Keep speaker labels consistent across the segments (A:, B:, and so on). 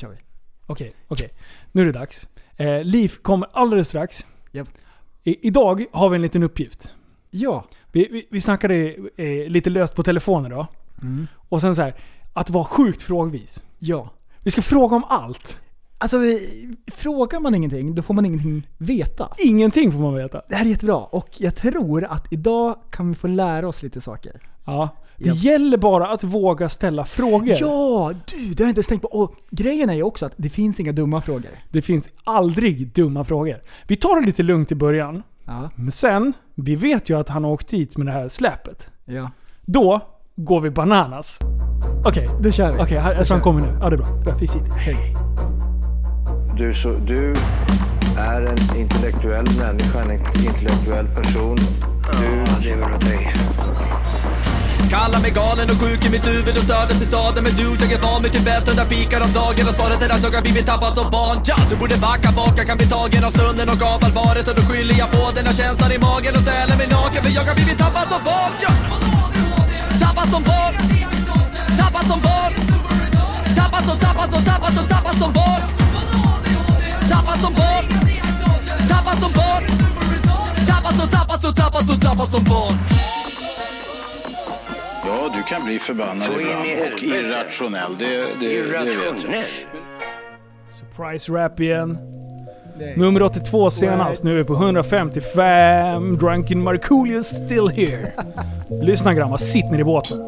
A: kör vi. Okej, okej. Nu är det dags. Eh, Liv kommer alldeles strax.
B: Japp.
A: I, idag har vi en liten uppgift.
B: Ja.
A: Vi, vi, vi snackade eh, lite löst på telefon idag.
B: Mm.
A: Och sen så här, att vara sjukt frågvis.
B: Ja.
A: Vi ska fråga om allt.
B: Alltså, vi- frågar man ingenting, då får man ingenting veta.
A: Ingenting får man veta.
B: Det här är jättebra och jag tror att idag kan vi få lära oss lite saker.
A: Ja. Det
B: Japp.
A: gäller bara att våga ställa frågor.
B: Ja, du! Det har jag inte ens tänkt på. Och grejen är ju också att det finns inga dumma frågor.
A: Det finns aldrig dumma frågor. Vi tar det lite lugnt i början.
B: Ja.
A: Men sen, vi vet ju att han har åkt hit med det här släpet.
B: Ja.
A: Då går vi bananas. Okej,
B: Då kör vi.
A: okej, han- jag tror han kommer nu. Ja, det är bra. bra fixigt. Hej.
C: Du, så, du är en intellektuell människa, en intellektuell person. Du lever åt dig.
D: Kallar mig galen och sjuk i mitt huvud och stördes i staden Men du, jag är van vid Tibet och där fikar om dagen Och svaret är att jag har blivit tappad som barn ja! Du borde backa bak, jag kan bli tagen av stunden och av allvaret Och då skyller jag på den här känslan i magen och ställer mig naken För jag har blivit tappad som barn ja! Tappad som barn Tappad som barn Tappad som, tappad som, tappad som, tappad som barn Tappad som barn Tappad som barn Tappad som, tappad som, tappad som, tappad som barn
E: Ja, du kan bli förbannad
C: Så in i
E: ibland och
C: helvete.
E: irrationell. Det, det, det vet jag.
C: Irrationell.
A: Surprise rap igen. Nummer 82 senast. Nu är vi på 155. Drunken Markoolio still here. Lyssna grabbar, sitt ner i båten.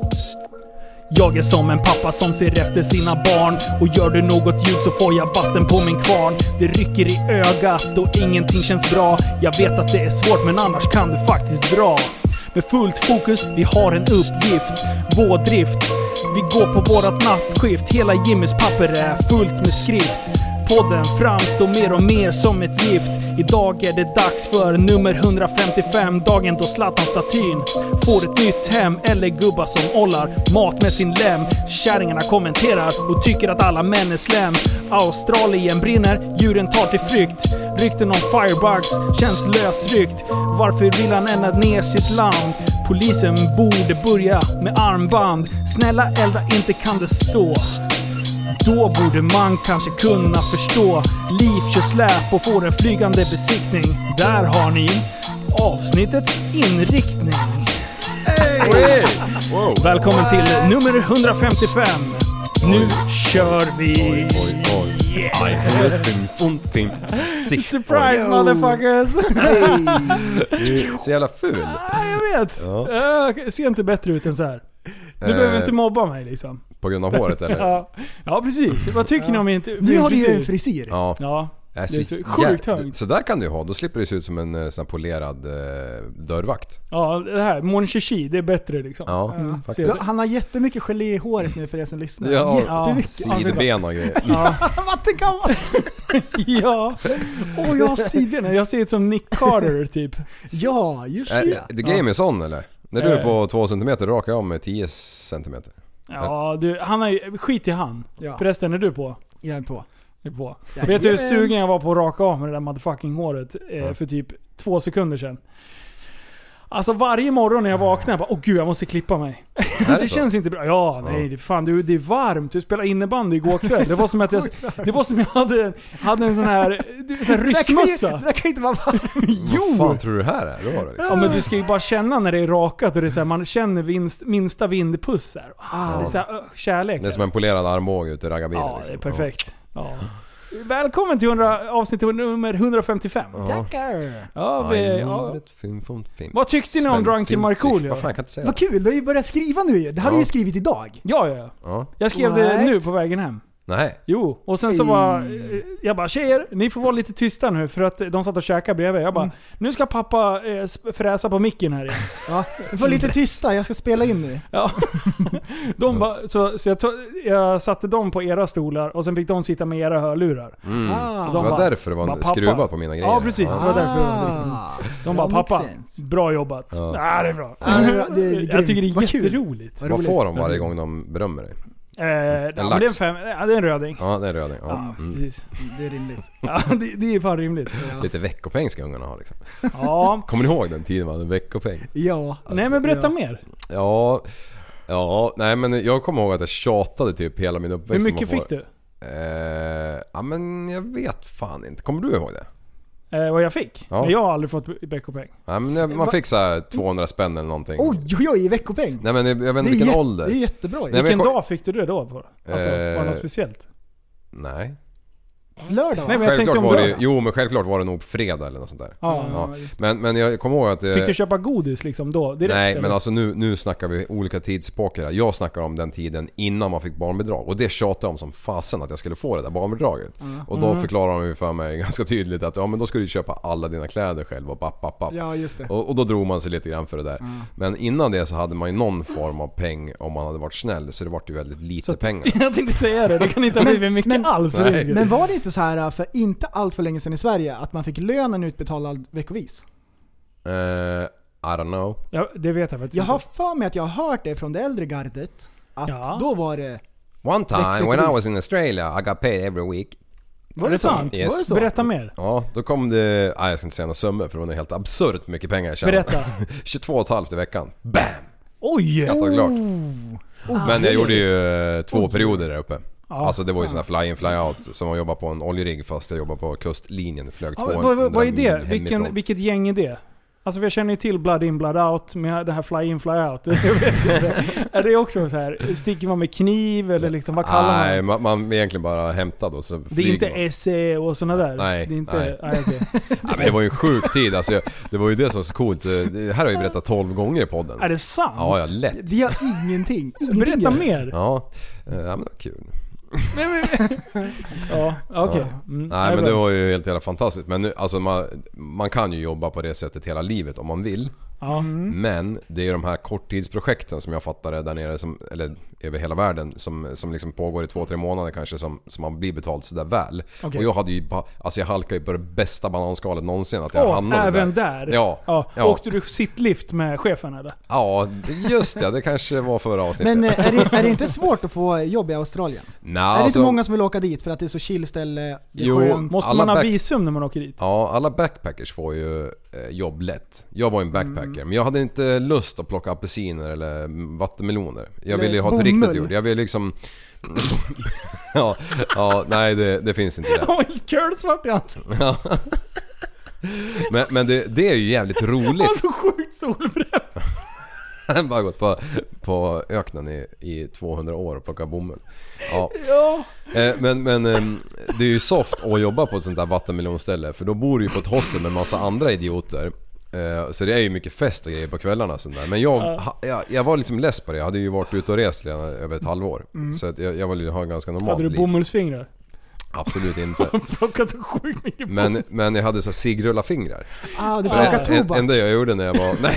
A: Jag är som en pappa som ser efter sina barn. Och gör du något ljud så får jag vatten på min kvarn. Det rycker i ögat och ingenting känns bra. Jag vet att det är svårt men annars kan du faktiskt dra. Med fullt fokus, vi har en uppgift. Vårdrift. Vi går på vårat nattskift. Hela Jimmys papper är fullt med skrift. Podden framstår mer och mer som ett gift. Idag är det dags för nummer 155, dagen då Zlatan-statyn får ett nytt hem. Eller gubbar som ollar mat med sin lem. Kärringarna kommenterar och tycker att alla män är slem. Australien brinner, djuren tar till flykt. Rykten om firebugs känns lösryckt. Varför vill han elda ner sitt land? Polisen borde börja med armband. Snälla elda, inte kan det stå. Då borde man kanske kunna förstå. Liv kör släp och får en flygande besiktning. Där har ni avsnittets inriktning. Välkommen till nummer 155. Nu kör vi!
F: Oj, oj. Ein Hundertfim, Fundfim, Six.
A: Surprise motherfuckers!
F: Du är så jävla ful.
A: Jag vet! Jag ser inte bättre ut än så här. Du
F: Eh.
A: behöver inte mobba mig liksom.
F: På grund av håret eller?
A: Ja, ja precis. Vad tycker ni om min
B: Nu har du ju en frisyr.
F: Ja.
A: Ja.
F: Äh,
A: Det är så sjukt högt.
F: Så där kan du ju ha. Då slipper du se ut som en eh, sån här polerad eh, dörrvakt.
A: ja, det här. Mon Chichi, det är bättre liksom.
F: Ja, faktiskt.
B: Du, Han har jättemycket gelé i håret nu för er som lyssnar.
F: Ja.
B: Jättemycket.
F: Sidben och grejer.
B: Vattenkammare!
A: Ja. Och jag har sidorna. Jag ser ut som Nick Carter typ.
B: Ja, just
F: Är
B: det.
F: the Äh, game är sån eller? När du
A: Eh.
F: är på 2 cm rakar jag av med 10 cm.
A: Ja, du, han är ju, skit i han.
B: Ja.
A: Förresten, är du på?
B: Jag är på.
A: Är på.
B: Ja,
A: Vet du hur
B: jajamän.
A: sugen jag var på att raka av med det där motherfucking håret eh, för typ två sekunder sedan? Alltså varje morgon när jag vaknar, jag bara åh gud jag måste klippa mig.
F: Är
A: Det
F: så?
A: känns inte bra. Ja, nej det, fan du, det är varmt. Du spelade innebandy igår kväll. Det var som att jag, det var som jag hade, en- hade en sån här, du- sån här
B: Det där kan ju-
A: ryssmössa.
B: Det där kan ju inte vara
F: Vad fan tror du det här är? Då, liksom?
A: Ja men du ska ju bara känna när det är rakat och det är så här, man känner vinst, minsta vindpuss där. Ah, Det är så här, öh, kärlek.
F: Det är som en polerad armbåge ute i raggarbilen.
A: ja,
F: liksom.
A: det är perfekt. Ja. Välkommen till 100, avsnitt nummer 155. Ja.
B: Tackar!
A: vi,
F: Ein
A: ja.
F: Hundertfim, Fundfim,
A: Vad tyckte ni om
F: Sven
A: Drunken
F: Fimsik?
A: Markoolio?
F: Vad fan, jag kan inte säga
B: Vad kul, du har ju börjat skriva nu ju. Det har du
F: Ja.
B: ju skrivit idag.
A: ja, ja, ja.
F: Ja.
A: Jag skrev det
B: Right.
A: nu på vägen hem.
F: Nej.
A: Jo, och sen så var eh, jag bara tjejer, ni får vara lite tysta nu för att eh, de satt och käkade bredvid. Jag bara, nu ska pappa eh, sp- fräsa på micken här igen.
B: Ja. Var lite tysta, jag ska spela in nu.
A: Ja. De bara, så så jag, tog, jag satte dem på era stolar och sen fick de sitta med era hörlurar.
B: Ah.
A: De
F: Det var
A: bara-
F: därför det var
A: bara,
F: en
A: "Pappa."
F: skruvat på mina grejer.
A: Ja precis, det var därför. det var liksom-
B: Ah.
A: De bara
B: Ja, makes
A: 'Pappa,
B: sense.
A: bra jobbat' ja.
F: Ja.
A: det är bra.
B: Ja, det är bra. Det är
A: jag
B: grymt.
A: tycker det
B: Vad
A: är
B: kul.
A: jätteroligt. Eh,
B: Vad
F: Vad
B: roligt.
F: får de varje gång de berömmer dig?
A: ja, men det, är en
F: Mm. lax.
A: fem, ja, det är en röding. Ja,
F: Ja, det är en röding. Ja. Mm.
A: precis.
B: Det är rimligt.
A: Ja, det, det är fan rimligt.
F: Lite veckopeng ska ungarna ha liksom.
A: Ja.
F: Kommer ni ihåg den tiden man hade veckopeng?
B: Ja.
A: Nej men berätta
B: Alltså, ja.
A: mer.
F: Ja, ja, nej men jag kommer ihåg att jag tjatade typ hela min uppväxt.
A: Hur
F: om
A: mycket
F: att få-
A: fick du?
F: Eh, ja men jag vet fan inte. Kommer du ihåg det?
A: Eh, vad jag fick?
F: Ja.
A: Men Jag har aldrig fått veckopeng.
F: Ja, men jag- man
B: Va?
F: fick så här 200 spänn eller någonting.
B: Oj, oj, oj, i veckopeng!
F: Nej men jag jag vet inte
B: det, är
F: vilken
B: jätte-
F: ålder.
B: det är jättebra
F: Nej,
B: ju.
F: men
A: Vilken
F: jag kom-
A: dag fick du det då? På? Alltså, var det
F: Eh,
A: något speciellt?
F: Nej.
B: Lördag
A: Nej,
B: va?
A: men- jag tänkte
F: Självklart
A: om
F: var
A: du-
F: det, jo men självklart var det nog på fredag eller något sånt där.
A: Ja.
F: Ja. Men, men jag kommer ihåg att det...
A: Fick du köpa godis liksom då? Direkt,
F: Nej,
A: eller?
F: men alltså nu, nu snackar vi olika tidsepoker här. Jag snackar om den tiden innan man fick barnbidrag. Och det tjatade jag om som fasen att jag skulle få det där barnbidraget. Och då förklarade de ju för mig ganska tydligt att ja men då skulle du köpa alla dina kläder själv och papp, papp, papp.
B: Ja, just det.
F: Och, och då drog man sig lite grann för det där. Men innan det så hade man ju någon form av peng om man hade varit snäll. Så det vart ju väldigt lite
A: Så att-
F: pengar.
A: jag tänkte säga det, det kan inte ha blivit mycket
B: men-
A: alls för
F: Nej.
A: din skull.
B: Men var det inte så här äh, för inte allt för länge sedan i Sverige att man fick lönen utbetalad veckovis?
F: Eh, I don't know.
A: ja, det vet jag faktiskt
B: Jag har
A: inte.
B: för mig att jag har hört det från det äldre gardet. Att
A: Ja.
B: då var det...
F: One time when I
B: Lyckligtvis.
F: was in Australia I got paid every week.
A: Var det sant?
F: Yes.
A: Var det så? Berätta mer.
F: Ja, då kom det... Nej, jag ska inte säga några summor för det var nog helt absurt mycket pengar jag tjänade.
A: Berätta.
F: 22,5 i veckan. Bam!
A: Oj!
F: Skattat klart.
A: Oh.
F: Men jag gjorde ju eh, två perioder där uppe. Alltså det var ju sån här fly-in fly-out som att jobba på en oljerigg fast jag jobbade på kustlinjen. Flög
A: Ja,
F: 200
A: vad, vad, vad är
F: mil
A: det?
F: hemifrån.
A: Vilken, vilket gäng är det? Alltså för jag känner ju till Blood In Blood Out med det här Fly In Fly Out. Jag vet inte. är det också så här, sticker man med kniv eller liksom vad kallar man
F: Nej,
A: det?
F: man, man är egentligen bara hämtad och så
A: Det är
F: flyger man.
A: inte SE och sådana där?
F: Nej,
A: det är inte,
F: nej.
A: okej.
F: Ja, men det var ju en sjuk tid alltså. Jag, det var ju det som var så coolt. Eh, Det här har jag ju berättat 12 gånger i podden.
A: Är det sant?
F: Ja, ja, lätt.
B: Det gör ingenting. ingenting
A: Berätta
B: gör det.
A: mer.
F: Ja, eh, ja men det var kul.
A: Ja, okej. Mm, det
F: Nej
A: är
F: men
A: bra.
F: det var ju helt jävla fantastiskt. Men nu, alltså man, man kan ju jobba på det sättet hela livet om man vill.
A: Ja.
F: Mm. Men det är ju de här korttidsprojekten som jag fattar det där nere, som, eller över hela världen, som, som liksom pågår i två, tre månader kanske som, som man blir betalt sådär väl.
A: Okej.
F: Och jag hade ju bara, alltså jag halkade ju på det bästa bananskalet någonsin att jag
A: Åh,
F: hamnade
A: även
F: där.
A: där?
F: Ja,
A: ja.
F: ja.
A: Åkte du sittlift med chefen eller?
F: Ja, det- just det. Det kanske var förra avsnittet.
B: Men eh, är det, är det inte svårt att få jobb i Australien?
F: Nej,
B: är det inte
F: alltså,
B: många som vill åka dit för att det är så chill ställe? det är
F: Jo.
B: skönt?
A: Måste
F: Alla
A: man ha
F: back-
A: visum när man åker dit?
F: Ja, alla backpackers får ju eh, jobb lätt. Jag var ju en backpacker, men jag hade inte lust att plocka apelsiner eller mm, vattenmeloner. Jag
B: Eller
F: ville ju ha ett riktigt
B: bomull.
F: jord. Jag ville liksom... ja, ja, nej det, det finns inte där.
A: Han var helt kölsvart i ansiktet.
F: Men, men det, det är ju jävligt
A: Han var
F: roligt.
A: så Alltså, sjukt solbränd.
F: Jag har bara gått på, på öknen i, i 200 år och plockat bomull. Ja.
A: Ja.
F: Eh, Men, men ehm, det är ju soft att jobba på ett sånt där vattenmelonställe för då bor du ju på ett hostel med massa andra idioter. Eh, Så det är ju mycket fest och grejer på kvällarna och sånt där. Men jag, ha- jag, jag var liksom less på det. Jag hade ju varit ute och rest redan över ett halvår. Så att jag, jag ville ju ha en ganska normalt
A: Mm. Hade du
F: liv.
A: bomullsfingrar?
F: Absolut inte.
A: Han plockade så sjukt mycket bomull.
F: Men, men jag hade så här cigrullarfingrar.
B: Ah, du får
F: För
B: åka
F: det en-
B: tobak.
F: enda jag gjorde när jag var...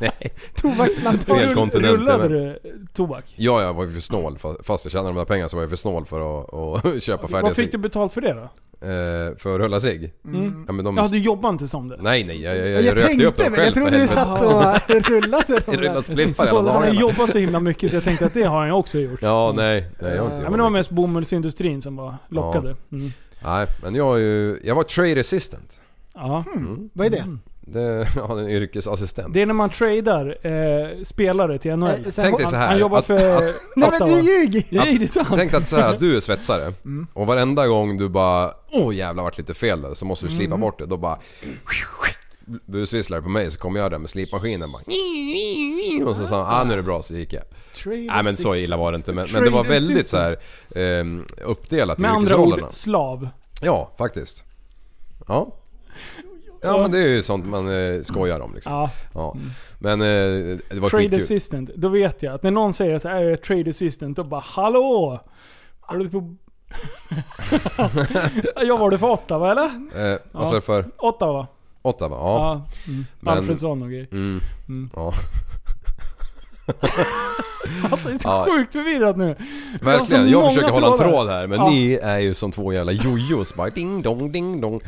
F: Nej,
B: Tobaksplantage.
F: fel kontinent.
A: Rullade
F: men-
A: du tobak?
F: Ja, jag var ju för snål. Fa- Fast jag tjänade de där pengarna så var jag för snål för att, att köpa färdiga
A: Vad fick
F: cigg.
A: du betalt för det då?
F: Eh, För att rulla cigg.
A: Mm.
F: Ja, men de
A: Ja, du jobbade inte som det?
F: Nej nej, jag, jag, jag,
B: Jag,
F: rökte ju upp
B: tänkte
F: dem
B: väl,
F: själv
B: jag
F: för
B: trodde du
F: helvete.
B: satt och rullade.
F: Jag rullade spliffar hela
A: Han har
F: dagarna.
A: jobbat så himla mycket så jag tänkte att det har han också gjort.
F: Ja, nej. Nej, jag har inte
A: Ja, men det var
F: jobbat mycket.
A: mest bomullsindustrin som var lockade. Mm.
F: Nej, men jag har ju... Jag var trade assistant.
A: Ja.
B: Hmm.
F: Mm.
A: Mm.
B: Vad är det?
F: Det, ja, en yrkesassistent.
A: Det är när man tradar eh, spelare till NHL.
B: Eh, så här-
F: Tänk dig så här.
A: Han jobbar
F: att,
A: för
F: att,
B: Nej
A: Ottawa.
B: men du ljuger!
A: Nej, det är sant.
F: tänk dig att så här, att du är svetsare och varenda gång du bara åh jävlar vart lite fel där, så måste du slipa bort det. Då bara... Busvisslar du på mig så kommer jag där med slipmaskinen bara... Och så sa han ah, nu är det bra så gick jag. Nej men så illa var det inte men, men det var
A: Trade
F: väldigt så
A: assistant.
F: här ehm, uppdelat i
A: Med andra
F: yrkesrollerna.
A: ord, slav.
F: Ja, faktiskt. Ja. Ja men det är ju sånt man eh, skojar om liksom.
A: Ja.
F: Ja. Men eh, det var
A: Trade
F: skitkul.
A: assistant. Då vet jag att när någon säger att jag är trade assistant, då bara hallå! Är du på... jag var det för Ottawa eller?
F: Eh, vad sa du
A: Ja.
F: för?
A: Ottawa?
F: Ottawa? Ja.
A: Mm.
F: men-
A: Alfredsson och grejer.
F: Mm.
A: Mm.
F: ja.
A: Alltså jag är så
F: Ja.
A: sjukt förvirrad nu. så
F: Verkligen, jag
A: många
F: försöker hålla en
A: trådar.
F: tråd här men
A: Ja.
F: ni är ju som två jävla jojos bara ding dong ding dong.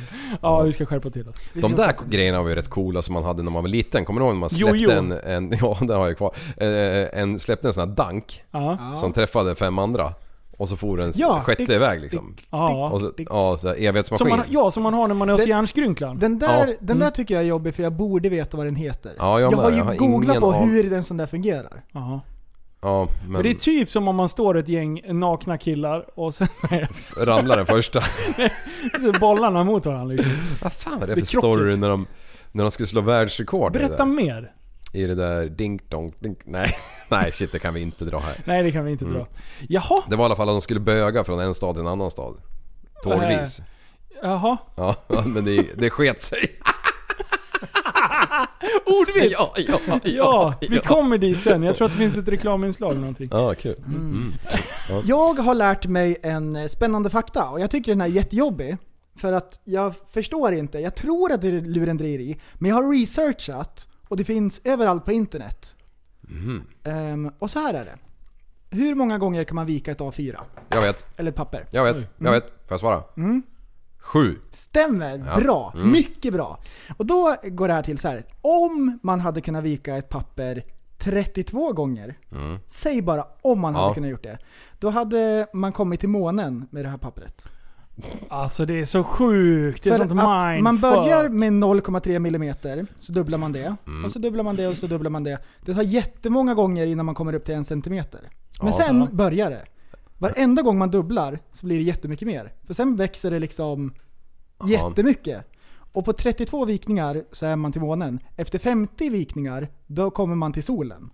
A: Ja, vi ska skärpa till oss.
F: De där grejerna var ju rätt coola som man hade när man var liten. Kommer du ihåg när man släppte
A: Jojo.
F: en, en... Ja, den har jag kvar. Eh, en släppte en sån här dank
A: Ja.
F: som träffade fem andra. Och så for den
B: Ja,
F: sjätte
B: det-
F: iväg liksom.
A: ja.
F: Och så, ja, så här, evighetsmaskin.
A: Som man, ja, som man har när man är hos
B: Det-
A: järnskrynklan.
B: Den där,
F: Ja. Mm.
B: den där tycker jag är jobbig för jag borde veta vad den heter.
F: Ja, jag
B: jag
F: med.
B: har ju
F: Jag har
B: googlat
F: ingen
B: på
F: an-
B: hur den sån där fungerar.
A: Jaha.
F: Ja,
A: Men
F: men
A: det är typ som om man står ett gäng nakna killar och sen
F: ramlar den första.
A: är bollarna mot varandra. Liksom.
F: Vad fan var det
A: Det
F: för
A: är
F: story
A: krockigt.
F: när de, när de skulle slå världsrekord i det
A: Berätta
F: där?
A: mer.
F: I det där dink donk dink. Nej, nej shit det kan vi inte dra här.
A: Nej, det kan vi inte dra.
F: Mm.
A: Jaha,
F: Det var i alla fall att de skulle böga från en stad till en annan stad. Tågvis.
A: jaha.
F: Ja, men det, det sket sig.
A: Ordvits! Ja,
F: ja, ja.
A: vi kommer dit sen. Jag tror att det finns ett reklaminslag eller någonting.
F: Ja, kul. Mm.
B: Jag har lärt mig en eh, spännande fakta och jag tycker den här är jättejobbig. För att jag förstår inte, jag tror att det är lurendrejeri, men jag har researchat och det finns överallt på internet.
F: Mhm.
B: Ehm, och så här är det. Hur många gånger kan man vika ett A4?
F: Jag vet,
B: Eller ett papper?
F: jag vet, jag vet. Får jag svara?
A: Mm.
F: Sju.
B: Stämmer!
F: Ja. Mm.
B: Bra! Mycket bra! Och då går det här till så här. Om man hade kunnat vika ett papper 32 gånger. Säg bara om man
F: Mm. Ja.
B: hade kunnat gjort det. Då hade man kommit till månen med det här papperet.
A: Alltså det är så sjukt. Det är
B: För
A: sånt
B: att
A: mindfuck.
B: man börjar med 0,3 millimeter, så dubblar man det. Och så dubblar man det och så dubblar man det. Det tar jättemånga gånger innan man kommer upp till en centimeter. Men
F: Ja.
B: sen
A: Ja.
B: börjar det. Varenda gång man dubblar så blir det jättemycket mer. För sen växer det liksom jättemycket. Och på 32 vikningar så är man till månen. Efter 50 vikningar, då kommer man till solen.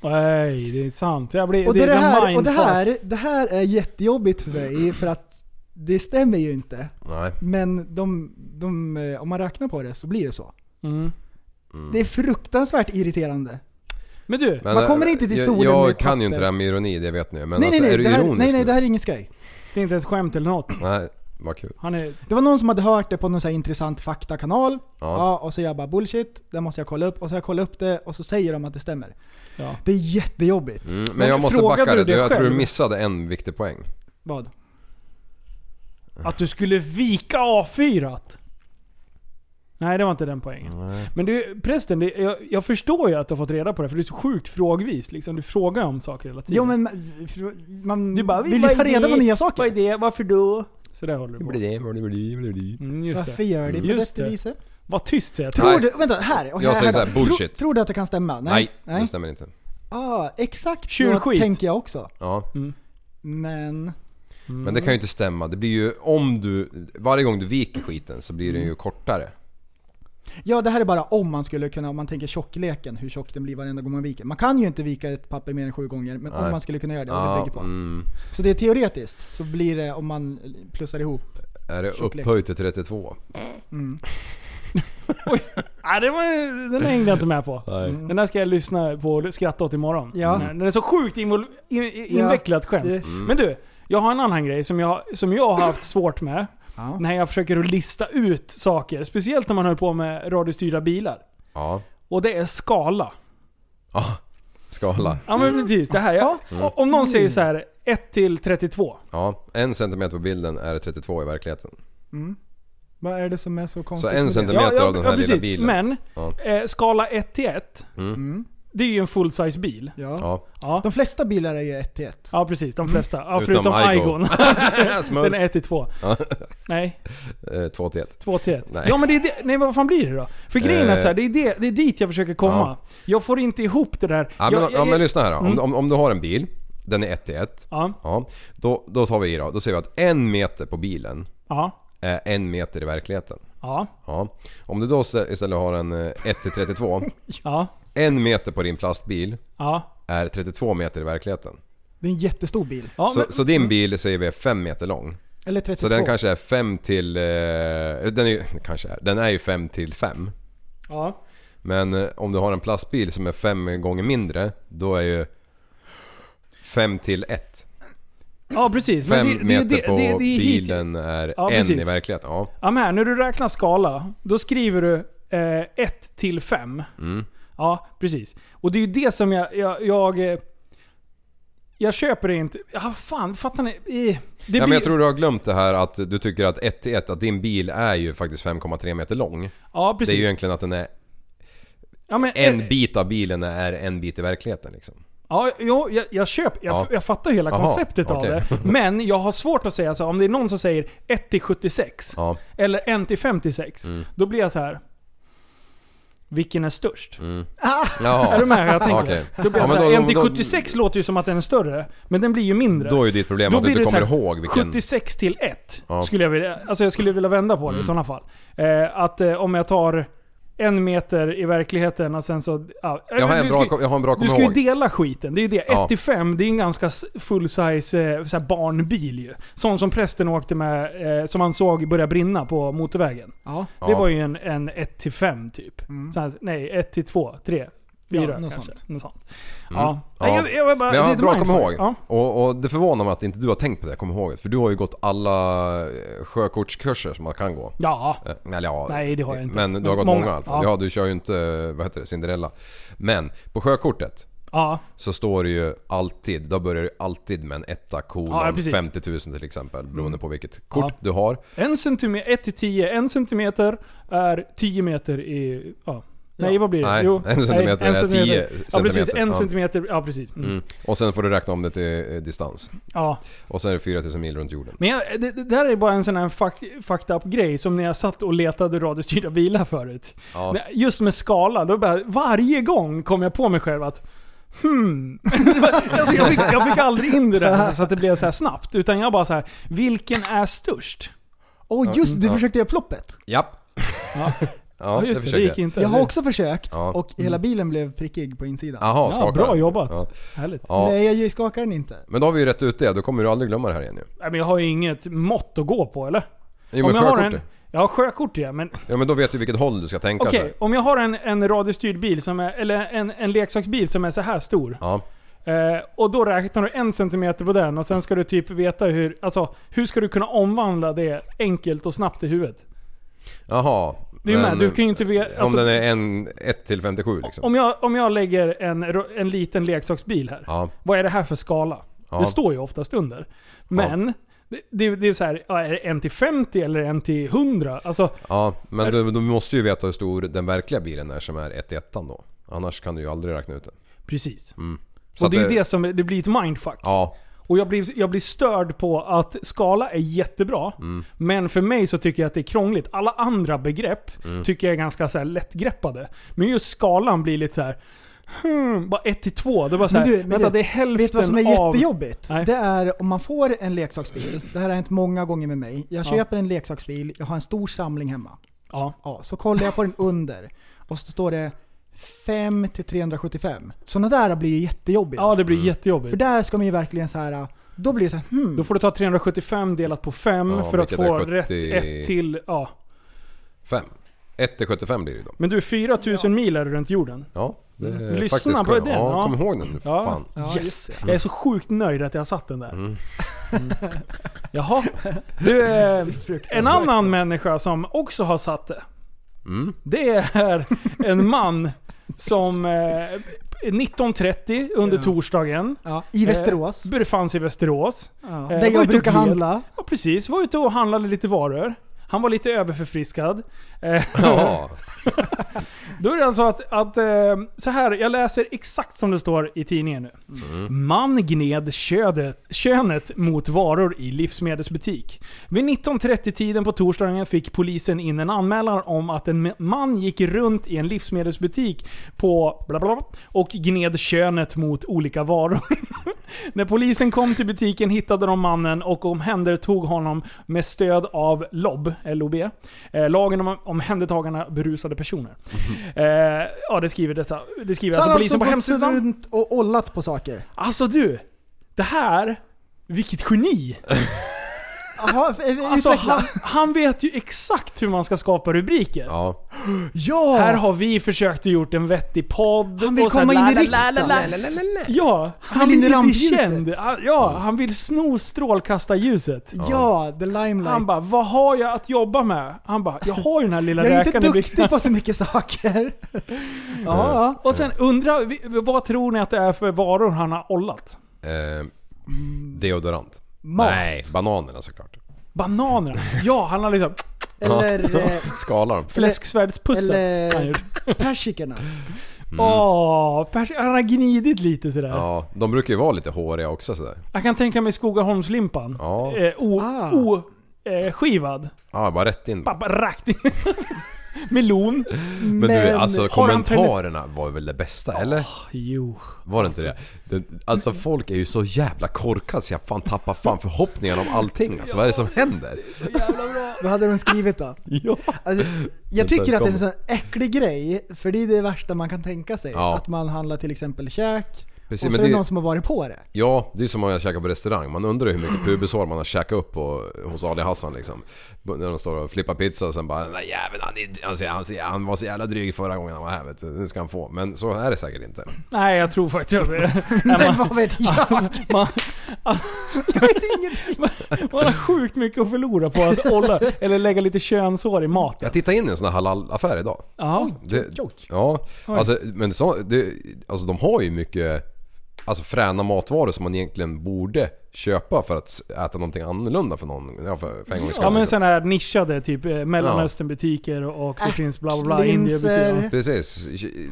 A: Nej, det är sant. Jag blir,
B: Och det, är det,
A: är
B: här, och det,
A: mindfuck.
B: här, det här är jättejobbigt för mig, för att det stämmer ju inte.
F: Nej.
B: Men de, de, eh, om man räknar på det så blir det så.
A: Mm.
B: Det är fruktansvärt irriterande.
A: Men du,
F: Men,
B: Man kommer inte till
F: jag-
B: solen
F: Jag
B: med
F: kan ju
B: papper.
F: inte det här med ironi, det vet ni ju. Men
B: nej,
F: alltså,
B: nej,
F: är
B: nej,
F: du
B: det här,
F: ironisk
B: nej, nej,
F: nu?
B: det här är ingen skoj.
A: det är inte ens skämt eller något.
F: Nej, vad kul.
A: Han är...
B: Det var någon som hade hört det på någon så här intressant faktakanal. Ja.
F: Ja.
B: och så jag bara bullshit, det måste jag kolla upp. Och så har jag kollat upp det och så säger de att det stämmer.
A: Ja.
B: Det är jättejobbigt.
F: Mm, men
A: Men
F: jag måste
A: frågade
F: backa
A: du
F: det.
A: det
F: Jag tror du
A: själv?
F: missade en viktig poäng.
B: Vad?
A: Att du skulle vika A4. -at. Nej, det var inte den poängen. Men du, prästen, det, jag, jag förstår ju att du har fått reda på det, för det är så sjukt frågvis. Liksom. Du frågar om saker hela tiden.
B: Jo men man- fr- man
A: du bara,
B: vill ju
A: "Vad är
B: ta reda på
A: det?
B: nya
A: Vad är
B: saker.
A: det? Varför då? Så där håller du på. Mm, just
B: Varför
A: det.
B: gör det på
A: Just
B: detta
A: det.
B: viset?
A: Var tyst säger jag.
B: Tror
F: Nej.
B: du, vänta, här. och
F: Jag
B: här,
F: säger
B: här
F: så här,
B: då.
F: bullshit.
B: Tror, tror du att det kan stämma?
F: Nej,
B: Nej.
F: det stämmer inte.
B: Ah, exakt så
A: Tjurskit.
B: tänker jag också.
F: Ja.
B: Men...
F: Men det
B: Mm.
F: kan ju inte stämma. Det blir ju om du... Varje gång du viker skiten så blir den
B: Mm.
F: ju kortare.
B: Ja, det här är bara om man skulle kunna, om man tänker tjockleken, hur tjock den blir varenda gång man viker. Man kan ju inte vika ett papper mer än sju gånger, men
F: Nej.
B: om man skulle kunna göra det, vad det
F: Ja,
B: bygger på.
F: mm.
B: Så det är teoretiskt, så blir det om man plussar ihop.
F: Är det
B: Tjocklek.
F: upphöjt till 32?
A: Nej, det var, den hängde jag inte med på. Mm.
F: Nej.
A: Den där ska jag lyssna på och skratta åt imorgon. Mm.
B: Ja.
A: Den är så sjukt invol- in, in,
B: Ja.
A: invecklat skämt.
B: Det-
F: Mm.
A: Men du, jag har en annan grej som jag, som jag har haft svårt med.
B: Ja.
A: När jag försöker att lista ut saker. Speciellt när man höll på med radiostyrda bilar.
F: Ja.
A: Och det är skala.
F: Ja. Skala.
B: Mm.
A: Ja men precis, det här. Jag,
F: Mm.
A: Om någon säger så här 1 till 32.
F: Ja. En centimeter på bilden är 32 i verkligheten.
B: Vad är det som är så
F: Så
B: konstigt
F: en
B: med det?
F: centimeter av den här lilla bilen.
A: Men,
F: Ja. Mm.
A: eh, skala 1 till 1. Det är ju en full-size bil.
B: Ja.
F: Ja.
A: Ja.
B: Mm. De flesta bilar är ju ett till ett.
A: Ja precis, de flesta. Ja,
F: Utom
A: förutom
F: Aigo.
A: Aigon.
F: Smurf.
A: Den är 1 till 2. Nej,
F: Eh, 2 till 1.
A: 2 till 1.
F: Nej.
A: Ja men det är det, nej vad fan blir det då? För grejen är
F: Eh.
A: så här, det är, det, det är dit jag försöker komma. Jag får inte ihop det där.
F: Ja,
A: jag,
F: men,
A: jag,
F: ja, men lyssna här då. Om,
A: Mm.
F: om, om du har en bil, den är 1 till 1.
A: Ja,
F: Ja. Då, då tar vi i då. Då säger vi att en meter på bilen
A: ja,
F: är en meter i verkligheten.
A: ja,
F: Ja. Om du då stä- istället har en eh, 1 till 32.
A: ja,
F: En meter på din plastbil
A: ja.
F: är 32 meter i verkligheten.
B: Det är en jättestor bil.
A: ja
F: så,
A: men,
F: så din bil säger vi är 5 meter lång.
B: Eller 32.
F: Så den kanske är 5 till... Eh, den är ju... Kanske är. Den är ju 5 till 5.
A: ja.
F: Men eh, om du har en plastbil som är 5 gånger mindre, då är ju 5 till 1.
A: ja precis.
F: 5
A: men det, det,
F: meter
A: det,
F: på
A: det, det, är hit-
F: bilen är
A: Ja,
F: 1 i
A: precis.
F: verkligheten. Ja.
A: Ja men här, när du räknar skala, då skriver du 1 till 5.
F: Mm.
A: Ja, precis. Och det är ju det som jag... Jag, jag, eh, jag köper det inte. Ja, fan, fattar ni? Eh, Det blir,
F: ja men jag tror du har glömt det här att du tycker att 1 till 1, att din bil är ju faktiskt 5,3 meter lång.
A: ja,
F: Det
A: precis.
F: är ju egentligen att den är...
A: ja, men, eh,
F: En bit av bilen är en bit i verkligheten liksom.
A: Ja, jo, jag, jag köper. Jag,
F: Ja.
A: jag fattar hela
F: Aha,
A: konceptet
F: okej.
A: av det. Men jag har svårt att säga så. Om det är någon som säger 1 till 76
F: Ja. Mm.
A: eller 1 till 56. Då blir jag så här. vilken är störst?
F: Jaha.
A: Är du med hur jag tänker?
F: Mm. Okej.
A: Då blir
F: Ja,
A: jag så
F: men
A: här,
F: då-
A: en till
F: då-
A: 76 låter ju som att den är större, men den blir ju mindre.
F: Då är ju ditt problem
A: Då
F: att du
A: blir
F: inte
A: det så
F: kommer
A: här,
F: ihåg vilken...
A: 76 till 1
F: Ja. Mm.
A: skulle jag vilja, alltså jag skulle vilja vända på det i sådana fall. Eh, att eh, om jag tar en meter i verkligheten och sen så... Ja,
F: Jag har en
A: du
F: bra,
A: ska-
F: kom- jag har en bra
A: du ska ju
F: kommer ihåg.
A: dela skiten, det är ju det. 1
F: Ja.
A: till 5, det är en ganska s- full-size eh, så här barnbil ju. Sån som prästen åkte med, eh, som han såg börja brinna på motorvägen.
B: Ja.
F: Ja.
A: Det var ju en, en 1 till 5 typ.
B: Mm.
A: Så här, nej, 1 till 2, 3, 4
B: Ja, något
A: kanske.
B: sånt.
A: Något sånt.
F: Mm.
A: Ja.
F: Ja.
A: Nej, Jag, jag, var bara,
F: Men jag har en
A: lite
F: bra kommer
A: mindfuck.
F: ihåg.
A: Ja.
F: Och, och det förvånar mig att inte du har tänkt på det, kom ihåg det. För du har ju gått alla eh, sjökortskurser som man kan gå.
A: ja.
F: Eh, Eller ja,
A: Nej, det har jag inte.
F: Men du har gått
A: Många.
F: många, i alla fall.
A: Ja.
F: Ja. du kör ju inte, eh, vad heter det, Cinderella. Men på sjökortet
A: Ja.
F: så står det ju alltid, då börjar det alltid med en etta
A: Ja,
F: kolon
A: precis. Mm.
F: 50 000 till exempel. Beroende på vilket kort
A: Ja.
F: du har.
A: En centimeter, 1 till 10. En centimeter är 10 meter i... Ja. Nej
B: Ja.
A: vad blir det?
F: Nej,
A: jo,
F: en centimeter är 10
A: Ja precis,
F: centimeter.
A: en
F: Ja.
A: centimeter. Ja precis. Mm.
F: Mm. Och sen får du räkna om det till eh, distans.
A: Ja.
F: Och sen är det 4000 mil runt jorden.
A: Men jag, det, det här är bara en sån här fuck- fucked up grej som när jag satt och letade radiostyrda bilar förut.
F: Ja.
A: Nej, Just med skala, då bara, varje gång kom jag på mig själv att Hmm. alltså jag, fick, jag fick aldrig in det där så att det blev så här snabbt. Utan jag bara så här, vilken är störst?
B: Åh just du
F: Ja.
B: försökte göra ploppet.
F: Japp! Ja,
A: Ja. just
F: det
A: det, det
F: försöker
A: gick
F: jag.
A: inte.
B: Jag har
A: Det-
B: också försökt
F: Ja.
B: och hela bilen blev prickig på insidan.
F: Jaha,
A: ja,
F: skakar
A: bra
F: den.
A: jobbat.
F: Ja.
A: Härligt.
F: Ja.
B: Nej jag skakar den inte.
F: Men då har vi ju rätt ut det, då kommer du aldrig glömma det här igen ju.
A: Nej, men jag har ju inget mått att gå på eller?
F: Jo men
A: jag har
F: sjökortet.
A: en, jag har sjökort ja, men
F: Ja men då vet du vilket håll du ska tänka
A: okej.
F: sig.
A: om jag har en, en radiostyrd bil, som är, eller en, en leksaksbil som är så här stor.
F: Ja.
A: Eh, och då räknar du en centimeter på den och sen ska du typ veta hur... Alltså, hur ska du kunna omvandla det enkelt och snabbt i huvudet?
F: Jaha.
A: Det är ju
F: men
A: med, du kan ju inte veta... Alltså,
F: om den är en 1 till 57 liksom.
A: om, jag, om jag lägger en, ro- en liten leksaksbil här.
F: Ja.
A: Vad är det här för skala?
F: Ja.
A: Det står ju oftast under. Men... Det, det, det är så här, ja, är det en till 50 eller en till 100? Alltså,
F: Ja, men du, du måste ju veta hur stor den verkliga bilen är som är 1 1 då. Annars kan du ju aldrig räkna ut det.
A: precis.
F: Mm. Så
A: Och det är
F: att eh,
A: ju det som, det blir ett mindfuck.
F: Ja,
A: Och jag blir, jag blir störd på att skala är jättebra,
F: Mm.
A: men för mig så tycker jag att det är krångligt. Alla andra begrepp
F: Mm.
A: tycker jag är ganska så här lättgreppade. Men just skalan blir lite så här. Hmm, bara 1-2. Det var så
B: Men
A: här,
B: du, men
A: vänta
B: du,
A: det är hälften
B: Vet du vad som är
A: av...
B: jättejobbigt?
A: Nej.
B: Det är om man får en leksaksbil, det här har hänt många gånger med mig. Jag
A: Ja.
B: köper en leksaksbil, jag har en stor samling hemma.
A: Ja.
B: Ja, så kollar jag på den under och så står det 5 till 375. Sådana där blir ju jättejobbiga.
A: ja, det blir
F: Mm.
B: För
A: jättejobbigt.
B: där ska man ju verkligen så här. då blir det så här, hmm.
A: Då får du ta 375 delat på 5
F: Ja,
A: för att
F: vilket är
A: få
F: 70.
A: rätt ett till... Ja.
F: 5. 1 till 75 blir det ju då.
A: Men du, 4000 mil är det runt jorden.
F: Ja, det är
A: Mm, Lyssna
F: faktiskt
A: på
F: kul.
A: den,
F: Ja,
A: ja.
F: kom ihåg den nu.
A: Ja.
F: Fan.
B: Ja, just
A: yes. Jag är så sjukt nöjd att jag har satt den där. Mm. Jaha. Du, eh, en annan människa som också har satt det.
F: Mm.
A: Det är en man som eh, 19.30 under torsdagen
B: Ja, I Västerås.
A: eh, befann sig i Västerås.
B: Ja.
A: eh,
B: Där
A: var
B: jag
A: ute
B: brukar
A: och gled.
B: handla.
A: Ja precis, var ute och handlade lite varor. Han var lite överförfriskad. Eh,
F: Ja.
A: Då är det alltså att, att eh, så här, jag läser exakt som det står i tidningen nu. Man gned ködet, könet mot varor i livsmedelsbutik. Vid 19.30-tiden på torsdagen fick polisen in en anmälan om att en man gick runt i en livsmedelsbutik på bla bla bla och gned könet mot olika varor. När polisen kom till butiken hittade de mannen och omhändertog honom med stöd av LOB, LOB eh, lagen om omhändertagande av berusade personer. Eh, ja, det skriver, dessa, det skriver
B: Mhm.
A: alltså
B: Så han har
A: polisen på
B: gått
A: hemsidan.
B: runt och ollat på saker.
A: Alltså du, det här, vilket geni!
B: Jaha, eh,
A: Alltså
B: utveckla.
A: han, han vet ju exakt hur man ska skapa rubriker.
F: ja.
B: Ja!
A: Här har vi försökt att gjort en vettig podd.
B: Han vill
A: och så här,
B: komma in i
A: la, la, la, la, la. Ja, han,
B: vill in i
A: vill, bli
B: rampljuset. Mm.
A: känd. Han- Ja, han vill sno strålkastarljuset.
B: Ja, the limelight.
A: Han bara, vad har jag att jobba med? Han bara, jag har ju den här lilla
B: jag är inte
A: räkan i byxan."
B: duktig på så mycket saker. ja,
A: Och sen undrar vi, vad tror ni att det är för varor han har ollat?
F: Eh, deodorant.
A: Mm,
B: mat.
F: Nej, bananerna såklart.
A: Bananer? Ja, han har liksom
B: Eller eh,
F: Skala dem.
A: fläsksvärdspussat.
B: Eller-
A: han har gjort.
B: eh, persikorna.
A: Åh, pers- han har gnidit lite sådär.
F: Mm. Ja, de brukar ju vara lite håriga också sådär.
A: Jag kan tänka mig Skogaholmslimpan.
F: Ja.
A: Eh, o,
B: Ah.
A: o, eh, skivad.
F: Ja, bara rätt in.
A: Pappa rakt in.
B: Melon.
F: Men du, alltså
B: har han
F: kommentarerna var väl det bästa, eller?
A: Jo.
F: Var det inte det? Den, alltså folk är ju så jävla korkade så jag fan tappar fan förhoppningarna om allting. Alltså vad är det som händer?
B: Vad hade de skrivit då?
F: Ja.
B: Alltså, jag
F: Vänta,
B: tycker att det är
F: kom.
B: en sån äcklig grej, för det är det värsta man kan tänka sig.
F: Ja.
B: Att man handlar till exempel käk,
F: Precis,
B: och så
F: men
B: är det
F: det-
B: någon som har varit på det.
F: Ja, det är som om jag käkar på restaurang. Man undrar hur mycket pubishår man har käkat upp på, hos Ali Hassan liksom. När de står och flippar pizza och sen bara den där jäveln han, är- han, ser- han, ser- han var så jävla dryg förra gången han var här vet du. Nu ska han få. Men så är det säkert inte.
A: Nej, jag tror faktiskt att det.
B: Men vad vet jag?
A: Man,
B: Jag vet ingenting.
A: man har sjukt mycket att förlora på att olla eller lägga lite könshår i maten.
F: Jag tittade in i en sån här halal-affär idag.
A: Ja.
F: Det, ja, alltså, men så, det, alltså de har ju mycket alltså, fräna matvaror som man egentligen borde köpa för att s- äta någonting annorlunda för någon. Ja, för, för en gångs skull.
A: Ja men sådana här nischade, typ eh, mellanösternbutiker och och det finns bla bla bla indiebutiker.
B: Ah, Linser.
F: Precis.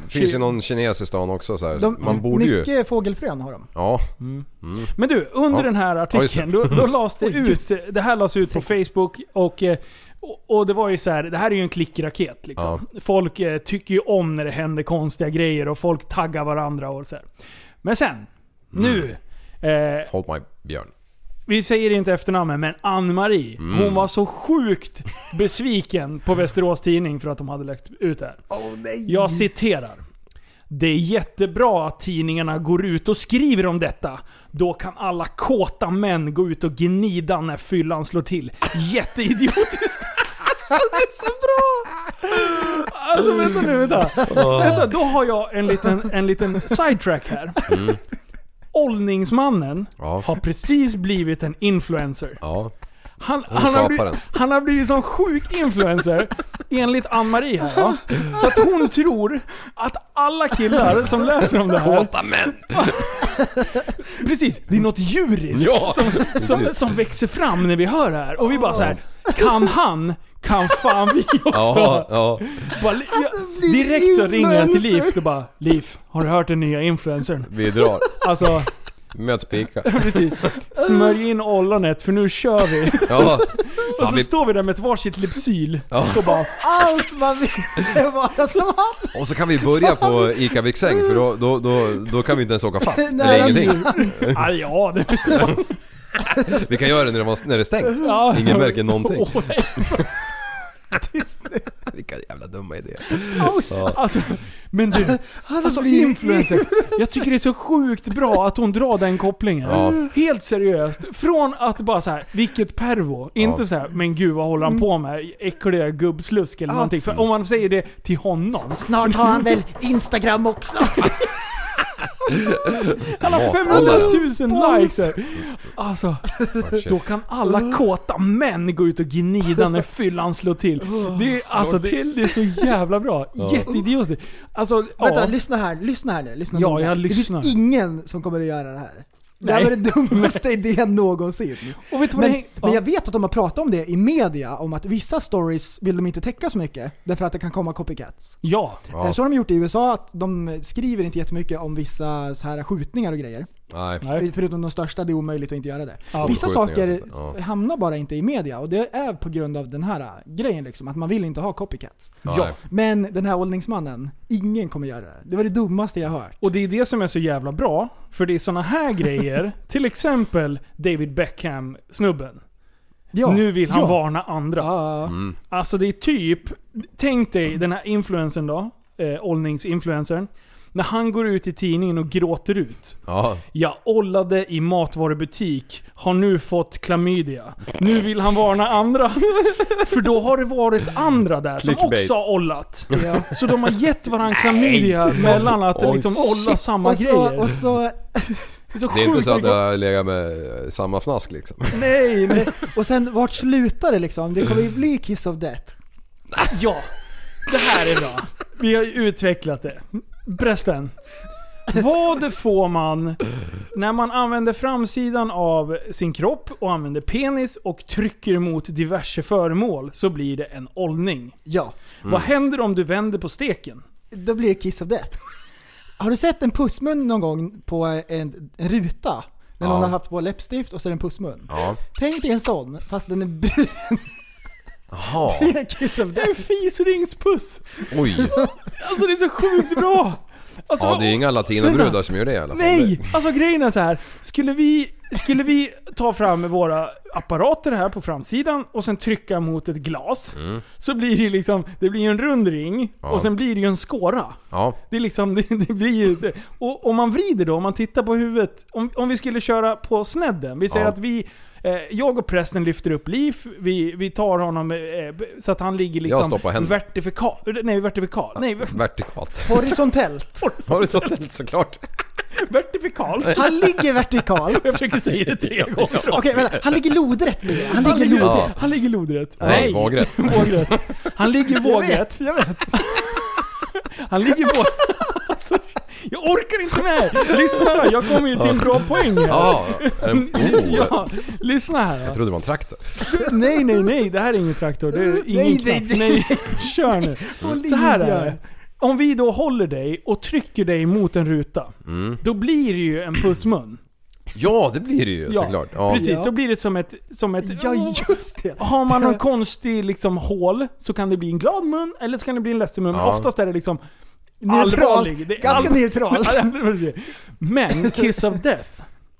F: Det finns ju någon kines i stan också så här.
B: De,
F: Man borde ju...
B: mycket fågelfrön har de.
F: Ja,
A: Mm. Men du, under
F: Mm. Ja.
A: den här
F: just
A: artikeln,
F: det.
A: då, då lades det ut, det här lades ut på Facebook och, eh, och- och det var ju så här, det här är ju en klickraket liksom. Folk eh, tycker ju om när det händer konstiga grejer och folk taggar varandra och så här. Men sen, nu. Eh,
F: hold my björn.
A: vi säger inte efternamnet, men Ann-Marie. Hon var så sjukt besviken på Västerås Tidning för att de hade lagt ut det här. Jag citerar. Det är jättebra att tidningarna går ut och skriver om detta. Då kan alla kåta män gå ut och gnida när fyllan slår till. Jätteidiotiskt! Alltså det är så bra! Alltså vänta nu, vänta. vänta då har jag en liten, en liten sidetrack här. Åldningsmannen
F: Ja.
A: har precis blivit en influencer.
F: Ja.
A: Han,
F: Hon
A: han, har,
F: skapar
A: blivit, han har blivit som sjuk influencer, enligt Ann-Marie här va? Så att hon tror att alla killar som läser om det här...
F: Kåta män!
A: Precis, det är något djuriskt
F: Ja!
A: som, som, som växer fram när vi hör det här. Och vi bara så här: kan han, kan fan vi också.
F: Ja, ja.
A: Bara, jag, direkt så ringer jag till Liv och bara Liv, har du hört den nya influencern?
F: Vi drar.
A: Alltså,
F: Möts pika.
A: precis. Smörj in ollonet för nu kör vi.
F: Ja.
A: Och så
F: vi-
A: står vi där med ett varsitt Lypsyl och bara
B: Allt man ville vara som han.
F: Och så kan vi börja på ICA Viksäng för då, då, då, då kan vi inte ens åka fast. Eller
B: Nej,
F: ingenting.
A: Ah, ja, det
F: Vi kan göra det när det, var, när det är stängt.
A: ja.
F: Ingen märker någonting.
A: Åh, nej.
F: Vilka jävla dumma idéer.
A: alltså, men du, alltså
B: blivit
A: influencer. Jag tycker det är så sjukt bra att hon drar den kopplingen.
F: Ja.
A: Helt seriöst. Från att bara så här, vilket pervo. Inte så här, men gud vad håller han på med? Äckliga gubbslusk eller någonting. För om man säger det till honom.
B: Snart har han väl Instagram också.
A: Alla
F: Alla.
A: 500 000 likes! här. Alltså, då kan alla kåta män gå ut och gnida när fyllan slår till. Det är, alltså, det, det är så jävla bra. Jätteidiotiskt. Alltså,
B: Vänta,
A: ja.
B: lyssna här. Lyssna här nu. Lyssna
A: Ja,
B: noga.
A: jag lyssnar.
B: Det finns ingen som kommer att göra det här. Det
A: Nej.
B: här var den dummaste idén någonsin.
A: Och vet du vad det
B: Men,
A: häng-
B: men
A: ja.
B: jag vet att de har pratat om det i media, om att vissa stories vill de inte täcka så mycket, därför att det kan komma copycats.
A: Ja.
F: Ja.
B: Eh, Så har de gjort i USA, att de skriver inte jättemycket om vissa så här skjutningar och grejer. Eh,
F: Nej.
A: Nej.
B: Förutom de största, det är omöjligt att inte göra det.
A: Ja.
B: Vissa
F: Skjutningar
B: saker
F: och sånt där, ja.
B: hamnar bara inte i media, och det är på grund av den här eh, grejen liksom, att man vill inte ha copycats.
A: Ja.
F: Nej.
B: Men den här åldringsmannen, ingen kommer göra det. Det var det dummaste jag hört.
A: Och det är det som är så jävla bra. För det är såna här grejer. Till exempel David Beckham-snubben.
B: Ja.
A: Nu vill han
B: ja.
A: varna andra.
B: Ja.
A: Alltså det är typ, tänk dig den här influensen då, eh, åldningsinfluencern. När han går ut i tidningen och gråter ut.
F: Ja.
A: Jag ollade i matvarubutik, har nu fått klamydia. Nu vill han varna andra. För då har det varit andra där som
F: Clickbait.
A: också har ollat. Så de har gett varandra klamydia mellan att
F: Oj,
A: liksom olla samma
B: och
A: grejer.
B: så, och så,
A: det är så
F: Det är inte
A: sjukt
F: så att
A: mycket-
F: jag legat med eh, samma fnask liksom.
B: nej, nej. Och sen vart slutar det liksom? Det kommer ju bli Kiss of Death.
A: Ja, det här är bra. Vi har ju utvecklat det. Prästen. Vad får man när man använder framsidan av sin kropp och använder penis och trycker mot diverse föremål så blir det en ollning.
B: Ja.
A: Vad
F: Mm.
A: händer om du vänder på steken?
B: Då blir det Kiss of Death. Har du sett en pussmun någon gång på en, en ruta? När någon
F: Ja.
B: har haft på läppstift och så är det en pussmun.
F: Ja.
B: Tänk dig en sån, fast den är brun.
F: Jaha,
B: Det är Kiss of
A: Det är
B: Death.
A: en fisringspuss!
F: oj.
A: Alltså det är så sjukt bra! Alltså,
F: Ja, det är inga latinabrudar som gör det i alla fall.
A: Nej! Alltså grejen är så här. Skulle vi, skulle vi ta fram våra apparater här på framsidan och sen trycka mot ett glas. Så blir det liksom, det blir ju en rund ring
F: Mm. Ja.
A: och sen blir det ju en skåra.
F: Ja,
A: Det är liksom, det, det blir ju inte- Och om man vrider då, om man tittar på huvudet. Om, om vi skulle köra på snedden. Vi säger
F: Ja.
A: att vi, eh, jag och prästen lyfter upp Liv. Vi, vi tar honom eh, b- så att han ligger
F: Jag
A: liksom
F: stoppar händerna.
A: vertifikal. Nej, vertikal. Nej, ver-
F: vertikalt.
B: Horisontellt.
F: Horisontellt såklart.
A: vertifikalt.
B: Han ligger vertikalt.
A: Jag försöker säga det tre gånger.
B: Okej, vänta. Han ligger lodrätt ligger han.
A: Han
B: ligger
A: ligger,
B: lodrätt.
F: Ja.
A: han ligger lodrätt.
F: Nej, vågrätt.
A: vågrätt. Han ligger vågrätt.
B: Jag vet.
A: Han ligger våg... Alltså, jag orkar inte med! Lyssna då, jag kommer ju till en bra poäng här.
F: Ja, en oh.
A: Ja, lyssna här
F: Jag
A: då.
F: trodde det var en traktor.
A: Nej, nej, nej. Det här är ingen traktor. Det är ingen
B: Nej, nej,
A: knapp. Nej, kör nu. Så här är det. Om vi då håller dig och trycker dig mot en ruta.
F: Mm.
A: Då blir det ju en pussmun.
F: Ja, det blir det ju såklart. Ja.
A: Precis,
B: Ja.
A: då blir det som ett... Som ett
B: Ja, just det.
A: Har man någon konstig liksom, hål så kan det bli en glad mun eller så kan det bli en ledsen mun. Men
F: Ja.
A: oftast är det liksom allvarlig.
B: Neutralt.
A: Det är
B: Ganska
A: all-
B: neutralt.
A: Men Kiss of Death,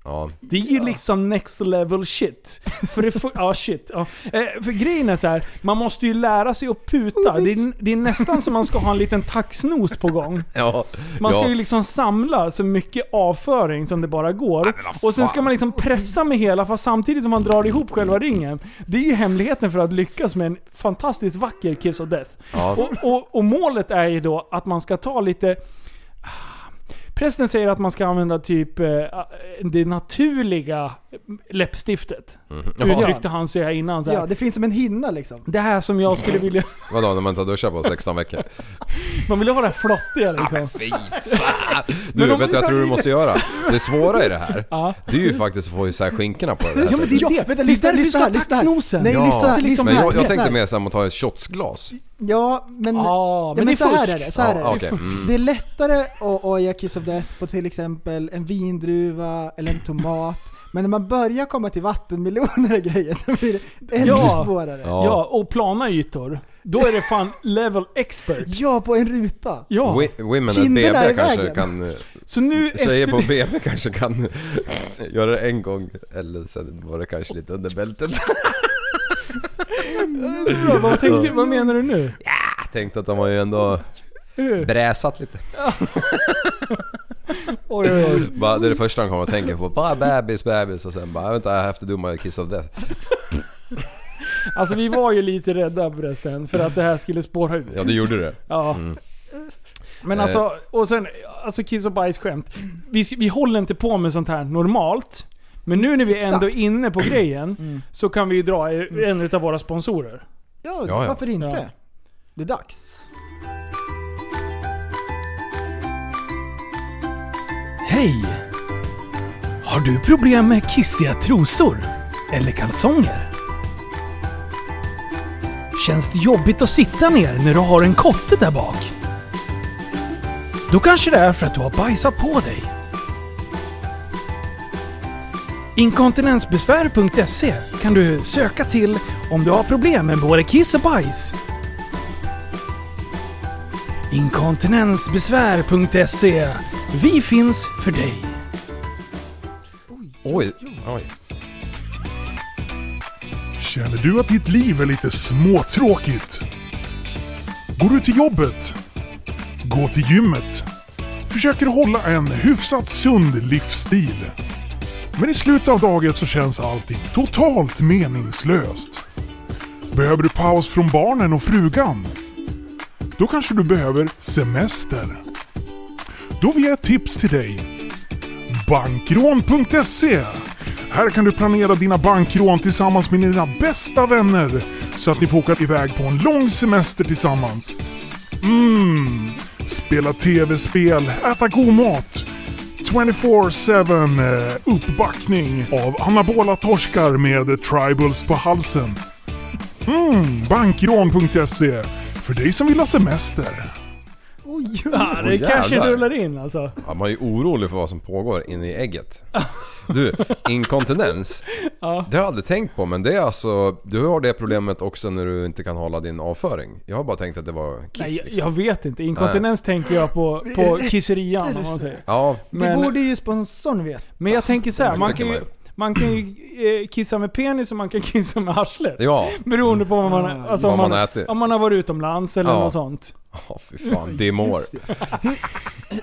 F: Ja.
A: det är ju liksom next level shit. För det fu- ja, shit. Ja. Eh, För grejen är så här, man måste ju lära sig att
B: Oh,
A: puta. Det är, det är nästan som man ska ha en liten taxnos på gång.
F: Ja.
A: Man ska
F: ja.
A: ju liksom samla så mycket avföring som det bara går. Och sen ska man liksom pressa med hela fast samtidigt som man drar ihop själva ringen. Det är ju hemligheten för att lyckas med en fantastiskt vacker Kiss of Death.
F: Ja.
A: Och, och, och målet är ju då att man ska ta lite... Prästen säger att man ska använda typ eh, det naturliga läppstiftet.
F: Mm-hmm.
A: Uttryckte han sig innan så här.
B: Ja, det finns som en hinna liksom.
A: Det här som jag
F: Mm-hmm.
A: skulle vilja...
F: Vadå, när man inte har duschat på 16 veckor?
A: Man vill ju ha det här flottiga liksom.
F: Fy fan. Du, vet du vad jag tror du måste göra? Det svåra i det här, det är ju faktiskt att få isär skinkorna på det här
A: Ja, men det är
F: sättet.
A: det.
B: vänta,
A: Det är
B: lyssna,
A: därför vi ska
B: lyssna här,
A: ha
B: lyssna här.
A: taxnosen.
B: Nej,
A: Ja.
B: lyssna,
A: Inte liksom
B: lyssna
F: men
B: här.
F: jag, jag
B: lyssna
F: tänkte
B: här.
F: mer såhär, man tar ett shotsglas.
B: Ja, men...
A: Ja, men
B: Nej, men,
A: det är
B: så här
A: fusk.
B: är det. Så här
F: Ja, okej,
B: är det. Det är fusk. det är lättare att oja Kiss of Death på till exempel en vindruva eller en tomat. Men när man börjar komma till vattenmeloner och grejer, då blir det ännu
A: Ja.
B: svårare. Ja.
A: Ja. och plana ytor. Då är det fan level expert.
B: på en ruta.
A: Ja,
F: Wi- women at
B: Kinderna är
F: BB
B: i
F: kanske
B: vägen.
F: kan... eh,
A: så nu
F: Tjejer
A: efter...
F: på BB kanske kan göra det en gång, eller sen var det kanske lite under bältet.
A: Bra, vad, tänkte, vad menar du nu?
F: Jag tänkte att de har ju ändå bräsat lite.
A: Oj, oj, oj.
F: Bara, det är det första han kommer att tänka på. Bara bebis, bebis och sen bara vänta, I have to do my kiss of death.
A: Alltså vi var ju lite rädda förresten för att det här skulle spåra ur.
F: Ja, det gjorde det.
A: Ja. Men alltså, och sen, alltså kiss och bajs skämt. Vi, vi håller inte på med sånt här normalt. Men nu när vi
B: Exakt.
A: ändå är inne på grejen så kan vi ju dra en av våra sponsorer.
B: Ja,
F: Ja, ja.
B: varför inte?
A: Ja.
B: Det är dags.
A: Hej! Har du problem med kissiga trosor? Eller kalsonger? Känns det jobbigt att sitta ner när du har en kotte där bak? Då kanske det är för att du har bajsat på dig. Inkontinensbesvär.se kan du söka till om du har problem med både kiss och bajs. Inkontinensbesvär.se Vi finns för dig.
F: Oj, oj.
G: Känner du att ditt liv är lite småtråkigt? Går du till jobbet? Gå till gymmet? Försöker hålla en hyfsat sund livsstil? Men i slutet av dagen så känns allting totalt meningslöst. Behöver du paus från barnen och frugan? Då kanske du behöver semester. Då vill jag ett tips till dig. Bankrån.se. Här kan du planera dina bankrån tillsammans med dina bästa vänner så att ni får åka iväg på en lång semester tillsammans. Mm. Spela tv-spel, äta god mat. 24-7 eh, uppbackning av anabola torskar med tribals på halsen. Mm, bankrån.se. För dig som vill ha semester.
B: Oj, Oj, oj.
A: Ja, det
F: Åh,
A: kanske
F: jävlar.
A: rullar in alltså.
F: Ja, man är ju orolig för vad som pågår inne i ägget. Du, inkontinens. Det har jag aldrig tänkt på men det är alltså... Du har det problemet också när du inte kan hålla din avföring. Jag har bara tänkt att det var kiss
A: Nej, jag,
F: liksom.
A: jag vet inte. Inkontinens tänker jag på, på kisserian om man säger.
F: Ja,
B: Det
A: Men,
B: borde ju sponsorn veta.
A: men jag tänker så här,
F: Ja,
A: man
F: det
A: kan
F: kan
A: ju,
F: man
A: man kan ju eh, kissa med penis och man kan kissa med arslet.
F: ja. Ah,
A: Beroende på vad man, alltså, om
F: Vad man
A: man,
F: ätit.
A: om man har varit utomlands eller
F: Ja.
A: något sånt.
F: Oh, fy fan, demår.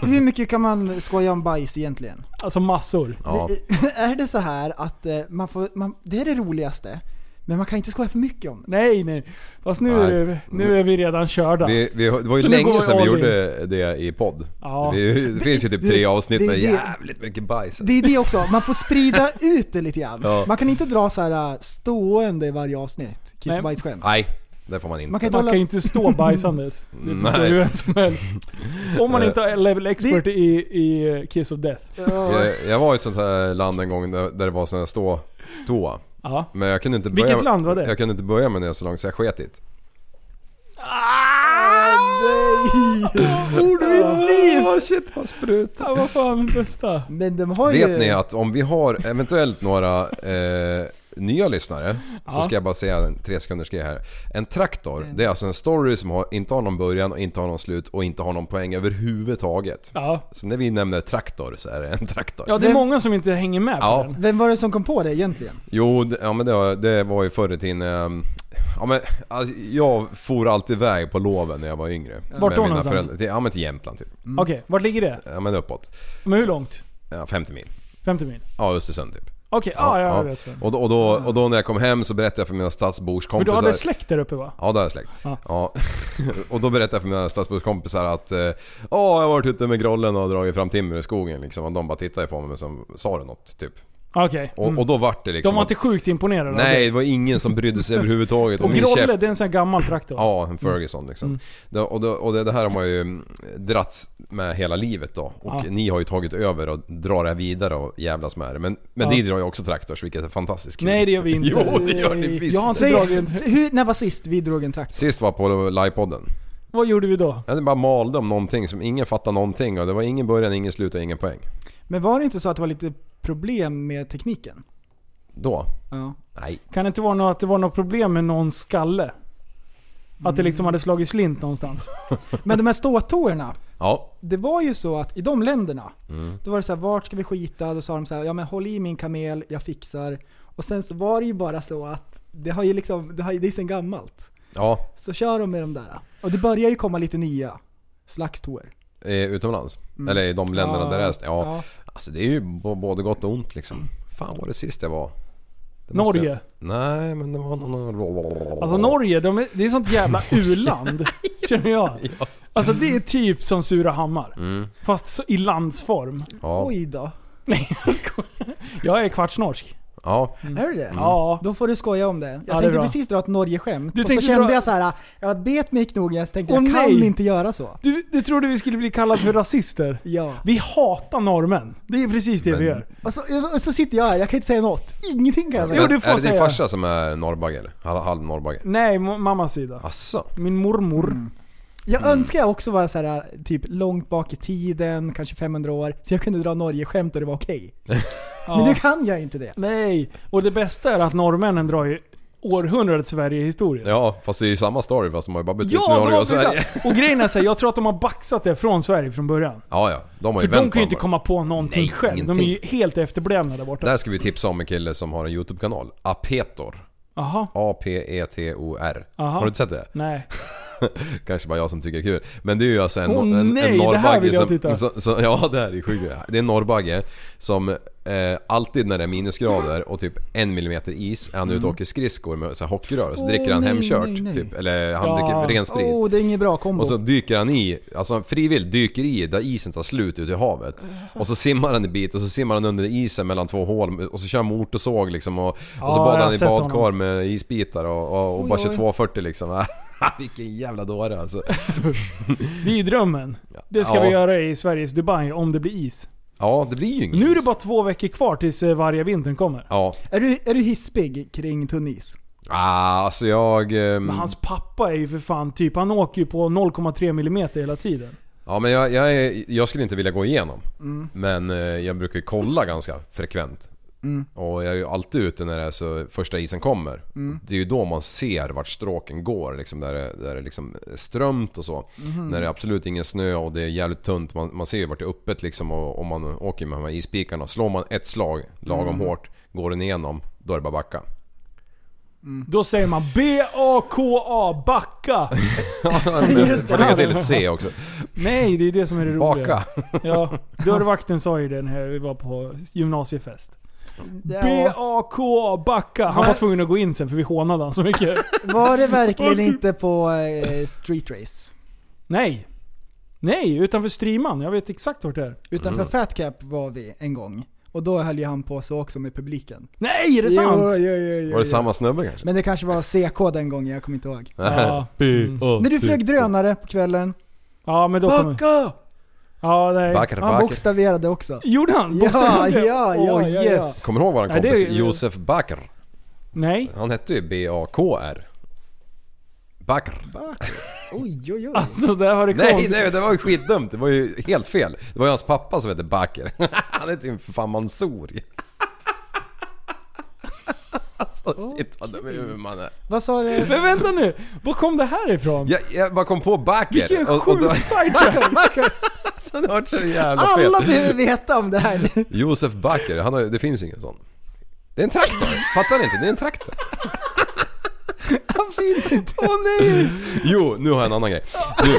B: Hur mycket kan man skoja om bajs egentligen?
A: Alltså massor.
F: Ja.
B: Är det så här att eh, man får, man, det är det roligaste, men man kan inte skoja för mycket om det?
A: Nej, nej. Fast nu,
F: Nej.
A: Är, det- nu är vi redan körda.
F: Vi, vi, det var ju
A: Så nu går vi
F: länge sedan
A: all
F: vi
A: in.
F: gjorde det i podd.
A: Ja.
F: Vi, det finns ju typ tre avsnitt
B: det-
F: med
B: det-
F: jävligt mycket bajs.
B: Det är det också, man får sprida ut det lite grann.
F: Ja.
B: Man kan inte dra så här äh, stående i varje avsnitt, kiss
A: Nej.
B: och bajsskämt.
F: Nej, det får man inte.
B: Man kan inte
A: Man
B: hålla...
A: kan ju inte stå bajsandes. Det
F: Nej.
A: förstår ju vem som helst. Om man inte är level expert i, i eh, Kiss of Death.
B: Ja.
F: Jag, jag var i ett sånt här land en gång där, där det var sån här stå-toa.
A: Ja.
F: Men jag kunde inte börja,
A: Vilket land var det?
F: Jag kunde inte börja med det så långt så jag sket i det. Ah,
A: Ord mitt liv!
F: Åh Ah, shit vad sprut.
A: Ja, vad fan det bästa.
B: Men de har ju...
F: Vet ni att om vi har eventuellt några eh, nya lyssnare så ska jag bara säga en tre sekunders grej här. En traktor, det är alltså en story som har, inte har någon början och inte har någon slut och inte har någon poäng överhuvudtaget.
A: Ja.
F: Så när vi nämner traktor så är det en traktor.
A: ja, det är många som inte hänger med på
F: Ja.
A: den.
B: Vem var det som kom på det egentligen?
F: Jo, det- ja, men det, var- det var ju förr i tiden. ehm, Ja, men, alltså, jag for alltid iväg på loven när jag var yngre.
A: Vart då
F: Med mina
A: någonstans?
F: föräldrar. Till, ja men till Jämtland typ.
A: Okej, vart ligger det?
F: Ja men uppåt.
A: Men hur långt?
F: Ja, 50 mil.
A: 50 mil?
F: Ja Östersund typ.
A: Okej, ah, ja, ja, jag
F: ja.
A: vet. vad det är.
F: Och, då, och, då, och då när jag kom hem så berättade jag för mina
A: För du
F: stadsborskompisar.
A: hade släkt där uppe va?
F: Ja, där är släkt.
A: Ja.
F: Ja. och då berättade jag för mina stadsborskompisar att eh, "Åh, jag har varit ute med grollen och dragit fram timmer i skogen liksom. Och de bara tittade på mig som sa du något typ.
A: Okej.
F: Och,
A: Mm.
F: och då vart det liksom...
A: De var
F: att-
A: inte sjukt imponerade? av
F: Nej, det var ingen som brydde sig överhuvudtaget.
A: det. Och
F: min
A: Grolle,
F: käft-
A: det är en sån här gammal traktor?
F: Ja, en Ferguson liksom.
A: Mm.
F: Det, och det, och det, det här har man ju mm, dratts med hela livet då. Och
A: Ja.
F: ni har ju tagit över och drar det här vidare och jävlas med det. Men, men
A: Ja.
F: ni drar ju också traktors, vilket är fantastiskt kul.
A: Nej det gör vi inte.
F: Jo, det gör ni visst.
A: Jag har Alltså, inte
B: Säg,
A: dragit en...
B: hur, när var sist vi drog en traktor?
F: Sist var på livepodden.
A: Vad gjorde vi då?
F: Jag bara malde om någonting som ingen fattade någonting och det var ingen början, ingen slut och ingen poäng.
B: Men var det inte så att det var lite problem med tekniken?
F: Då?
B: Ja.
F: Nej.
A: Kan det inte vara något, att det var något problem med någon skalle? Att det
F: Mm.
A: liksom hade slagit slint någonstans?
B: Men de här ståtårna,
F: Ja.
B: det var ju så att i de länderna,
F: Mm.
B: då var det så här, vart ska vi skita? Då sa de så här, ja men håll i min kamel, jag fixar. Och sen så var det ju bara så att det har ju liksom, det, har, ju- det är sen gammalt.
F: Ja.
B: Så kör de med de där. Och det börjar ju komma lite nya slags tår.
F: Eh, utomlands.
A: Mm.
F: Eller i de länderna där det är... Ja.
B: Ja.
F: Alltså det är ju b- både gott och ont liksom. Fan var det sist jag var? Det måste
A: Norge?
F: Jag... Nej men det var någon...
A: Alltså Norge, de är, det är sånt jävla u-land. känner jag. Alltså det är typ som Surahammar.
F: Mm.
A: Fast så, i landsform.
F: Ja.
B: Oj då.
A: Nej jag skojar. Jag är kvartsnorsk.
F: Ja.
B: Är det
F: Mm.
B: det?
A: Mm. Ja.
B: Då får du skoja om det.
A: det
B: Jag
A: är
B: tänkte
A: bra.
B: precis dra ett Norge-skämt.
A: Du
B: Och så
A: tänkte
B: kände
A: dra-
B: jag så här, jag bet mig i knogen, så tänkte jag
A: Åh,
B: kan
A: nej.
B: inte göra så.
A: Du, du trodde vi skulle bli kallade för rasister?
B: Ja.
A: Vi hatar norrmän. Det är precis det vi
F: Men-
A: gör.
B: Och så, och så sitter jag här, jag kan inte säga något. Ingenting kan jag
A: Jo,
B: säga.
A: det får
F: är det din
A: säga.
F: farsa som är norrbagge eller? Halv, halv norrbagge?
A: Nej, mo- mammas sida.
F: Asså?
A: Min mormor.
F: Mm.
B: Jag önskar jag också var så här, typ långt bak i tiden, kanske 500 år, så jag kunde dra Norge-skämt och det var okej. Men nu
A: Ja.
B: kan jag inte det.
A: Nej, och det bästa är att norrmännen drar ju århundradets Sverigehistoria.
F: Ja, fast det är ju samma story fast de har ju bara bytt ut
A: Ja, de
F: Norge
A: har
F: och Sverige.
A: flyttat. Och grejen är så här, jag tror att de har baxat det från Sverige från början.
F: Ja, ja. De har
A: För
F: ju
A: de
F: vänt
A: kan
F: på
A: ju inte
F: dem.
A: komma på någonting
F: Nej,
A: själv. De är ju helt efterblivna där borta.
F: Där ska vi tipsa om en kille som har en YouTube-kanal. Apetor. E
A: Jaha.
F: A-P-E-T-O-R.
A: Aha.
F: Har du inte sett det?
A: Nej.
F: Kanske bara jag som tycker det är kul. Men det är ju alltså en,
A: Åh,
F: en, en
A: nej, det här vill jag titta.
F: som, som, som... Ja, det här är sjukt. Det är en norrbagge som eh, alltid när det är minusgrader och typ en millimeter is är han ute
A: Mm.
F: och åker skridskor med så här hockeyrör. Så
B: Åh,
F: dricker han
B: nej,
F: hemkört.
B: nej, nej.
F: Typ. Eller han
A: Ja.
F: dricker ren sprit.
B: Åh, det är ingen bra kombo.
F: Och så dyker han i, alltså han frivilligt dyker i där isen tar slut ute i havet. Och så simmar han en bit och så simmar han under isen mellan två hål och så kör han motorsåg liksom och, och så
A: Ja, jag
F: badar
A: har
F: han i
A: sett
F: badkar
A: honom.
F: med isbitar och, och, och
B: Oj,
F: bara
B: oj.
F: 22.40 liksom. Vilken jävla dåre alltså.
A: Det är ju drömmen. Det ska
F: Ja.
A: vi göra i Sveriges Dubai om det blir is.
F: Ja, det blir ju inget.
A: Nu är det bara två veckor kvar tills eh, varje vintern kommer.
F: Ja.
B: Är, du, är du hispig kring tunn is?
F: Ah, alltså jag... ehm,
A: Men hans pappa är ju för fan typ, han åker ju på 0,3 mm hela tiden.
F: Ja men jag, jag, är- jag skulle inte vilja gå igenom.
A: Mm.
F: Men eh, jag brukar ju kolla ganska frekvent.
A: Mm.
F: Och jag är ju alltid ute när det är så första isen kommer.
A: Mm.
F: Det är ju då man ser vart stråken går. Liksom, där, det, där det liksom är strömt och så.
A: Mhm.
F: När det är absolut ingen snö och det är jävligt tunt. Man, man ser ju vart det är öppet liksom. Och om man åker med de här ispikarna. Slår man ett slag lagom
A: Mm.
F: hårt. Går den igenom. Då är det bara backa.
B: Mm.
A: Då säger man B-A-K-A, backa.
B: Just
F: Får
B: det.
F: lägga till ett C också.
A: Nej, det är det som är det roliga.
F: Baka.
A: Ja, dörrvakten sa ju det när vi var på gymnasiefest.
B: Ja,
A: B-A-K-A, backa. Han var tvungen att gå in sen för vi hånade han så mycket.
B: var det verkligen inte på eh, Street Race?
A: Nej. Nej, utanför streaman. Jag vet exakt vart det är.
B: Utanför Fat Cap var vi en gång. Och då höll ju han på så också med publiken.
A: Nej, är det sant?
B: Jo, jo, jo, jo,
F: Var det
B: jo.
F: samma snubbe kanske?
B: Men det kanske var CK den gången, jag kommer inte ihåg.
A: Ja.
B: När du flög drönare på kvällen.
A: Ja, men då kommer...
B: Backa!
A: Ja, nej.
F: Backar,
B: Han
F: backar.
B: bokstaverade också.
A: Gjorde han?
B: Ja,
A: Bokstavligen det?
B: ja, ja,
A: Åh,
B: ja, ja.
A: yes.
F: Kommer du ihåg vår
A: Nej, det
F: kompis
A: är ju-
F: Josef Bakr?
A: Nej.
F: Han hette ju B-A-K-R. Bakr.
B: Back. Oj, oj, oj.
A: Alltså, där har det
F: Nej,
A: kommit.
F: nej, det var ju skitdumt. Det var ju helt fel. Det var ju hans pappa som hette Bakr. Han hette ju för fan Mansour. Alltså shit vad dum i huvudet man är.
B: Vad sa du?
A: Men vänta nu. Var kom det här ifrån?
F: Jag, jag bara kom på Bakr.
A: Vilken sjuk
F: då-
A: sidetrack.
F: så det var så jävla fel.
B: Alla behöver veta om det här nu.
F: Josef Bakr, han har, ju- det finns ingen sån. Det är en traktor. Fattar ni inte? Det är en traktor.
B: Han finns inte.
A: Åh nej!
F: Jo, nu har jag en annan grej. Du,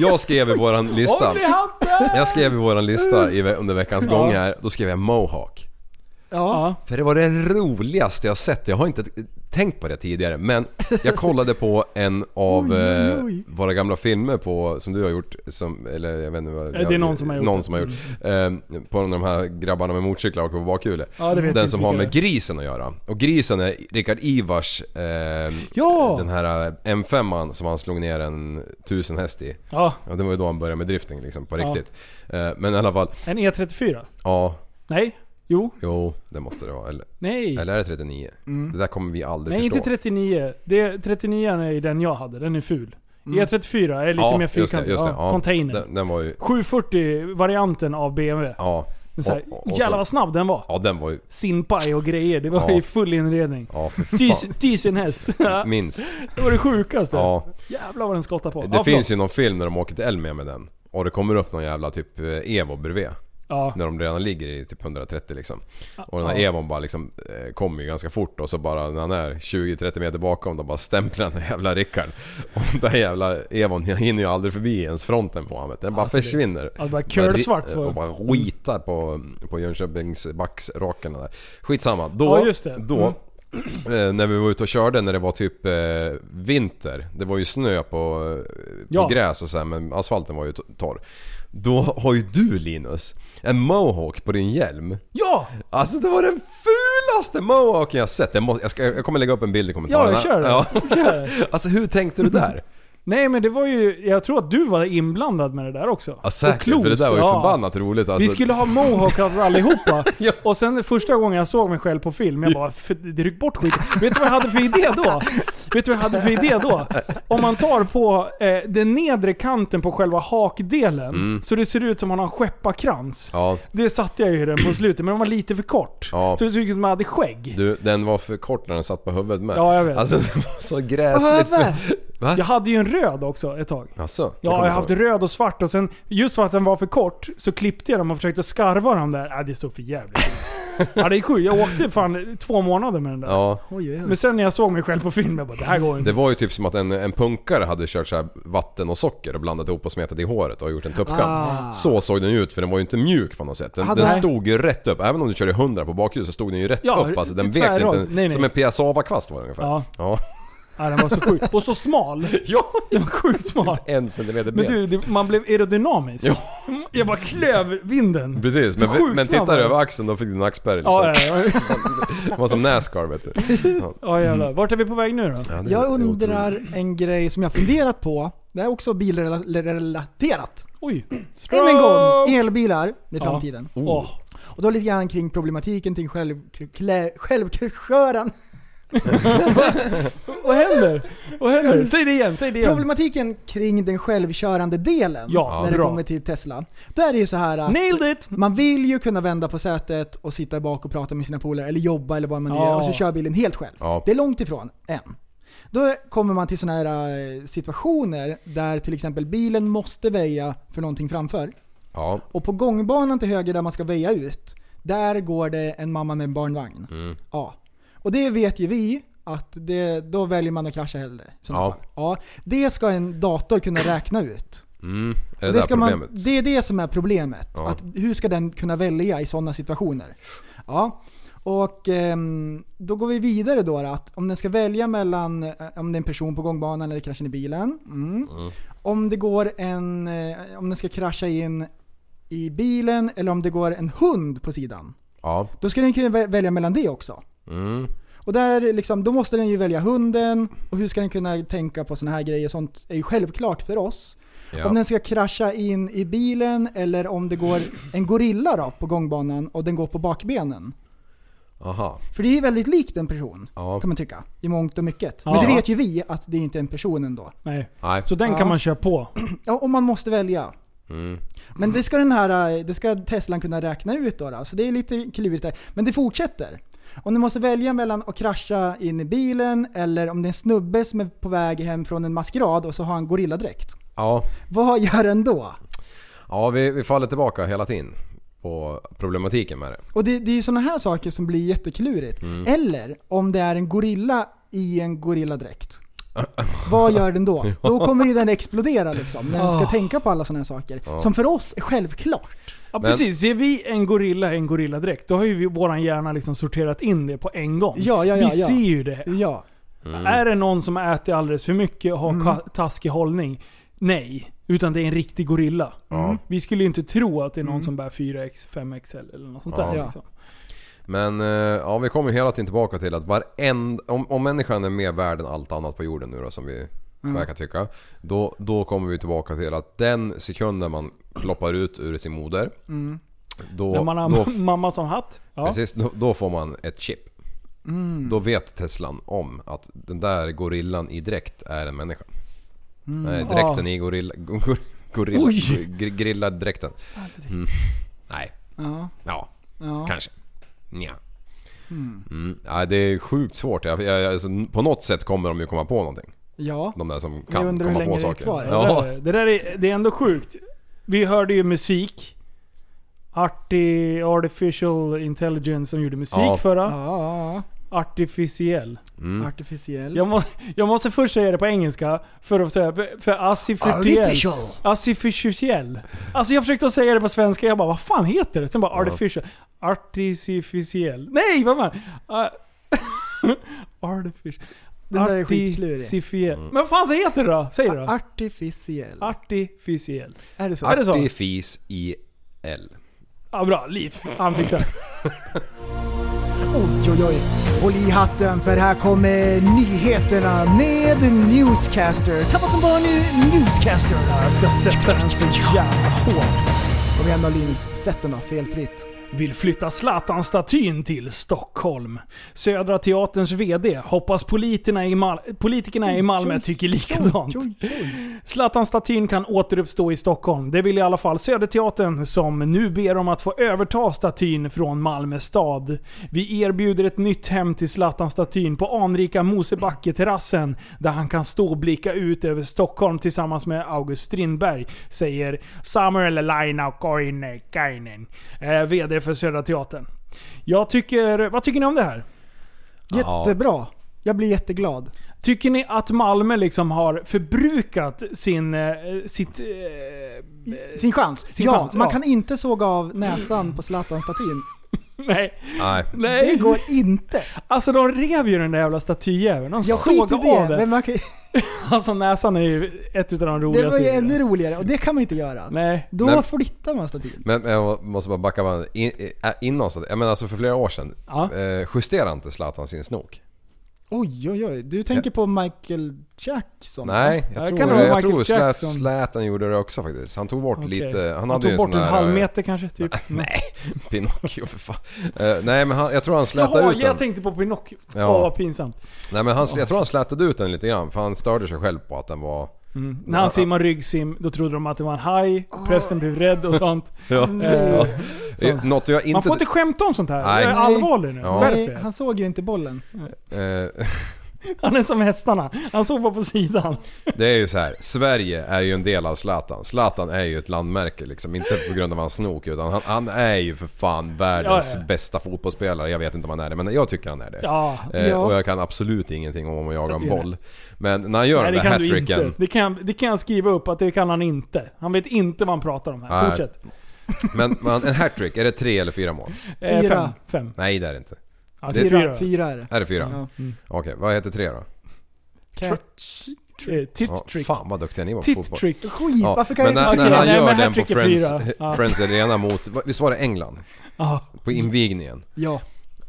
F: jag skrev i våran lista.
A: Olli Hatten!
F: Jag skrev i våran lista i, ve- under veckans gång här, då skrev jag Mohawk.
B: Ja.
F: För det var det roligaste jag sett. Jag har inte t- tänkt på det tidigare men jag kollade på en av eh, våra gamla filmer på, som du har gjort. Som, eller jag vet inte vad,
A: Eh, det är
F: jag-
A: någon som har gjort
F: någon
A: det. Mm.
F: som har gjort. Eh, på de här grabbarna med motorcyklar och på bakhjulet.
A: Ja, det vet jag
F: Den
A: inte
F: som har
A: vilka
F: med
A: det
F: grisen att göra. Och grisen är Rickard Ivars, eh,
A: Ja!
F: den här M5an som han slog ner en 1000 häst i.
A: Ja,
F: Ja, det var ju då han började med drifting liksom på
A: Ja.
F: riktigt. Eh, Men i alla fall,
A: en E34.
F: ja,
A: Nej. Jo.
F: jo det måste det vara. Eller,
A: Nej.
F: eller är det 39? Det där kommer vi aldrig
A: Mm. Nej,
F: förstå.
A: inte 39. Det, 39 är den jag hade. Den är ful. E34 är lite
F: ja,
A: mer
F: just det,
A: fyrkantig.
F: just det.
A: Ja,
F: Ja,
A: container.
F: Den, den var ju...
A: 740-varianten av BMW.
F: Ja.
A: Den så här,
F: Och- och- och så-
A: jävlar vad snabb den var.
F: Ja den var ju...
A: Sinpaj och grejer. Det var
F: Ja.
A: i full inredning.
F: Ja för fan.
A: Tusen, tusen häst. det
F: Minst.
A: var det sjukaste.
F: Ja.
A: Jävlar vad den skottade på.
F: Det finns
A: ja, förlåt.
F: ju någon film när de åker till Elmia med den. Och det kommer upp någon jävla typ eh, Evo bredvid.
A: Ja.
F: När de redan ligger i typ 130 liksom. Och den här
A: Ja.
F: Evon bara liksom eh, kommer ju ganska fort och så bara när han är 20-30 meter bakom då bara stämplar den där jävla Rickard. Och den där jävla Evon han hinner ju aldrig förbi ens fronten på honom. Den bara
A: Alltså, det-
F: försvinner.
A: ja, det bara kölsvart på- Mm.
F: på... Och bara skitar på, på Jönköpings backsrakarna där. Skitsamma. Då,
A: Ja, just det. Mm.
F: då eh, när vi var ute och körde när det var typ eh, vinter. Det var ju snö på, eh, på
A: Ja.
F: gräs och så här, men asfalten var ju to- torr. Då har ju du Linus en mohawk på din hjälm.
A: Ja!
F: Alltså det var den fulaste mohawken jag sett. Jag, må, jag, ska, jag kommer lägga upp en bild i kommentarerna.
A: Ja, kör det. Kör.
F: Alltså hur tänkte du där?
A: Nej men det var ju, jag tror att du var inblandad med det där också.
F: Ja, säkert, för det där var ju förbannat roligt alltså.
A: Vi skulle ha mohawk alltså allihopa.
F: Ja.
A: Och sen första gången jag såg mig själv på film, jag bara "F- ryck bort skiten. Vet du vad jag hade för idé då? Vet du vad jag hade för idé då? Om man tar på eh, den nedre kanten på själva hakdelen, så det ser ut som om man har en skepparkrans.
F: Mm. Ja,
A: Det satte jag ju den på slutet, men den var lite för kort.
F: Ja.
A: Så det såg ut som att man hade skägg.
F: du, den var för kort när den satt på huvudet med.
A: Ja, jag vet.
F: Alltså det var så
B: Vad
F: gräsligt.
B: var det?
F: Alltså, Va?
A: Jag hade ju en röd också ett tag.
F: Alltså, det
A: Ja, jag
F: kommer
A: har
F: jag
A: haft
F: ihåg.
A: röd och svart och sen just för att den var för kort så klippte jag dem och försökte skarva dem där. Äh, det såg för jävligt ut. Ja, det är sjukt. Jag åkte fan två månader med den där.
F: Ja,
B: Oj, oj, oj.
A: Men sen när jag såg mig själv på film, jag bara det här går inte.
F: det var ju typ som att en, en punkare hade kört så här vatten och socker och blandat ihop och smetat i håret och gjort en tuppkam.
B: Ah.
F: Så såg den ju ut för den var ju inte mjuk på något sätt. Den,
B: Hade-
F: den
A: Nej.
F: stod ju rätt upp. Även om du körde 100 på bakhjulet så stod den ju rätt
A: Ja,
F: upp. Alltså den
A: tvärrakt.
F: veks inte.
A: Nej, nej.
F: Som en piassavakvast var det ungefär.
A: Ja.
F: ja.
A: Nej, den var så sjuk. Och så smal.
F: Ja,
A: Den var sjukt smal.
F: typ en centimeter
A: Men
F: bet.
A: du, det, man blev aerodynamisk.
F: Ja.
A: Jag bara klöv vinden.
F: Precis,
A: Så
F: men,
A: sjukt
F: men
A: snabb
F: tittar
A: var
F: du
A: den.
F: över axeln då fick du en nackspärr liksom.
A: Ja, ja, ja.
F: Det var som Nascar vet du. Ja.
A: ja jävlar. Vart är vi på väg nu då?
F: Ja, det är-
B: Jag
F: det är otroligt.
B: undrar en grej som jag funderat på. Det är också bilrelaterat.
A: Oj.
B: Än en gång, elbilar i
A: Ja.
B: framtiden.
F: Oh.
A: Åh.
B: Och då lite grann kring problematiken kring själv, klä, självkörande...
A: Vad händer? Vad händer? Säg det igen, säg det igen.
B: Problematiken kring den självkörande delen
A: Ja,
B: när det
A: bra.
B: kommer till Tesla. Då är det ju så här att
A: Nailed it!
B: man vill ju kunna vända på sätet och sitta bak och prata med sina polare eller jobba eller vad man nu gör
A: Ja.
B: och så kör bilen helt själv.
F: Ja.
B: Det är långt ifrån, än. Då kommer man till sådana här eh, situationer där till exempel bilen måste väja för någonting framför.
F: Ja.
B: Och på gångbanan till höger där man ska väja ut, där går det en mamma med en barnvagn.
F: mm.
B: Ja. Och det vet ju vi att det, då väljer man att krascha hellre. i sådana
F: Ja.
B: fall. ja. Det ska en dator kunna räkna ut.
F: Mm. Är det,
B: Och
F: där
B: ska man,
F: problemet?
B: det är det som är problemet.
F: Ja.
B: Att hur ska den kunna välja i sådana situationer? Ja. Och ehm, då går vi vidare då att om den ska välja mellan eh, om det är en person på gångbanan eller kraschen i bilen. Mm. Om det går en, eh, om den ska krascha in i bilen eller om det går en hund på sidan.
F: Ja.
B: Då ska den kunna vä- välja mellan det också.
F: Mm.
B: Och där liksom, då måste den ju välja hunden och hur ska den kunna tänka på sådana här grejer? Sånt är ju självklart för oss.
F: Ja.
B: Om den ska krascha in i bilen eller om det går en gorilla då på gångbanan och den går på bakbenen.
F: Aha.
B: För det är ju väldigt likt en person,
F: Ja.
B: kan man tycka. I mångt och mycket.
A: Ja.
B: Men det vet ju vi att det inte är en person ändå.
A: Nej.
F: Nej.
A: Så den kan
B: Ja.
A: man köra på.
B: Ja, och man måste välja.
F: Mm.
B: Men det ska den här, eh, det ska Teslan kunna räkna ut då, då. Så det är lite klurigt där. Men det fortsätter. Om du måste välja mellan att krascha in i bilen eller om det är en snubbe som är på väg hem från en maskerad och så har han gorilladräkt.
F: Ja.
B: Vad gör den då?
F: Ja, vi, vi faller tillbaka hela tiden på problematiken med det.
B: Och det, det är ju sådana här saker som blir jätteklurigt. Eller om det är en gorilla i en gorilladräkt. Vad gör den då? Då kommer ju den explodera liksom, när den ska
A: Ah.
B: tänka på alla sådana här saker. Som för oss är självklart.
A: Ja
F: Men-
A: precis, ser vi en gorilla i en gorilladräkt, då har ju vi, våran hjärna liksom sorterat in det på en gång.
B: Ja, ja, ja,
A: vi
B: ja.
A: ser ju det.
B: Ja.
F: Mm.
A: Är det någon som äter alldeles för mycket och har
B: Mm.
A: ka- taskig hållning? Nej. Utan det är en riktig gorilla. Mm.
F: Ja.
A: Vi skulle ju inte tro att det är någon som bär 4X, 5XL eller något sånt
F: Ja.
A: där.
B: Mm. Ja.
A: Liksom.
F: Men eh, ja, vi kommer ju hela tiden tillbaka till att varend, om, om människan är mer värd än allt annat på jorden nu då, som vi verkar tycka. Då, då kommer vi tillbaka till att den sekunden man ploppar ut ur sin moder. Då,
A: När man har
F: då,
A: mamma som hatt. Ja.
F: precis, då, då får man ett chip.
B: Mm.
F: Då vet Teslan om att den där gorillan i dräkt är en människa.
B: Mm.
F: Nej, dräkten i gorilla... Gorilla... gorilla
A: Oj!
F: gr- grillad dräkten. Mm. Nej.
B: Ja.
F: Ja.
B: Ja.
F: Kanske. Nja. Mm. Ja, det är sjukt svårt. Jag, jag, jag- alltså, på något sätt kommer de ju komma på någonting.
B: ja.
F: De där som kan
B: undrar hur
F: komma
B: länge
F: på
B: det är
F: saker.
B: kvar.
A: Det,
F: Ja.
A: där, det där är, det är ändå sjukt. Vi hörde ju musik. Arti, artificial intelligence som gjorde musik
F: Ja.
B: Ja,
A: förra.
B: ja,
A: Artificiell.
B: ja. Artificiell.
A: Jag, må, jag måste först säga det på engelska för att säga... För, för artificiell.
B: Artificial.
A: Artificiell. Alltså jag försökte säga det på svenska, jag bara vad fan heter det? Sen bara artificial. Artificiell. Nej, vad fan! Uh, artificial.
B: Den där är Mm. skitklurig.
A: Artificiell. Men vad fan så heter det då? Säg det då.
B: Artificiell.
A: Artificiell.
B: Är det så?
A: Är det så?
F: Artifis i L.
A: Ja bra, Liv. Han fixar det.
B: Oj, oj, oj. Håll i hatten för här kommer nyheterna med Newscaster. Tappat som barn nu, Newscaster.
A: Jag ska sätta den så jävla hårt.
B: Kom igen då Linus, sätt den då, felfritt.
A: Vill flytta Zlatan-statyn till Stockholm. Södra Teaterns VD hoppas politikerna i, Mal- politikerna i Malmö tycker likadant.
B: Oj, oj.
A: Zlatan-statyn kan återuppstå i Stockholm. Det vill i alla fall Söderteatern som nu ber om att få överta statyn från Malmö stad. Vi erbjuder ett nytt hem till Zlatan-statyn på anrika Mosebacke-terrassen där han kan stå och blicka ut över Stockholm tillsammans med August Strindberg, säger Samuel Lainaukainen, eh, VD för Södra Teatern. Jag tycker... Vad tycker ni om det här?
B: Jättebra. Jag blir jätteglad.
A: Tycker ni att Malmö liksom har förbrukat sin, eh, sitt... Eh,
B: I- Sin chans.
A: sin
B: ja,
A: chans,
B: man
A: ja.
B: kan inte såga av näsan på Zlatan-statyn.
A: nej.
F: Nej.
B: Det
A: nej.
B: går inte.
A: Alltså de rev ju den där jävla statyjäveln. De
B: Jag
A: såg
B: skiter i
A: av
B: det.
A: den.
B: Men man kan,
A: Alltså näsan är ju ett utav de
B: det var
A: roligaste.
B: ju
A: djuren.
B: ännu roligare och det kan man inte göra.
A: Nej.
B: Då
F: Nej.
B: flyttar man statyn.
F: Men men jag måste bara backa bandet. In, in, innan, så- jag menar alltså för flera år sedan.
A: Ja.
F: Eh, justerade inte Zlatan sin snok?
B: Oj, oj, oj. Du tänker på Michael Jackson?
F: Nej, jag
A: Ja,
F: tror,
A: kan
F: det
A: det vara
F: jag
A: Michael
F: tror Slat-
A: Jackson?
F: Zlatan gjorde det också faktiskt. Han tog bort
A: Okej.
F: lite, han,
A: Han
F: hade ju
A: tog
F: en
A: bort
F: sån
A: en
F: här...
A: halv
F: eh,
A: meter kanske, typ.
F: Nej, Pinocchio för fan. Eh, nej men han, jag tror han slätade
A: Jaha,
F: ut
A: jag
F: den.
A: tänkte på Pinocchio. Åh,
F: Ja.
A: vad pinsamt.
F: Nej men han, jag tror han slätade ut den lite grann för han störde sig själv på att den var...
A: När han simmar ryggsim, då trodde de att det var en haj.
F: Ah.
A: Prästen blev rädd och sånt.
F: Ja.
A: Eh,
F: Eh, Något jag inte...
A: Man får inte skämta om sånt här.
F: Nej.
A: Jag är allvarlig nu.
F: Ja.
A: Skärp
B: Nej,
A: er.
B: han såg ju inte bollen.
F: eh,
A: Han är som hästarna. Han såg bara på sidan.
F: Det är ju så här. Sverige är ju en del av Zlatan. Zlatan är ju ett landmärke liksom. Inte på grund av hans snok utan han, han är ju för fan världens
A: Ja, ja.
F: bästa fotbollsspelare. Jag vet inte om han är det men jag tycker han är det.
A: Ja.
F: Eh,
B: Ja.
F: Och jag kan absolut ingenting om att jaga
A: Jag
F: en
A: tycker det.
F: boll. Men när han gör
A: Nej, det
F: den där
A: kan du inte.
F: hattricken.
A: Det kan, det kan jag skriva upp att det kan han inte. Han vet inte vad han pratar om här.
F: Nej.
A: Fortsätt.
F: Men man, en hattrick, är det tre eller fyra mål?
A: Eh,
B: Fyra.
A: Fem. fem.
F: Nej det är det inte.
A: Ja,
F: Det är
A: fyra. fyra.
B: Fyra är det.
F: Är det fyra?
B: Ja.
F: Okej, vad heter tre då?
B: Catch.
A: Eh,
F: Ja,
A: Tit trick.
F: fan vad duktiga ni var på
A: Tit
F: fotboll.
A: trick.
B: Skit,
F: Ja,
B: varför kan
F: men
B: jag
F: när,
B: inte...
A: Okej,
F: när han
A: nej,
F: gör
A: men
F: den på
A: hattrick är
F: Friends,
A: fyra. Ja.
F: Friends Arena mot, va- visst var det England?
A: Ja.
F: På invigningen.
B: Ja.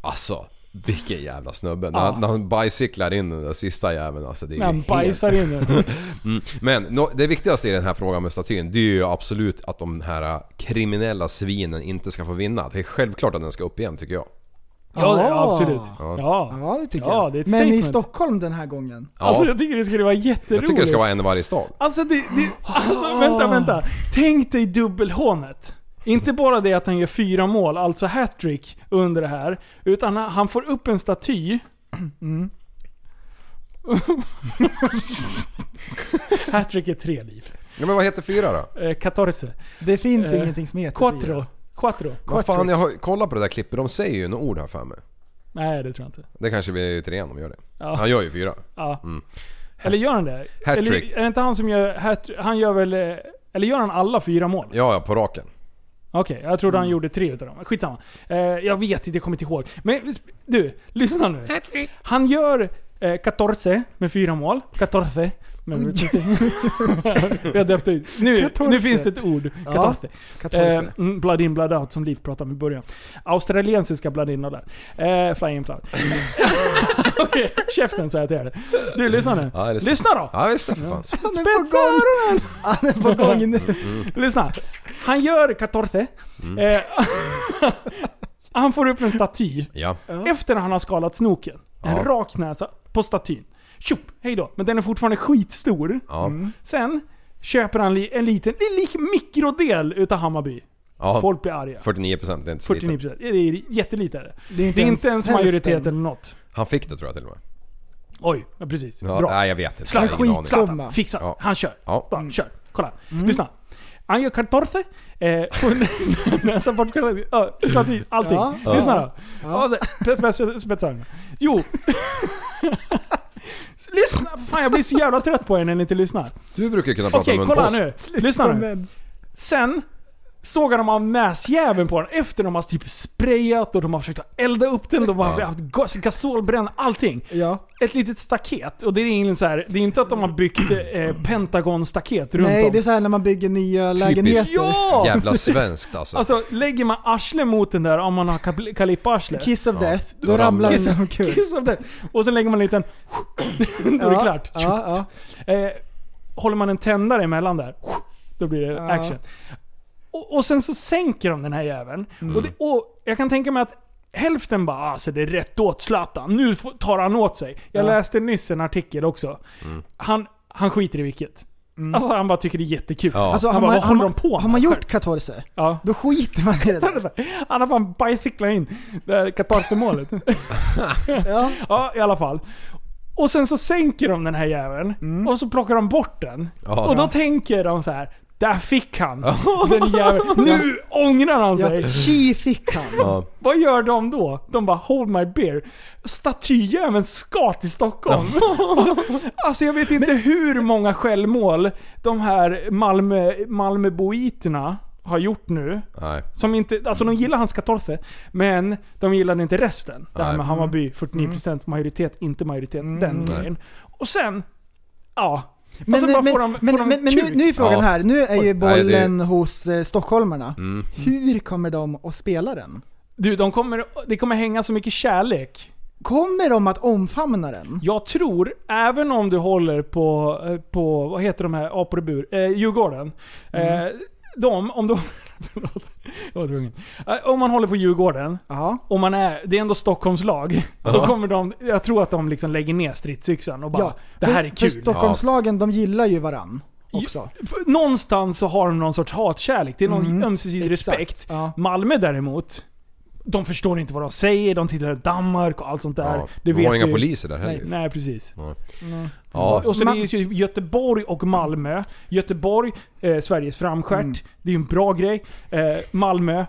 F: Alltså, vilken jävla snubbe. När,
A: Ja.
F: han, när han bicyklar in den där sista jäveln alltså. Det är
A: När han
F: ju
A: bajsar in den.
F: Mm. Men nå- det viktigaste i den här frågan med statyn, det är ju absolut att de här äh, kriminella svinen inte ska få vinna. Det är självklart att den ska upp igen tycker jag.
A: Ja, det,
B: Ah.
A: absolut.
F: Ja.
A: Ja.
B: Ja, det tycker
A: Ja,
B: jag.
A: det är ett
B: men i
A: statement.
B: Stockholm den här gången.
F: Ja,
A: Alltså jag
F: jag,
A: tycker det skulle vara jätteroligt.
F: tycker det ska vara en i varje stad.
A: Alltså, det, det, alltså vänta, vänta. Tänk dig dubbelhånet. Inte bara det att han gör fyra mål, alltså hattrick, under det här. Utan han- han får upp en staty. Mm. hattrick är tre liv.
F: Ja, men vad heter fyra då?
A: Eh, 14.
B: Det finns
A: Eh,
B: ingenting som heter
A: Quattro.
B: fyra.
A: Quattro.
F: Vad fan, jag har kollat på det där klippet. De säger ju några ord här för mig.
A: Nej, det tror jag inte.
F: Det kanske blir tre om de gör det.
A: Ja.
F: Han gör ju fyra.
A: Ja. Eller gör han det?
F: Mm. Hattrick.
A: Eller är det inte han som gör hattrick? Han gör väl... eh, Eller gör han alla fyra mål?
F: Ja, ja, på raken.
A: Okej, jag trodde han gjorde tre utav dem. Skitsamma. Eh, jag vet inte, jag kommer inte ihåg. Men du, lyssna nu. Han gör eh, 14 med fyra mål. 14. Men, vi har döpt ut. Nu,
B: 14.
A: nu finns det ett ord. 14. Eh,
B: Katolse.
A: mm, blood in, blood out som Liv pratade om i början. Australiensiska blood in och där. Eh, fly in, fly out. Okej, käften säger jag till er. Du, lyssna nu.
F: Ja, det är-
A: lyssna då!
F: Ja, just det för fan.
B: Han är på
A: Spetsa
B: gång.
A: öronen!
B: Han är på gång nu.
A: Lyssna. Han gör 14.
F: Mm.
A: Eh, han får upp en staty.
F: Ja.
A: Efter han har skalat snoken. En
F: Ja.
A: rak näsa på statyn. Tjopp, hej då. Men den är fortfarande skitstor.
F: Ja.
A: Sen köper han li- en liten, en liten mikrodel utav Hammarby.
F: ja.
A: Folk blir arga.
F: 49% det är inte så
A: 49
F: lite.
A: procent. Det är jättelite. är det.
B: Det är
A: Det är inte ens
B: hälften.
A: majoritet eller något.
F: Han fick det tror jag till och med.
A: Oj, ja, precis.
F: Ja,
A: Bra.
F: Nej, jag vet inte.
A: Slapp
F: Jag har ingen aning.
B: skitsamma.
A: Zlatan, fixa.
F: Ja.
A: Han kör.
F: Ja.
B: Mm.
A: Bra, kör. Kolla. Lyssna. Han gör 14. Eh, får näsan bortskällad. Ja, staty, allting.
B: Ja.
A: Lyssna då.
B: Ja.
A: Ja. Spetsa spetsa. Jo. Lyssna! Fan jag blir så jävla trött på er när ni inte lyssnar.
F: Du brukar ju kunna prata
A: Okej,
F: om
A: kolla
F: munpåse.
A: nu. Lyssna nu.
B: Mens.
A: Sen sågar de av näsjäveln på den efter de har typ sprayat och de har försökt att elda upp den. De har
F: Ja.
A: haft gas, gasolbränna, allting.
B: Ja.
A: Ett litet staket. Och det är ingen så här, det är inte att de har byggt eh, Pentagon-staket runt
B: Nej,
A: om.
B: det är så här när man bygger nya lägenheter.
A: Ja!
F: Jävla svenskt alltså.
A: Alltså lägger man arsle mot den där om man har kal- kalipparsle.
B: Kiss of
F: Ja.
B: death, då,
F: Då
B: ramlar
F: ramlar
B: den omkull.
A: kiss of death. Och sen lägger man en liten... Då är det klart.
B: Ja, ja.
A: Eh, håller man en tändare emellan där, då blir det
B: Ja.
A: action. Och, och sen så sänker de den här jäveln.
B: Mm.
A: Och, det, och jag kan tänka mig att hälften bara alltså det är rätt åt Zlatan, nu får- tar han åt sig. Jag
B: Ja. Mm.
A: läste nyss en artikel också. Han, han skiter i vilket. Alltså han bara tycker det är jättekul.
F: Ja.
B: Alltså,
A: Han
B: har
A: bara,
B: man,
A: vad
B: har
A: håller
B: man,
A: de på med?
B: Har man
A: Själv.
B: gjort katorse,
A: Ja.
B: då skiter man i det där.
A: Han har fan bajscyklat in det här katarsemålet.
B: Ja.
A: Ja, i alla fall. Och sen så sänker de den här jäveln och så plockar de bort den.
F: Mm. Ja.
A: och då tänker de så här. Där fick han den jäveln. Nu ångrar han sig.
B: Ja. Chi fick han.
F: Ja.
A: Vad gör de då? De bara 'Hold my beer' Statyjäveln ska till Stockholm. alltså jag vet inte hur många självmål de här Malmö, Malmöboiterna har gjort nu.
F: Nej.
A: Som inte, alltså de gillar hans 14, men de gillade inte resten. Det här
F: Nej.
A: med
B: Mm.
A: Hammarby, 49% majoritet, inte majoritet. Den grejen. Och sen, ja. Men,
B: Men,
A: och sen bara
B: men,
A: får de,
B: men,
A: får de
B: men, men
A: kuk.
B: nu, nu är frågan
F: Ja.
B: här, nu är ju
F: Nej, det- Mm.
B: bollen hos eh, stockholmarna. Hur kommer de att spela den?
A: Du, de kommer, det kommer hänga så mycket kärlek
B: Kommer de att omfamna den?
A: Jag tror, även om du håller på, eh, på vad heter de här, apor i bur? Eh, Djurgården.
B: Mm.
A: Eh, de, om de... Förlåt, jag var tvungen. Eh, om man håller på Djurgården,
B: Ja.
A: och man är, det är ändå Stockholmslag. Då kommer de, jag tror att de liksom lägger ner stridsyxan och bara
B: ja.
A: Det här
B: För-
A: är kul.
B: För Stockholmslagen, de gillar ju varann också.
A: Någonstans så har de någon sorts hatkärlek. Det är någon
B: Mm.
A: ömsesidig
B: Exakt.
A: respekt.
B: Ja.
A: Malmö däremot, de förstår inte vad de säger. De tillhör Danmark och allt sånt där.
F: Ja,
A: det
F: de har inga
A: vi.
F: poliser där heller
A: Nej, nej precis.
F: Ja,
A: Och sen är
B: Man-
A: det ju typ Göteborg och Malmö. Göteborg, eh, Sveriges framskärt.
B: Mm.
A: Det är ju en bra grej. Eh, Malmö,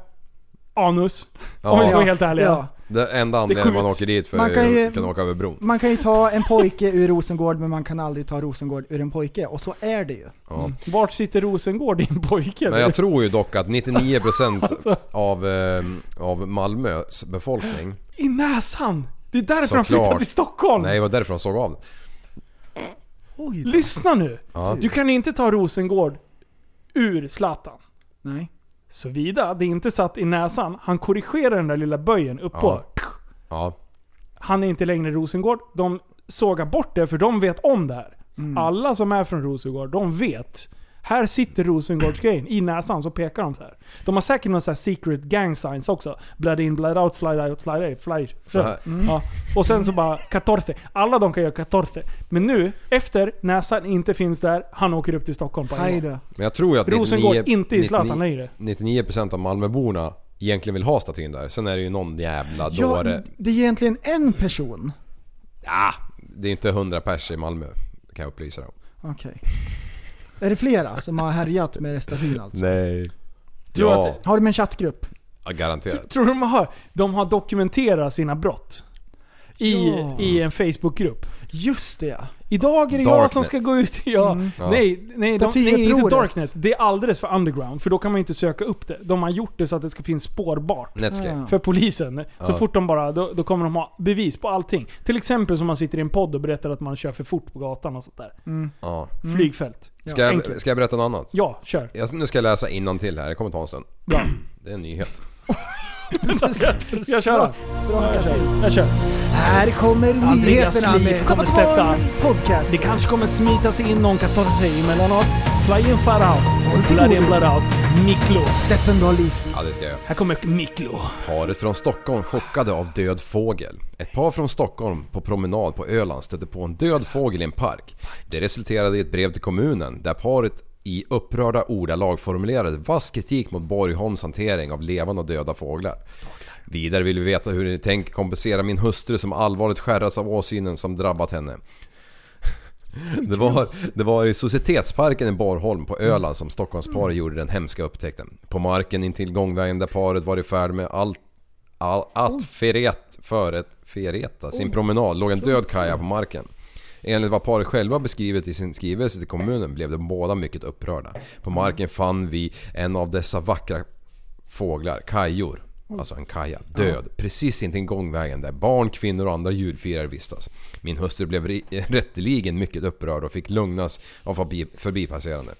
A: anus. Om vi ska
F: ja.
A: vara helt ärliga.
B: Ja.
F: Det enda anledningen man
A: skjuts.
F: åker dit för
B: Man
F: man
B: kan
F: kan,
B: ju-
F: kan åka över bron.
B: Man kan ju ta en pojke ur Rosengård men man kan aldrig ta Rosengård ur en pojke. Och så är det ju.
F: Ja.
A: Vart sitter Rosengård din pojke?
F: Men jag tror ju dock att 99%
A: Alltså.
F: av, eh, av Malmös befolkning,
A: I näsan! Det är därför han
F: Såklart.
A: flyttade till Stockholm!
F: nej det var därför de såg av det.
A: Lyssna nu!
F: Ja.
A: Du kan inte ta Rosengård ur Zlatan.
B: Nej.
A: Såvida det inte satt i näsan. Han korrigerar den där lilla böjen uppåt.
F: Ja.
A: Han är inte längre Rosengård. De sågar bort det för de vet om det här. Alla som är från Rosengård, de vet. Här sitter Rosengårdsgrejen i näsan, så pekar de så här. De har säkert någon så här secret gang signs också. Blood in, blood out, fly out, fly out, fly
F: Så här.
A: Ja. Och sen så bara 14. Alla de kan göra 14. Men nu, efter näsan inte finns där, han åker upp till Stockholm på en
B: Hej
A: gång.
B: då.
F: Men jag tror ju att 99,
A: Rosengård inte i Zlatan
F: 99,
A: längre.
F: 99% av Malmöborna egentligen vill ha statyn där. Sen är det ju någon jävla
B: Ja,
F: dåre.
B: det är egentligen en person.
F: Ja, det är inte 100 pers i Malmö. Kan jag upplysa dig om.
B: Okej. Är det flera som har härjat med restatyn alltså?
F: Nej.
A: Tror
F: Ja,
A: att-
B: Har de en chattgrupp?
F: ja, garanterat.
A: Tror du de har? De har dokumenterat sina brott. I,
B: Ja.
A: i en Facebookgrupp.
B: Just det
A: Idag är det jag
F: Darknet.
A: som ska gå ut. Ja,
F: Ja.
A: Nej, nej, de, nej, inte
B: Statyupproret.
A: Darknet. Det är alldeles för underground. För då kan man ju inte söka upp det. De har gjort det så att det ska finnas spårbart.
F: Netscape.
A: För polisen. Så fort de bara, då, då kommer de ha bevis på allting. Till exempel som man sitter i en podd och berättar att man kör för fort på gatan och sånt där.
F: Ja.
A: Flygfält.
F: Ska, jag,
A: enkelt.
F: ska jag berätta något annat?
A: Ja, kör.
F: Jag, nu ska jag läsa innantill här, det kommer ta en stund.
A: Bra.
F: Det är en nyhet.
A: Jag kör den.
B: Spraka till.
A: Jag kör.
B: Här kommer
A: Andreas
B: nyheterna
A: Liv
B: med
A: kommer sätta-
B: Kapatron Podcast.
A: Det kanske kommer smita sig in någon 14 emellanåt. Fly in, fly out.
B: Alltid
A: Blood in,
B: god.
A: blood out. Miklo.
B: Sätt en bra liv.
F: Ja, det ska jag göra.
A: Här kommer Miklo.
F: Paret från Stockholm chockade av död fågel. Ett par från Stockholm på promenad på Öland stötte på en död fågel i en park. Det resulterade i ett brev till kommunen där paret i upprörda ordalag formulerade vass kritik mot Borgholms hantering av levande och döda fåglar. Vidare vill vi veta hur ni tänker kompensera min hustru som allvarligt skärrats av åsynen som drabbat henne. Det var, det var i Societetsparken i Borholm på Öland som Stockholmsparet gjorde den hemska upptäckten. På marken intill gångvägen där paret var i färd med allt All, att feret, föret, fereta sin promenad låg en död kaja på marken. Enligt vad paret själva beskrivit i sin skrivelse till kommunen blev de båda mycket upprörda. På marken fann vi en av dessa vackra fåglar, kajor. Alltså en kaja, död. Precis intill gångvägen där barn, kvinnor och andra djurfirare vistas. Min hustru blev ri- rätteligen mycket upprörd och fick lugnas av förbi, förbipasserande.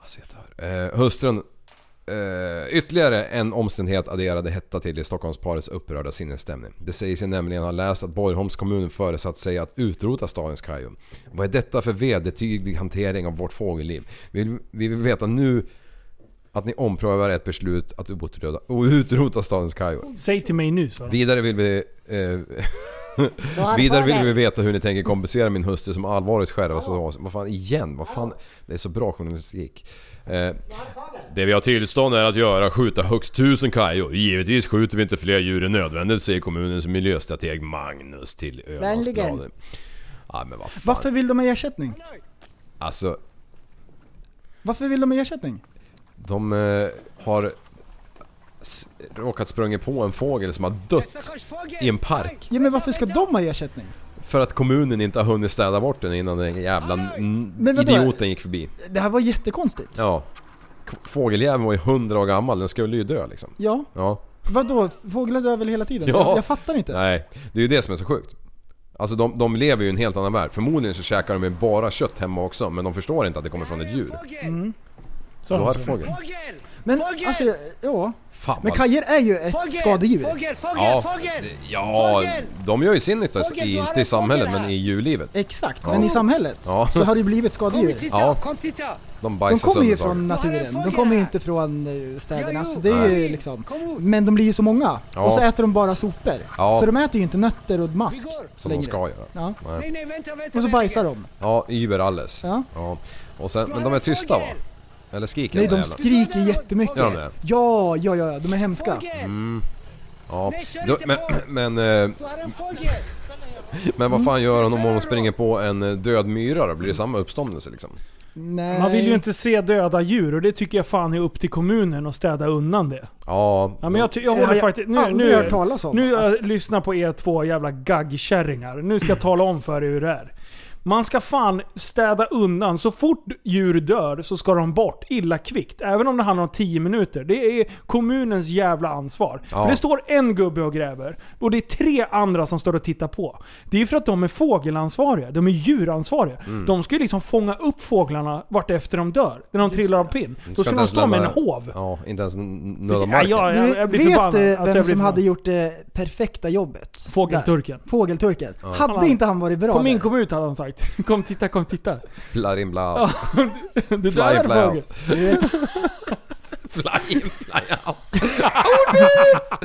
F: Alltså, jag dör. Eh, hustrun Eh, ytterligare en omständighet adderade hetta till i Stockholmsparets upprörda sinnesstämning. Det säger sig nämligen ha läst att Borgholms kommun föresatt sig att utrota stadens kajor. Vad är detta för vedertyglig hantering av vårt fågelliv? Vi vill, vi vill veta nu att ni omprövar ett beslut att utrota, utrota stadens kajor.
A: Säg till mig nu så.
F: Vidare vill vi... Eh, vidare vill vi veta hur ni tänker kompensera min hustru som allvarligt skärvas av oss. Vad fan igen? Vad fan? Det är så bra journalistik. Eh, det vi har tillstånd är att göra skjuta högst tusen kajor. Givetvis skjuter vi inte fler djur än nödvändigt, säger kommunens miljöstrateg Magnus till Ölandsbladet.
B: Vänligen.
F: Ja, men vad fan.
B: Varför vill de ha ersättning?
F: Alltså,
B: Varför vill de ha ersättning?
F: de eh, har s- råkat sprungit på en fågel som har dött i en park.
B: Ja men varför ska de ha ersättning?
F: För att kommunen inte har hunnit städa bort den innan den jävla n-
B: Men vadå?
F: idioten gick förbi.
B: Det här var jättekonstigt. Ja.
F: Ja. K- Fågeljäveln var ju hundra år gammal, den skulle ju dö liksom. Ja.
B: Vadå? Fåglar dör väl hela tiden?
F: Ja.
B: Jag, jag fattar inte.
F: Nej, det är ju det som är så sjukt. Alltså de, de lever ju i en helt annan värld. Förmodligen så käkar de ju
B: Mm.
F: bara kött hemma också, men de förstår inte att det kommer från ett djur.
A: Så
F: Då
A: de
F: har
A: så.
F: fågel.
B: Men
H: Fågel!
B: alltså, ja.
F: Fan
B: Men
F: vad-
B: kajer är ju ett
H: Fågel!
B: skadedjur.
H: Fågel, fågel,
F: Ja,
H: fågel!
F: det- ja
H: Fågel!
F: de gör ju sin nytta,
H: Fågel,
F: i-
H: du har
F: inte i
H: en
F: samhället
H: fågel här.
F: men i djurlivet.
B: Exakt,
F: Ja.
B: men i samhället
F: Ja.
B: så har det ju blivit
H: Kom
B: skadedjur.
H: och titta,
F: Ja.
H: kom titta!
F: De
B: De
F: bajsar
B: kommer ju
F: sönder saker.
B: från
H: Jag har en
B: naturen, de
H: fågel
B: kommer
H: här.
B: inte från eh, städerna.
H: Jo, jo.
B: Så det är ju
H: Nej.
B: liksom.
H: Kom ut.
B: Men de blir ju så många.
F: Ja.
B: Och så äter de bara sopor.
F: Ja.
B: Så de äter ju inte nötter och mask.
H: Vi går.
F: Som de ska göra.
B: Ja.
H: Nej, nej, vänta, vänta.
B: Och så
H: vänta.
B: bajsar de.
F: Ja, Uber alles.
B: Ja.
F: Och sen,
H: Du
F: men
H: har
F: de är
H: en
F: tysta va?
H: fågel!
F: Eller skriker
B: Nej, de
F: jävlarna?
B: skriker jättemycket.
F: Gör de det?
B: Ja, ja, ja, de är hemska.
H: Fågel!
F: Ja.
H: Nej, kör
F: Då-
H: inte
F: Men,
H: på.
F: men, eh,
H: Du har en fågel!
F: men vad fan gör hon om hon springer på en eh, död myra då? Blir det samma uppståndelse liksom?
B: Nej.
A: Man vill ju inte se döda djur och det tycker jag fan är upp till kommunen att städa undan det.
F: Ja, Mm.
A: Ja, men jag, ty- jag
B: Jag
A: håller
B: har jag
A: faktiskt... Nu,
B: aldrig
A: nu,
B: hört talas om
A: Nu jag lyssnar på er två jävla gaggkärringar. Nu ska jag tala om för er hur det är. Man ska fan städa undan. Så fort djur dör så ska de bort illa kvickt. Även om det handlar om 10 minuter. Det är kommunens jävla ansvar.
F: Ja.
A: För det står en gubbe och gräver. Och det är tre andra som står och tittar på. Det är ju för att de är fågelansvariga. De är djuransvariga.
F: Mm.
A: De ska ju liksom fånga upp fåglarna vart efter de dör. När de trillar av pinn. Då
F: inte
A: ska de
F: ens
A: stå med en
F: lämna-
A: hov.
F: Ja, inte ens n-
A: Precis.
F: nöda marken.
A: Ja,
B: Du
A: jag, jag blir
B: vet
A: förbannad. Alltså,
B: eh,
A: jag
B: vem
A: blir
B: som
A: förbannad.
B: hade gjort det perfekta jobbet?
A: Fågelturken.
B: Där. Fågelturken.
A: Han-
B: Hade inte han varit bra
A: Kom in,
B: där?
A: kom ut hade han sagt. Kom titta, kom titta.
F: Blar in, blar out.
A: Du
F: Fly,
A: dör
F: fly
A: fågel.
F: Fly in, fly out.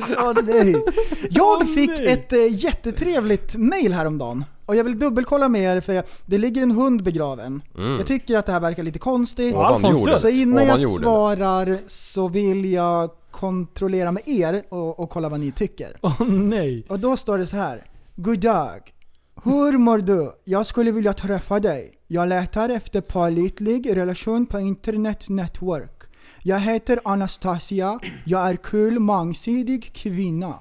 B: Ja, nej. Jag
A: Åh,
B: fick
A: nej.
B: ett eh, jättetrevligt mail häromdagen. Och jag vill dubbelkolla med er för jag, det ligger en hund begraven. Jag tycker att det här verkar lite konstigt.
A: Alfons
F: Ovan jorden.
A: död.
B: Så innan
F: Ovan
B: jag
F: jorden.
B: svarar så vill jag kontrollera med er och, och kolla vad ni tycker.
A: Åh nej.
B: Och då står det så här. God dag. Hur mår du? Jag skulle vilja träffa dig. Jag letar efter pålitlig relation på internet network. Jag heter Anastasia. Jag är kul, mångsidig kvinna.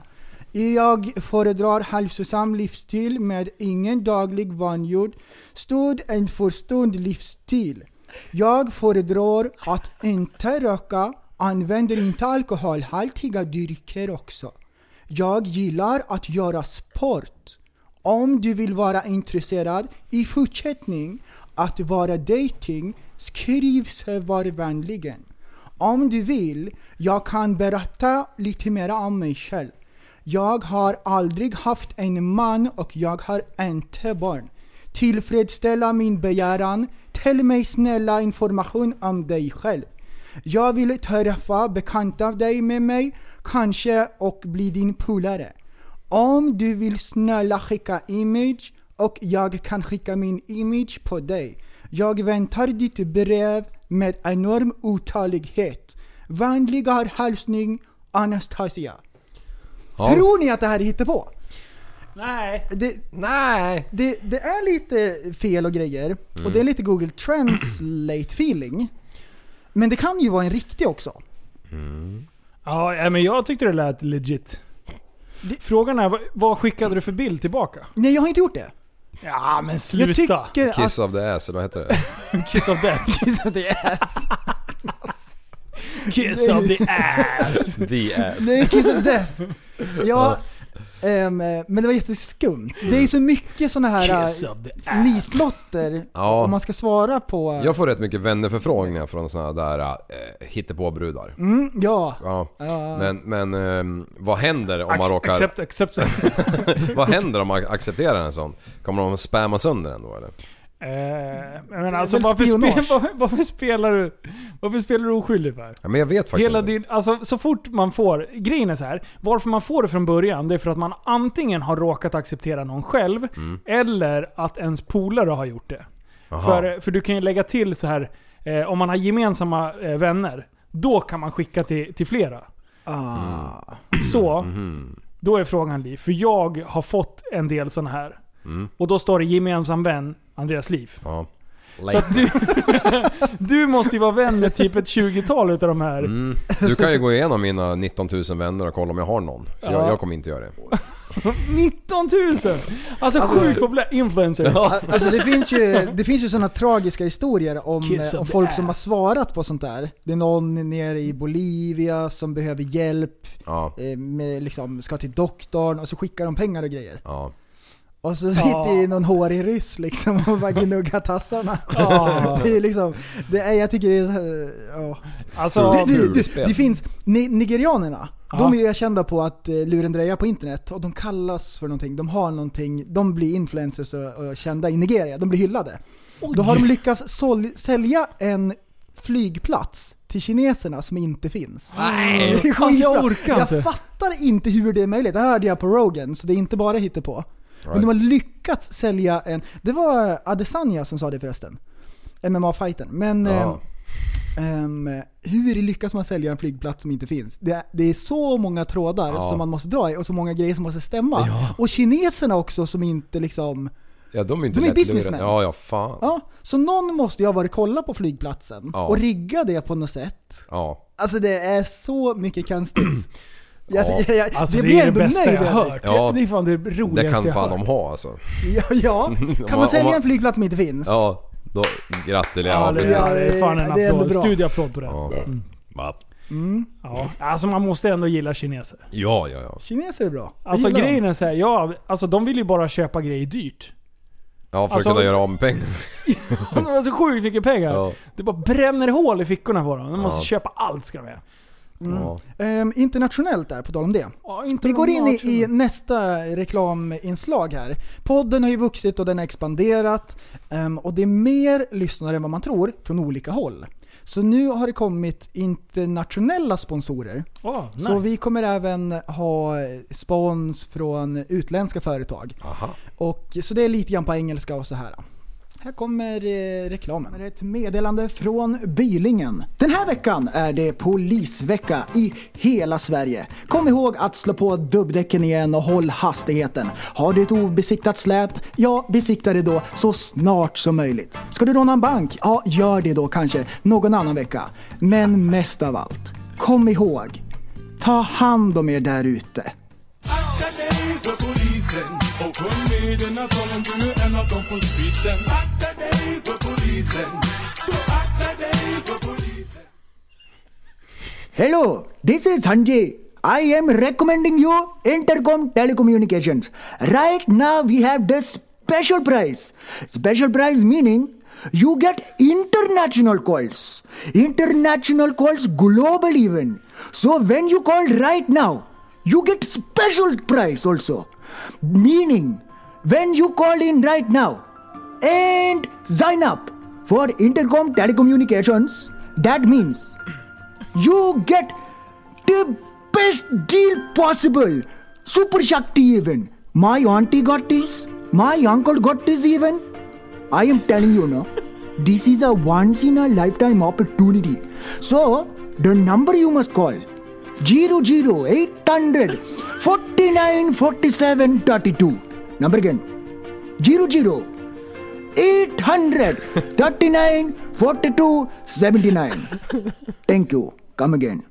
B: Jag föredrar hälsosam livsstil med ingen daglig vanjord, stund en för stund livsstil. Jag föredrar att inte röka, använder inte alkoholhaltiga drycker också. Jag gillar att göra sport. Om du vill vara intresserad i fortsättning att vara dating, skriv så var vänligen. Om du vill, jag kan berätta lite mer om mig själv. Jag har aldrig haft en man och jag har inte barn. Tillfredsställa min begäran. Tell mig snälla information om dig själv. Jag vill träffa bekanta dig med mig, kanske och bli din polare. Om du vill snälla skicka image och jag kan skicka min image på dig. Jag väntar ditt brev med enorm otålighet. Vänligare hälsning Anastasia.
F: Ja.
B: Tror ni att det här är hittepå?
A: Nej.
B: Det,
F: Nej! Mm.
B: det, det är lite fel och grejer. Och det är lite Google Translate feeling. Men det kan ju vara en riktig också.
A: Ja, nej, men jag tyckte det lät legit.
B: Det-
A: Frågan är, vad, vad skickade du för bild tillbaka?
B: Nej, jag har inte gjort det.
A: Ja men
B: Jag
A: sluta.
B: tycker att...
F: Kiss of the ass, eller vad heter det?
A: Kiss of the
B: Kiss of the ass.
A: Kiss of the ass.
F: The ass.
B: Nej, kiss of death. Ja, ehm, men det var jätteskumt. Det är ju så mycket såna här
A: Kiss
B: äh,
A: of the ass.
B: nitlotter
F: Ja.
B: om man ska svara på...
F: Jag får rätt mycket vännerförfrågningar från såna där eh, hittepåbrudar.
B: Mm, ja.
F: Ja. Men, men ehm, vad händer om man
A: Ac-
F: råkar...
A: Accept, accept. Eh,
F: Vad händer om man accepterar en sån? Kommer de spamma sönder den då eller?
A: Eh, men alltså
B: väl
A: varför, spe,
B: spionage.
A: varför, varför spelar du... Varför spelar du oskyldig för?
F: Ja, men jag vet faktiskt
A: Hela
F: inte.
A: din, alltså, så fort man får, grejen är så här. varför man får det från början, det är för att man antingen har råkat acceptera någon själv,
F: Mm.
A: eller att ens polare har gjort det. För, för du kan ju lägga till så här eh, om man har gemensamma eh, vänner, då kan man skicka till, till flera.
B: Ah.
A: Så,
F: Mm.
A: då är frågan Liv, för jag har fått en del sådana här.
F: Mm.
A: Och då står det gemensam vän, Andreas Liv.
F: Ja.
A: Så att du, du måste ju vara vän med typ ett 20-tal utav de här.
F: Mm. Du kan ju gå igenom mina 19 000 vänner och kolla om jag har någon. För
A: Ja.
F: jag, jag kommer inte göra det.
A: 19 000! Alltså sjukt populär influencer.
B: Alltså det finns ju, det finns ju sådana tragiska historier om,
A: Kiss
B: eh, om
A: of the
B: folk som har
A: ass.
B: svarat på sånt där. Det är någon nere i Bolivia som behöver hjälp,
F: Ja.
B: eh, med, liksom, ska till doktorn och så skickar de pengar och grejer.
F: Ja.
B: Och så sitter det någon hårig ryss liksom och bara gnuggar tassarna. Det är liksom, det är, jag tycker det är så här, ja.
A: Alltså,
B: Det, det, det,
F: Fulspel.
B: det finns, ni, nigerianerna,
A: Ja.
B: de är ju kända på att eh, lurendreja på internet och de kallas för någonting, de har någonting, de blir influencers och, och kända i Nigeria, de blir hyllade. Då har de lyckats sol- sälja en flygplats till kineserna som inte finns.
A: Nej.
B: Det är
A: Alltså, jag
B: skitbra.
A: orkar inte.
B: Jag fattar inte hur det är möjligt. Det här hörde jag på Rogan, så det är inte bara hittepå. Men de har lyckats sälja en... Det var Adesanya som sa det förresten. MMA-fighten. Men
F: Ja.
B: ehm, ehm, hur lyckas man sälja en flygplats som inte finns? Det, det är så många trådar
F: Ja.
B: som man måste dra i och så många grejer som måste stämma. Och kineserna också som inte liksom...
F: Ja, de är inte
B: De är
F: lättlurade.
B: businessmen.
F: Ja, ja fan. Ja.
B: Ja, så någon måste ju ha varit och kollat på flygplatsen
F: Ja.
B: och rigga det på något sätt.
F: Ja.
B: Alltså det är så mycket konstigt. Jag,
F: Ja.
B: jag, jag,
A: Alltså
B: det
A: det,
B: blir
A: är det
B: ändå
A: bästa
B: nöjd
A: jag
B: över.
A: hört.
F: Ja.
A: Det är fan det
F: Det
A: roligaste
F: kan
A: Oh, jag
F: fan
A: hört.
F: de ha alltså.
B: Ja, ja. Kan
F: man-
B: man
F: om
B: sälja
F: man-
B: en flygplats som inte finns?
F: Ja, då gratulerar
A: Ja,
F: jag.
A: det,
B: Ja,
F: precis.
A: det är fan en
B: det är ändå
A: applåd.
B: bra.
A: Studieapplåd på det. Ja.
F: Ja. Va?
A: Alltså man måste ändå gilla kineser.
F: Ja, ja, ja.
B: Kineser är bra. Jag
A: Alltså
B: gillar dem.
A: grejen är såhär, ja, alltså de vill ju bara köpa grejer dyrt.
F: Ja, för
A: Alltså-
F: att kunna göra av med pengar.
A: De har så sjukt mycket pengar.
F: Ja.
A: Det bara bränner hål i fickorna på dem. De måste
F: Ja.
A: köpa allt ska de göra. Mm.
F: Ja.
B: Ehm, internationellt där, på tal om det.
A: Ja, inte
B: Vi går in i,
A: normalt.
B: i nästa reklaminslag här. Podden har ju vuxit och den har expanderat. ehm, och det är mer lyssnare än vad man tror från olika håll. Så nu har det kommit internationella sponsorer.
A: Åh, nice.
B: Så vi kommer även ha spons från utländska företag.
F: Aha.
B: Och, så det är lite grann på engelska och så här. Här kommer eh, reklamen. Det är ett meddelande från Bylingen. Den här veckan är det polisvecka i hela Sverige. Kom ihåg att slå på dubbdäcken igen och håll hastigheten. Har du ett obesiktat släp? Ja, besikta det då så snart som möjligt. Ska du råna en bank? Ja, gör det då kanske någon annan vecka. Men mest av allt, kom ihåg, ta hand om er där ute. Hello, this is Sanjay. I am recommending you Intercom Telecommunications. Right now we have this special price. Special price meaning you get international calls. International calls global even. So when you call right now, you get special price also. Meaning when you call in right now, and sign up for Intercom Telecommunications. That means you get the best deal possible. Super Shakti even. My auntie got this. My uncle got this even. I am telling you now, this is a once in a lifetime opportunity. So the number you must call 00 800 49 47 32. Number again 00 839 42 79. Thank you. Come again.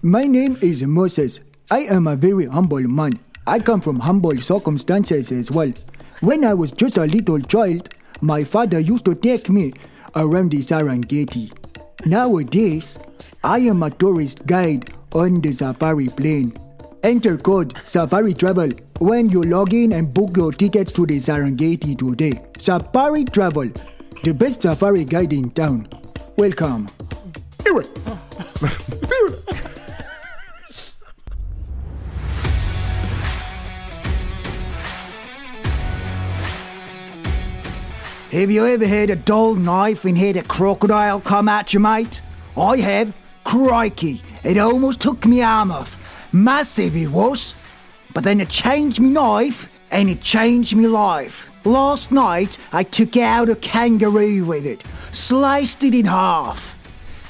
B: My name is Moses. I am a very humble man. I come from humble circumstances as well. When I was just a little child, my father used to take me around the Serengeti. Nowadays, I am a tourist guide on the safari plane. Enter code Safari Travel when you log in and book your tickets to the Serengeti today. Safari Travel, the best safari guide in town. Welcome. Have you ever had a dull knife and had a crocodile come at you, mate? I have. Crikey, it almost took me arm off. Massive it was. But then it changed me knife and it changed me life. Last night I took out a kangaroo with it, sliced it in half.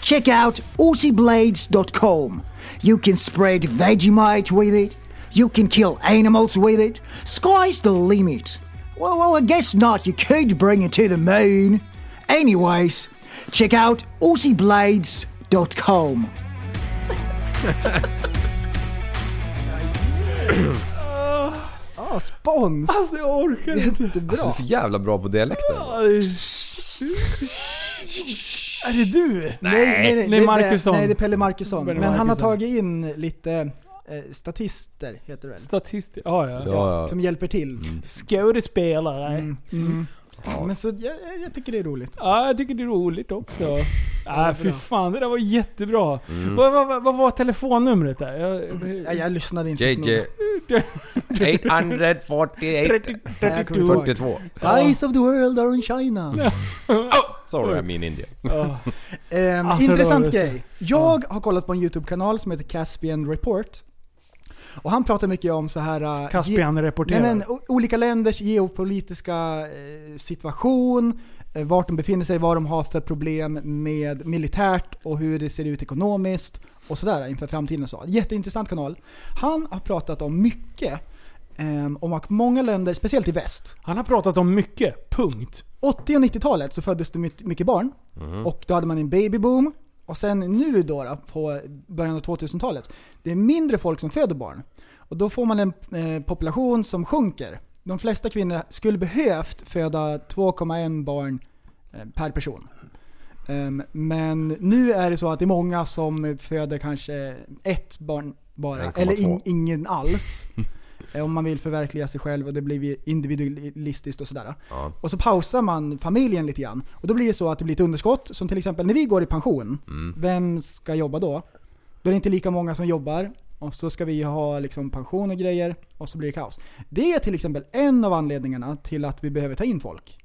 B: Check out aussieblades.com. You can spread Vegemite with it. You can kill animals with it. Sky's the limit. Well, well, I guess not. You could bring it to the moon. Anyways, check out aussieblades.com.
A: Eh,
B: Ah, spons!
A: Alltså jag orkar inte.
F: Alltså du är för jävla bra på dialekter.
A: Är det du?
B: Nej, nej, nej,
A: Nej,
B: det-
A: Marcusson.
B: det- Nej, det är Pelle Markusson. Men
A: Pelle
B: han har
A: Markusson.
B: tagit in lite eh, statister, heter det väl?
A: Statist... Ja, ja. ja.
F: Ja, ja.
B: Som hjälper till.
A: Mm. Skådespelare.
B: Mm. Mm. Men så, jag, jag tycker det är roligt.
A: Ja, jag tycker det är roligt också. Nej, ah, fy
B: bra.
A: fan. Det där var jättebra. Vad, vad, vad, vad var telefonnumret där?
B: Jag,
A: Jag,
B: jag lyssnade inte
F: JJ
B: så noga.
F: 848
B: jag kommer
A: 32.
B: ihåg.
F: 42.
B: Eyes of the world are in China.
F: Sorry I mean India.
A: Ja.
B: Ehm,
A: Alltså,
B: intressant
A: det var-
B: grej. Jag har kollat på en YouTube-kanal som heter Caspian Report. Och han pratar mycket om så här... eh,
A: Caspian
B: Nej,
A: rapporterar.
B: men, o- olika länders geopolitiska eh, situation, eh, vart de befinner sig, vad de har för problem med militärt och hur det ser ut ekonomiskt och sådär inför framtiden och så. Jätteintressant kanal. Han har pratat om mycket, ehm, om att många länder, speciellt i väst,
A: Han har pratat om mycket. Punkt.
B: 80 och 90-talet så föddes det mycket mycket barn och då hade man en babyboom. Och sen nu då, då på början av 2000-talet, det är mindre folk som föder barn. Och då får man en eh, population som sjunker. De flesta kvinnor skulle behövt föda 2,1 barn eh, per person. Ehm, men nu är det så att det är många som föder kanske ett barn bara,
F: 1,2.
B: eller in, ingen alls. Eh, Om man vill förverkliga sig själv och det blir individualistiskt och sådär.
F: Ja.
B: Och så pausar man familjen lite grann. Och då blir det så att det blir ett underskott. Som till exempel när vi går i pension, vem ska jobba då? Då är det inte lika många som jobbar. Och så ska vi ha liksom pension och grejer och så blir det kaos. Det är till exempel en av anledningarna till att vi behöver ta in folk.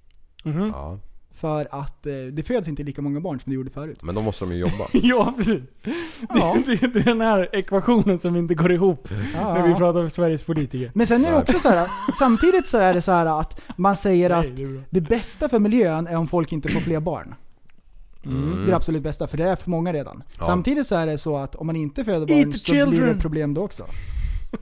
A: Mhm.
F: Ja.
B: För att eh, det föds inte lika många barn som det gjorde förut.
F: Men då måste de ju jobba.
A: Ja, precis.
B: Ja.
A: Det, det, det är den här ekvationen som inte går ihop när vi
B: Ja.
A: pratar om Sveriges politiker.
B: Men sen är det också så här, samtidigt så är det så här att man säger att
A: Nej, det är bra.
B: det bästa för miljön är om folk inte får fler barn.
A: Mm.
F: Mm.
B: Det är det absolut bästa, för det är för många redan.
F: Ja.
B: Samtidigt så är det så att om man inte föder
A: Eat
B: barn
A: the
B: så blir det
A: children.
B: problem då också.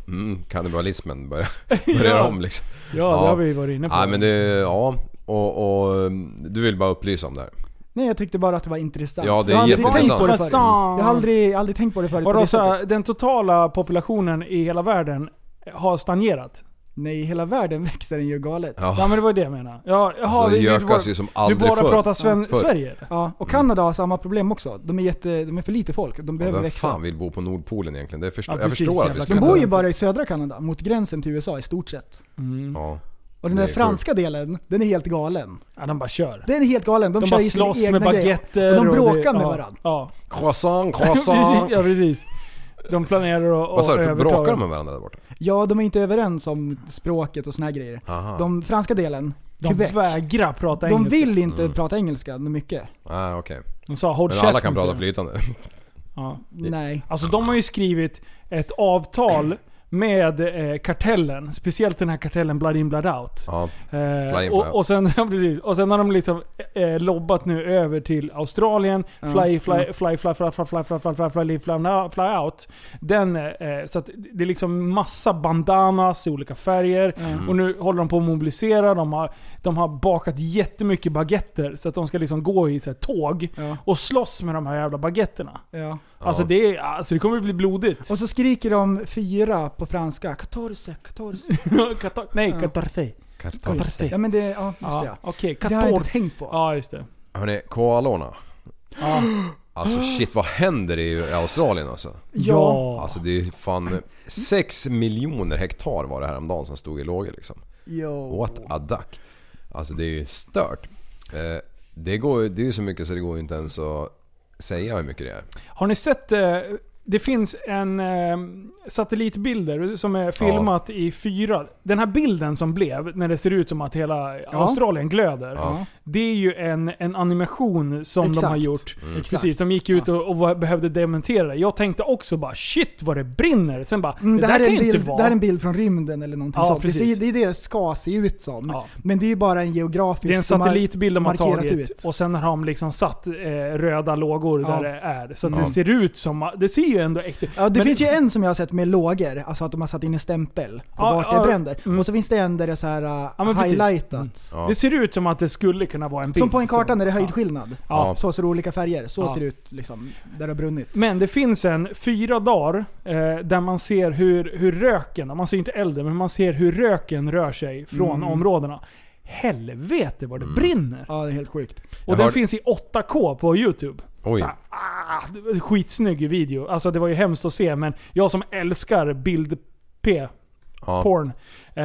F: Mm, kannibalismen börjar, börjar
A: Ja.
F: om liksom.
A: Ja, det har vi varit inne på.
F: Nej men det, ja. Och, och mm, du vill bara upplysa om det här.
B: Nej jag tyckte bara att det var intressant.
F: Ja, det är
B: jag har aldrig
F: jätteintressant.
B: tänkt på det förut. Jag
A: Intressant.
B: har aldrig, aldrig tänkt på det förut på
A: Vadå,
B: det
A: så här,
B: sättet.
A: den totala populationen i hela världen har stagnerat?
B: Nej, hela världen växer den ju galet. Ja,
A: Ja, men det var det jag menade. Ja, jaha,
F: Alltså, det
A: vi- vi
F: gökas
A: bara-
F: ju som
A: Du
F: aldrig
A: bara
F: förr.
A: pratar sven-
F: Förr.
A: Sverige? eller?
B: och Kanada har samma problem också. De är, jätte, de är för lite folk, de
F: Ja,
B: behöver
F: vem
B: växa.
F: fan vill bo på Nordpolen egentligen? Det förstår,
A: Ja,
F: jag
A: precis,
F: förstår att vi
A: jävla
F: skulle...
B: De bor ju
A: Kanada.
B: bara i södra Kanada, mot gränsen till USA i stort sett.
F: Ja.
B: Och den
F: Det
B: där
F: är
B: franska delen, den är helt galen.
A: Ja, de bara kör.
B: Den är helt galen, de,
A: De
B: kör
A: bara
B: ju sina
A: slåss
B: egna
A: med
B: grejer.
A: baguetter
B: Och de bråkar
A: det-
B: med
A: ja,
B: varandra.
A: Ja,
F: Croissant,
A: precis.
F: croissant!
A: Ja, precis. De planerar att
F: Vad sa
A: att
F: du? Typ
A: överta-
F: Bråkar de med varandra där borta?
B: Ja, de är inte överens om språket och såna här grejer.
F: Aha.
B: De franska delen,
A: De
B: Quebec,
A: vägrar prata
B: de
A: engelska. Mm.
B: vill inte prata engelska mycket.
F: Ah, okej.
A: De sa håll
F: Men alla
A: käften,
F: kan
A: säger
F: prata
A: de.
F: flytande.
A: Ja.
B: Nej.
A: Alltså de har ju skrivit ett avtal med eh, kartellen. Speciellt den här kartellen Blood In Blood Out.
F: Ja. Fly
A: Eh,
F: in, fly
A: och,
F: out.
A: och, sen, ja, precis, och sen har de liksom eh, lobbat nu över till Australien.
B: Ja, Mm.
A: Fly, fly,
B: ja.
A: fly, fly, fly, fly, fly, fly, fly, fly, fly, fly, now- fly out. Den, eh, så att det är liksom massa bandanas i olika färger.
B: Mm.
A: Och nu håller de på att mobilisera. De har, de har bakat jättemycket baguetter så att de ska liksom gå i så här, tåg
B: Ja.
A: och slåss med de här jävla baguetterna.
B: Ja.
A: Alltså, det är, alltså det kommer bli blodigt.
B: Och så skriker de fyra på franska. 14, 14.
A: Katar- Nej,
B: Ja.
A: Katarse. Katarse.
B: Ja men det, ja just det.
A: Ja,
B: Ja.
A: Okej,
B: Det har jag
A: Kator.
B: inte tänkt på.
A: Ja, just det.
F: Hörni, koalorna.
A: Ja.
F: Alltså shit, vad händer i Australien alltså?
B: Ja.
F: Alltså det är ju fan 6 miljoner hektar var det häromdagen som stod i lågor liksom.
B: Jo.
F: What a duck. Alltså det är ju stört. Eh, det, går, ju- det är ju så mycket så det går ju inte ens att säga hur mycket det är.
A: Har ni sett... eh, Det finns en eh, satellitbilder som är filmat i fyra. Den här bilden som blev, när det ser ut som att hela Australien glöder.
F: Ja.
A: Det är ju en, en animation som de har
B: Exakt.
A: gjort.
F: Mm.
B: Exakt.
A: Precis, de gick ut och, och var- behövde dementera det. Jag tänkte också bara shit vad det brinner. Sen bara,
B: Mm,
A: det,
B: det,
A: där
B: här är
A: kan
B: en
A: ju inte
B: bild,
A: vara...
B: det här är en bild från rymden eller någonting
A: Ja,
B: sånt. Det,
A: precis.
B: ser, det är det det ska se ut som.
A: Ja.
B: Men det är ju bara en geografisk...
A: Det är en
B: de har
A: satellitbild de har
B: markerat
A: tagit
B: ut.
A: och sen har de liksom satt eh, röda lågor
B: Ja.
A: där det är. Så att
F: Ja.
A: det ser ut som... Det ser ju ändå äkta ut.
B: Ja, det
A: Men-
B: finns ju en som jag har sett med lågor, alltså att de har satt in en stämpel på
A: Ja,
B: vart
A: ja,
B: det bränder.
A: mm.
B: Och så finns det en där det är så här uh,
A: Ja, men precis.
B: highlightat.
F: Ja.
A: Det ser ut som att det skulle kunna vara en bild.
B: Som på en karta när det är
A: Ja.
B: höjdskillnad.
A: Ja.
B: Så ser det olika färger. Så
A: Ja.
B: ser det ut liksom, där det har brunnit.
A: Men det finns en fyra dagar eh, där man ser hur, hur röken, man ser inte elden, men man ser hur röken rör sig från områdena. helvete vad det brinner.
B: Mm. Ja, det är helt sjukt.
A: Och
F: Mm. Jag
A: den
F: hörde-
A: finns i 8K på YouTube.
F: Oj.
A: Så här, ah, det var en skitsnygg video. Alltså det var ju hemskt att se, men jag som älskar bild-P,
F: Ja,
A: porn. Eh,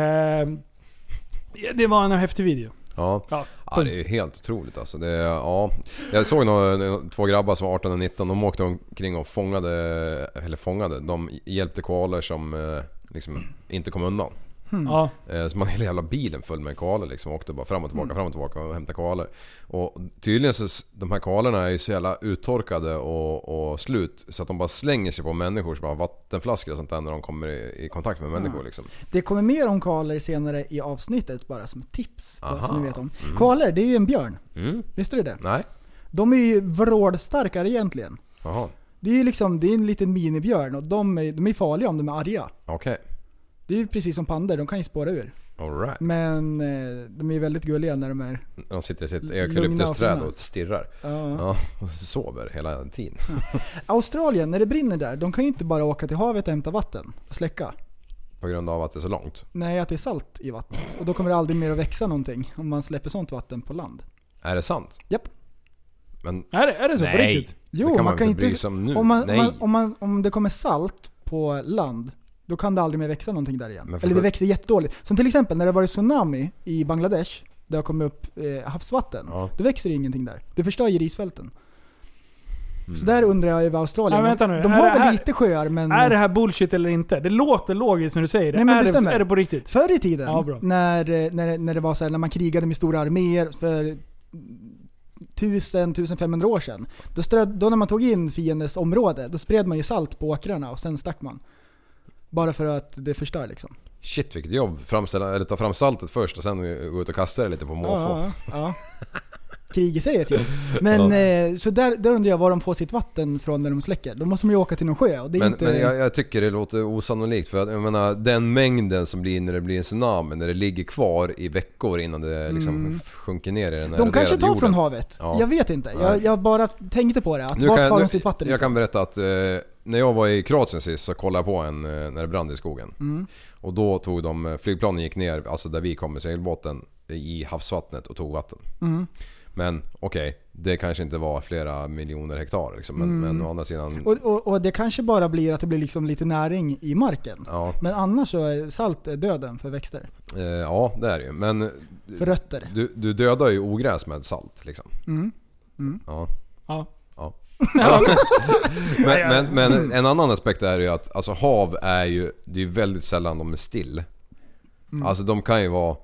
A: det var en häftig video.
F: ja.
A: Ja,
F: Ja, det är ju helt otroligt alltså. Det, är- ja. Jag såg några, två grabbar som var 18 och 19. De åkte omkring och fångade, eller fångade, de hjälpte koalor som eh, liksom inte kom undan.
A: Mm. ja.
F: Eh, Så man hela jävla bilen full med koalor liksom. Och åkte bara fram och
B: Mm.
F: tillbaka, fram och tillbaka och hämtade koalor. Och tydligen så, s- de här koalorna är ju så jävla uttorkade och, och slut. Så att de bara slänger sig på människor som har vattenflaskor och sånt där när de kommer i, i kontakt med människor liksom.
B: Det kommer mer om koalor senare i avsnittet bara som ett tips. Bara så
F: Aha.
B: ni vet om.
A: Mm.
B: Koalor, det är ju en björn.
F: Mm.
B: Visste du det?
F: Nej?
B: De är ju vrålstarkare egentligen.
F: Jaha.
B: Det är ju liksom, det är en liten minibjörn och de är, de är farliga om de är arga.
F: Okej.
B: Det är ju precis som pandor, de kan ju spåra ur.
F: Alright.
B: Men eh, de är väldigt gulliga när de är...
F: De sitter i sitt
B: L- lugna och
F: eukalyptusträd
B: fina.
F: och stirrar.
B: Ja.
F: Ja, och sover hela tiden.
B: Australien, när det brinner där, de kan ju inte bara åka till havet och hämta vatten och släcka.
F: På grund av att det är så långt.
B: Nej, att det är salt i vattnet. Och då kommer det aldrig mer att växa någonting om man släpper sånt vatten på land.
F: Är det sant?
B: Japp.
F: Men
A: Är, det, är det så? På
F: nej!
A: riktigt?
B: Jo,
F: det kan
B: man
F: man
B: kan
F: inte bry
B: inte-
F: sig om nu.
B: Om, man,
F: nej.
B: man, om, man, om det kommer salt på land, då kan det aldrig mer växa någonting där igen.
F: Men för-
B: Eller det växer jättedåligt. Som till exempel när det var tsunami i Bangladesh, där det kom upp eh, havsvatten.
F: Ja.
B: Då växer det ingenting där. Det förstör ju risfälten.
F: Mm.
B: Så där undrar jag över Australien.
A: Ja, vänta nu.
B: De
A: Är
B: har
A: det
B: väl
A: här-
B: lite sjöar men...
A: Är det här bullshit eller inte? Det låter logiskt när du säger det.
B: Nej, men
A: är,
B: det
A: det
B: stämmer.
A: är det på riktigt?
B: Förr i tiden,
A: Ja, bra.
B: när, eh, när, det- när det var så här, när man krigade med stora arméer för 1000-1500 år sedan. Då, ströd, då när man tog in fiendens område, då spred man ju salt på åkrarna och sen stack man. Bara för att det förstör liksom.
F: Shit vilket jobb. Framställa, eller ta fram saltet först och sen gå ut och kasta det lite på måfå.
B: Ja, ja, ja. Krig i sig är ett jobb. Men eh, så där, där undrar jag var de får sitt vatten från när de släcker. Då måste de ju åka till någon sjö och det är
F: Men,
B: inte...
F: men jag, jag tycker det låter osannolikt för att jag menar den mängden som blir när det blir en tsunami, när det ligger kvar i veckor innan det liksom f- sjunker ner i den
B: Mm. de
F: eroderade
B: kanske tar
F: jorden.
B: från havet.
F: Ja.
B: Jag vet inte. Jag,
F: Nej.
B: jag bara tänkte på det. Att
F: Nu
B: vart
F: kan,
B: tar
F: nu,
B: de sitt vatten
F: jag kan berätta att eh, när jag var i Kroatien sist så kollade jag på en eh, när det brann i skogen.
B: Mm.
F: Och då tog de, eh, flygplanen gick ner, alltså där vi kom med segelbåten, i havsvattnet och tog vatten.
B: Mm.
F: Men okej, det kanske inte var flera miljoner hektar liksom, men, men å andra sidan...
B: Mm. Och, och, och det kanske bara blir att det blir liksom lite näring i marken.
F: Ja,
B: Men annars så är salt döden för växter.
F: eh, ja, det är det ju. Men
B: För rötter.
F: du, du dödar ju ogräs med salt liksom. Ja.
A: Ja.
F: Ja. men, men, men en annan aspekt är ju att alltså, hav är ju, det är ju väldigt sällan de är still. Alltså de kan ju vara,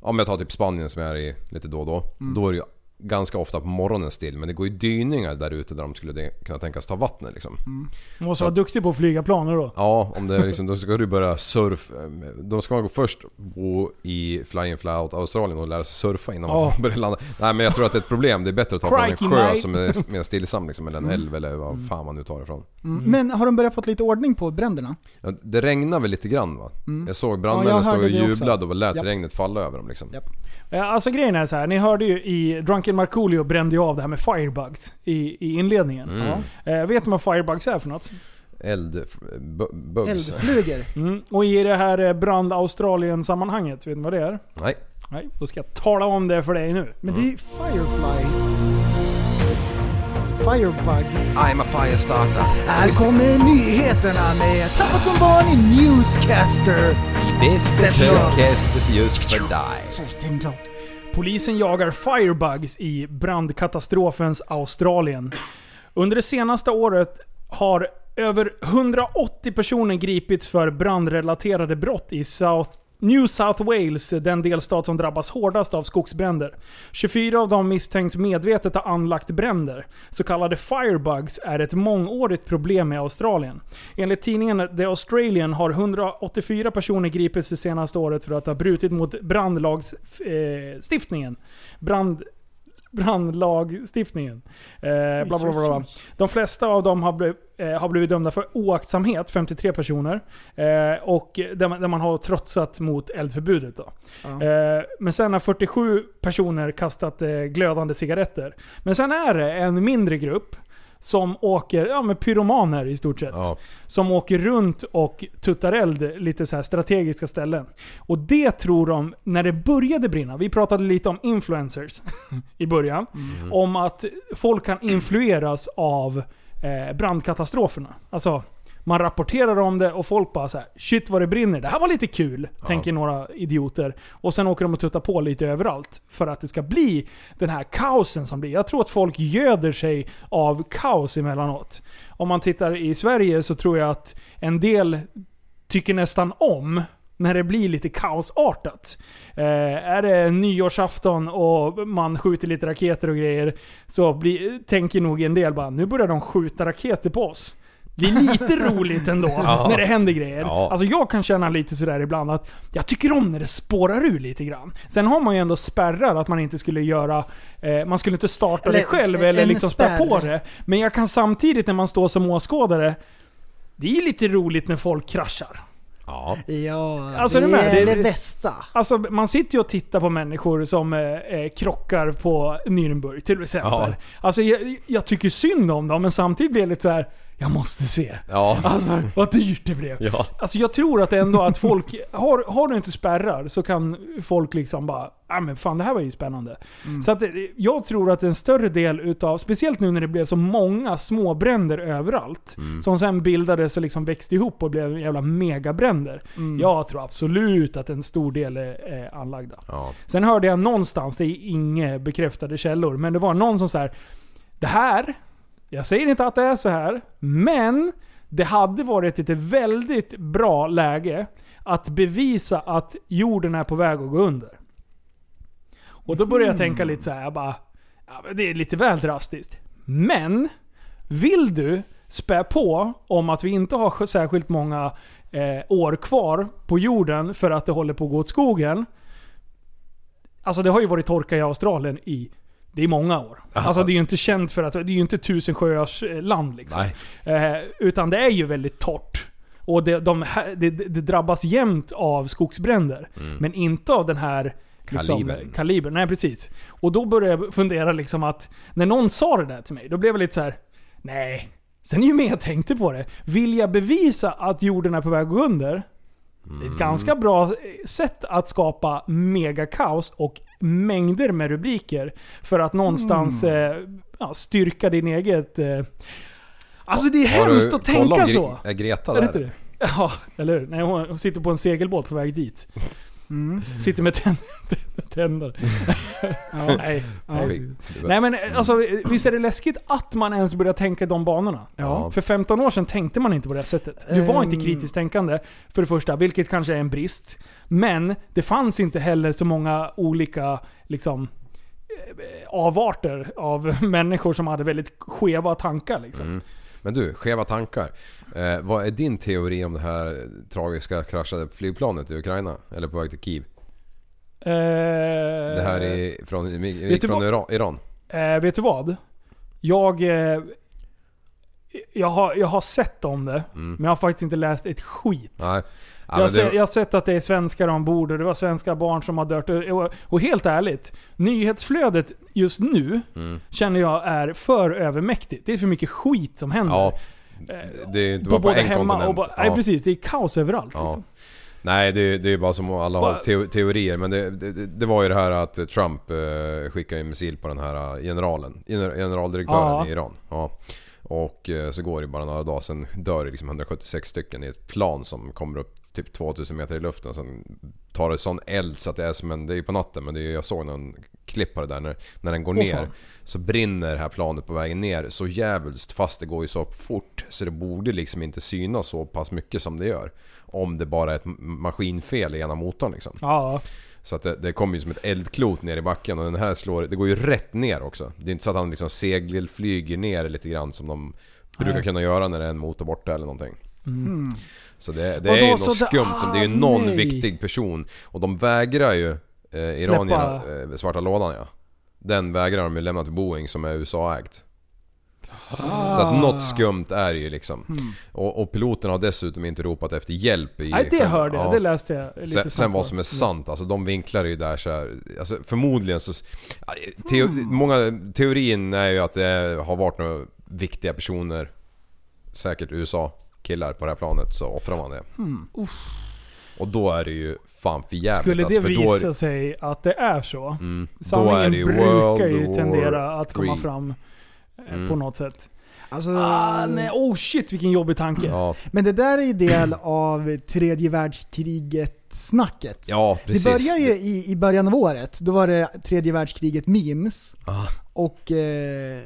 F: om jag tar typ Spanien som jag är i lite då och då. Då är det ju ganska ofta på morgonen still. Men det går ju dyningar där ute där de skulle de- kunna tänkas ta vattnet liksom.
A: Du måste vara duktig på att flyga planer då.
F: Ja, om det är liksom, då ska du börja surf. eh, Då ska man gå först bo i fly-in fly-out Australien och lära sig surfa innan man
A: Ja.
F: börjar landa. Nej men jag tror att det är ett problem. Det är bättre att ta från en
A: Crikey,
F: sjö
A: mate.
F: som är mer stillsam liksom, eller en älv eller vad fan man nu tar ifrån.
B: Mm. Men har de börjat fått lite ordning på bränderna?
F: Ja, Det regnar väl lite grann va? Jag såg brandmännen
B: Mm. Ja, jag
F: stå och
B: hörde det också.
F: jublade och lät
B: Japp.
F: regnet falla över dem liksom.
B: Japp.
A: Eh, Alltså grejen är så här. ni hörde ju i Drunken Markoolio brände ju av det här med firebugs i, i inledningen.
F: Mm.
B: Ja.
A: Eh, vet ni vad firebugs är för något?
F: Eld... f- bu- Bugs.
B: Eldflugor?
A: Mm. Och i det här eh, brand Australien-sammanhanget, vet ni vad det är?
F: Nej.
A: Nej, då ska jag tala om det för dig nu.
B: Men det är ju fireflies. Firebugs.
F: I'm a firestarter.
B: Här kommer nyheterna med Tappat som barn i Newscaster.
F: Bäst
B: försökest
F: just för dig.
A: Polisen jagar firebugs i brandkatastrofens Australien. Under det senaste året har över 180 personer gripits för brandrelaterade brott i South New South Wales, den delstat som drabbas hårdast av skogsbränder. 24 av dem misstänks medvetet ha anlagt bränder. Så kallade firebugs är ett mångårigt problem i Australien. Enligt tidningen The Australian har 184 personer gripits det senaste året för att ha brutit mot brandlagstiftningen. Brand, brandlagstiftningen. Eh, bla, bla, bla, bla. De flesta av dem har, bliv, eh, har blivit dömda för oaktsamhet, 53 personer. Eh, och där man, där man har trotsat mot eldförbudet. Då.
B: Ja.
A: Eh, men sen har 47 personer kastat eh, glödande cigaretter. Men sen är det en mindre grupp Som åker, ja men pyromaner i stort sett.
F: Ja.
A: Som åker runt och tuttar eld lite så här strategiska ställen. Och det tror de, när det började brinna, vi pratade lite om influencers i början. Om att folk kan influeras av eh, brandkatastroferna. Alltså, man rapporterar om det och folk bara så här: shit vad det brinner, det här var lite kul, tänker några idioter. Och sen åker de och tuttar på lite överallt för att det ska bli den här kaosen som blir. Jag tror att folk göder sig av kaos emellanåt. Om man tittar i Sverige så tror jag att en del tycker nästan om när det blir lite kaosartat. Eh, är det nyårsafton och man skjuter lite raketer och grejer så blir, tänker nog en del bara nu börjar de skjuta raketer på oss. Det är lite roligt ändå när det händer grejer.
F: Ja.
A: Alltså jag kan känna lite sådär ibland att jag tycker om när det spårar ur lite grann. Sen har man ju ändå spärrar att man inte skulle göra... Eh, man skulle inte starta
B: Eller
A: det själv
B: en
A: eller liksom spä
B: spärr.
A: på det. Men jag kan samtidigt när man står som åskådare det är lite roligt när folk kraschar.
F: Ja.
B: Ja,
A: Alltså,
B: det,
A: är du med?
B: är
A: Det-
B: det, bästa.
A: Alltså man sitter ju och tittar på människor som eh, eh, krockar på Nürnberg till exempel.
F: Ja.
A: Alltså jag, jag tycker synd om dem men samtidigt blir jag lite så här. jag måste se.
F: Ja.
A: Alltså vad dyrt det blev.
F: Mm. Ja.
A: Alltså jag tror att ändå att folk, har, har du inte spärrar så kan folk liksom bara ah, men fan det här var ju spännande.
F: Mm.
A: Så att, eh, jag tror att en större del utav, speciellt nu när det blev så många småbränder överallt,
F: Mm.
A: som sen bildades och liksom växte ihop och blev jävla megabränder.
F: Mm.
A: Jag tror absolut att en stor del är, är anlagda.
F: Ja.
A: Sen hörde jag någonstans, det är inga bekräftade källor, men det var någon som så här. Det här, jag säger inte att det är så här, men det hade varit ett väldigt bra läge att bevisa att jorden är på väg att gå under. Och då började jag tänka lite så här, jag bara, ja, men det är lite väl drastiskt. Men, vill du spä på om att vi inte har särskilt många eh, år kvar på jorden för att det håller på att gå åt skogen. Alltså det har ju varit torka i Australien i det är många år. Alltså det är ju inte känt för att, det är ju inte tusen sjöars eh, land liksom.
F: Nej.
A: Eh, utan det är ju väldigt torrt. Och det, de, här- det, det det drabbas jämt av skogsbränder. Men inte av den här
F: Kalibern.
A: kalibern. Liksom, Nej precis. Och då började jag fundera liksom att, när någon sa det där till mig, då blev jag lite så här: nej. Sen ju mer jag tänkte på det, vill jag bevisa att jorden är på väg att gå under? Det
F: Mm.
A: är ett ganska bra eh, sätt att skapa megakaos och mängder med rubriker. För att någonstans
F: Mm.
A: eh, ja, styrka din eget... Eh. Alltså det är
F: Har du
A: hemskt att
F: kollat om
A: tänka
F: Gre-
A: så.
F: Är Greta
A: Är
F: där?
A: det inte det? Ja, eller hur? Nej, hon hon sitter på en segelbåt på väg dit. Mm. Sitter med tänd- tänder. ja, nej.
F: Oj.
A: nej men alltså, visst är det läskigt att man ens börjar tänka i de banorna?
F: Ja.
A: För 15 år sedan tänkte man inte på det här sättet. Du var inte kritiskt tänkande, för det första, vilket kanske är en brist. Men det fanns inte heller så många olika liksom, eh, avarter av människor som hade väldigt skeva tankar. Liksom.
F: Mm. Men du, skeva tankar. Eh, vad är din teori om det här tragiska kraschade flygplanet i Ukraina? Eller på väg till Kiev?
A: Eh,
F: Det här är från,
A: vet du
F: från
A: vad-
F: Iran- Iran?
A: Eh, vet du vad? Jag, eh, jag, har, jag har sett om det, men jag har faktiskt inte läst ett skit.
F: Nej. Mm. Ja,
A: jag,
F: men
A: har se,
F: det,
A: jag har sett att det är svenskar ombord och det var svenska barn som har dött. Och, och, och helt ärligt, nyhetsflödet just nu
F: Mm.
A: känner jag är för övermäktigt. Det är för mycket skit som händer.
F: ja, det är inte
A: på
F: bara på
A: både
F: en
A: hemma
F: kontinent.
A: och bara,
F: Ja.
A: Nej precis, det är kaos överallt.
F: Ja.
A: Liksom.
F: Nej, det, är- det är bara som alla har
A: Va-
F: teo- teorier. Men det, det, det var ju det här att Trump eh, skickade en missil på den här eh, generalen. gener- Generaldirektören
A: Ja.
F: i Iran. Ja. Och eh, så går det bara några dagar, sen dör det liksom 176 stycken i ett plan som kommer upp typ 2000 meter i luften. Sen tar det sån eld så att det är som en... Det är ju på natten men det är, jag såg någon klipp på det där. När, när den går
A: Åh,
F: ner
A: fan.
F: så brinner det här planet på vägen ner så jävligt fast det går ju så fort så det borde liksom inte synas så pass mycket som det gör. Om det bara är ett m- maskinfel i ena motorn liksom.
A: Ja.
F: Så att det, det kommer ju som ett eldklot ner i backen och den här slår, det går ju rätt ner också. Det är inte så att han liksom segelflyger ner lite grann som de brukar kunna göra när det är en motor borta eller någonting. Så det, det
A: Mm. Och
F: är
A: då
F: ju något
A: så det-
F: skumt som det är ju
A: ah,
F: någon
A: nej.
F: viktig person och de vägrar ju eh, iranierna, eh, svarta lådan ja. Den vägrar de ju lämna till Boeing som är USA-ägt.
A: Ah.
F: Så att något skumt är det ju liksom.
A: Mm.
F: Och, och piloterna har dessutom inte ropat efter hjälp i
A: Nej, det
F: själva-
A: hörde jag.
F: ja.
A: Det läste jag lite Mm.
F: Sen, sen
A: snabbt
F: vad
A: på.
F: som är sant, alltså de vinklar ju där så här. Alltså
A: Mm.
F: förmodligen så... Teo, Många, teorin är ju att det har varit något viktiga personer, säkert USA-killar på det här planet, så offrar man det. Och då är det ju fan för jävligt
A: Mm. Skulle det
F: alltså, för då är-
A: visa sig att det är så.
F: Mm, då är
A: Sanningen
F: det ju
A: brukar
F: World
A: ju
F: War
A: tendera att komma
F: III.
A: fram eh,
F: Mm.
A: på något sätt.
B: Alltså,
A: Ah, nej. Oh shit vilken jobbig tanke.
F: Ja,
B: Men det där är ju del av tredje världskriget-snacket.
F: ja precis.
B: Det börjar ju i, i början av året. Då var det tredje världskriget memes.
F: Ah.
B: Och eh,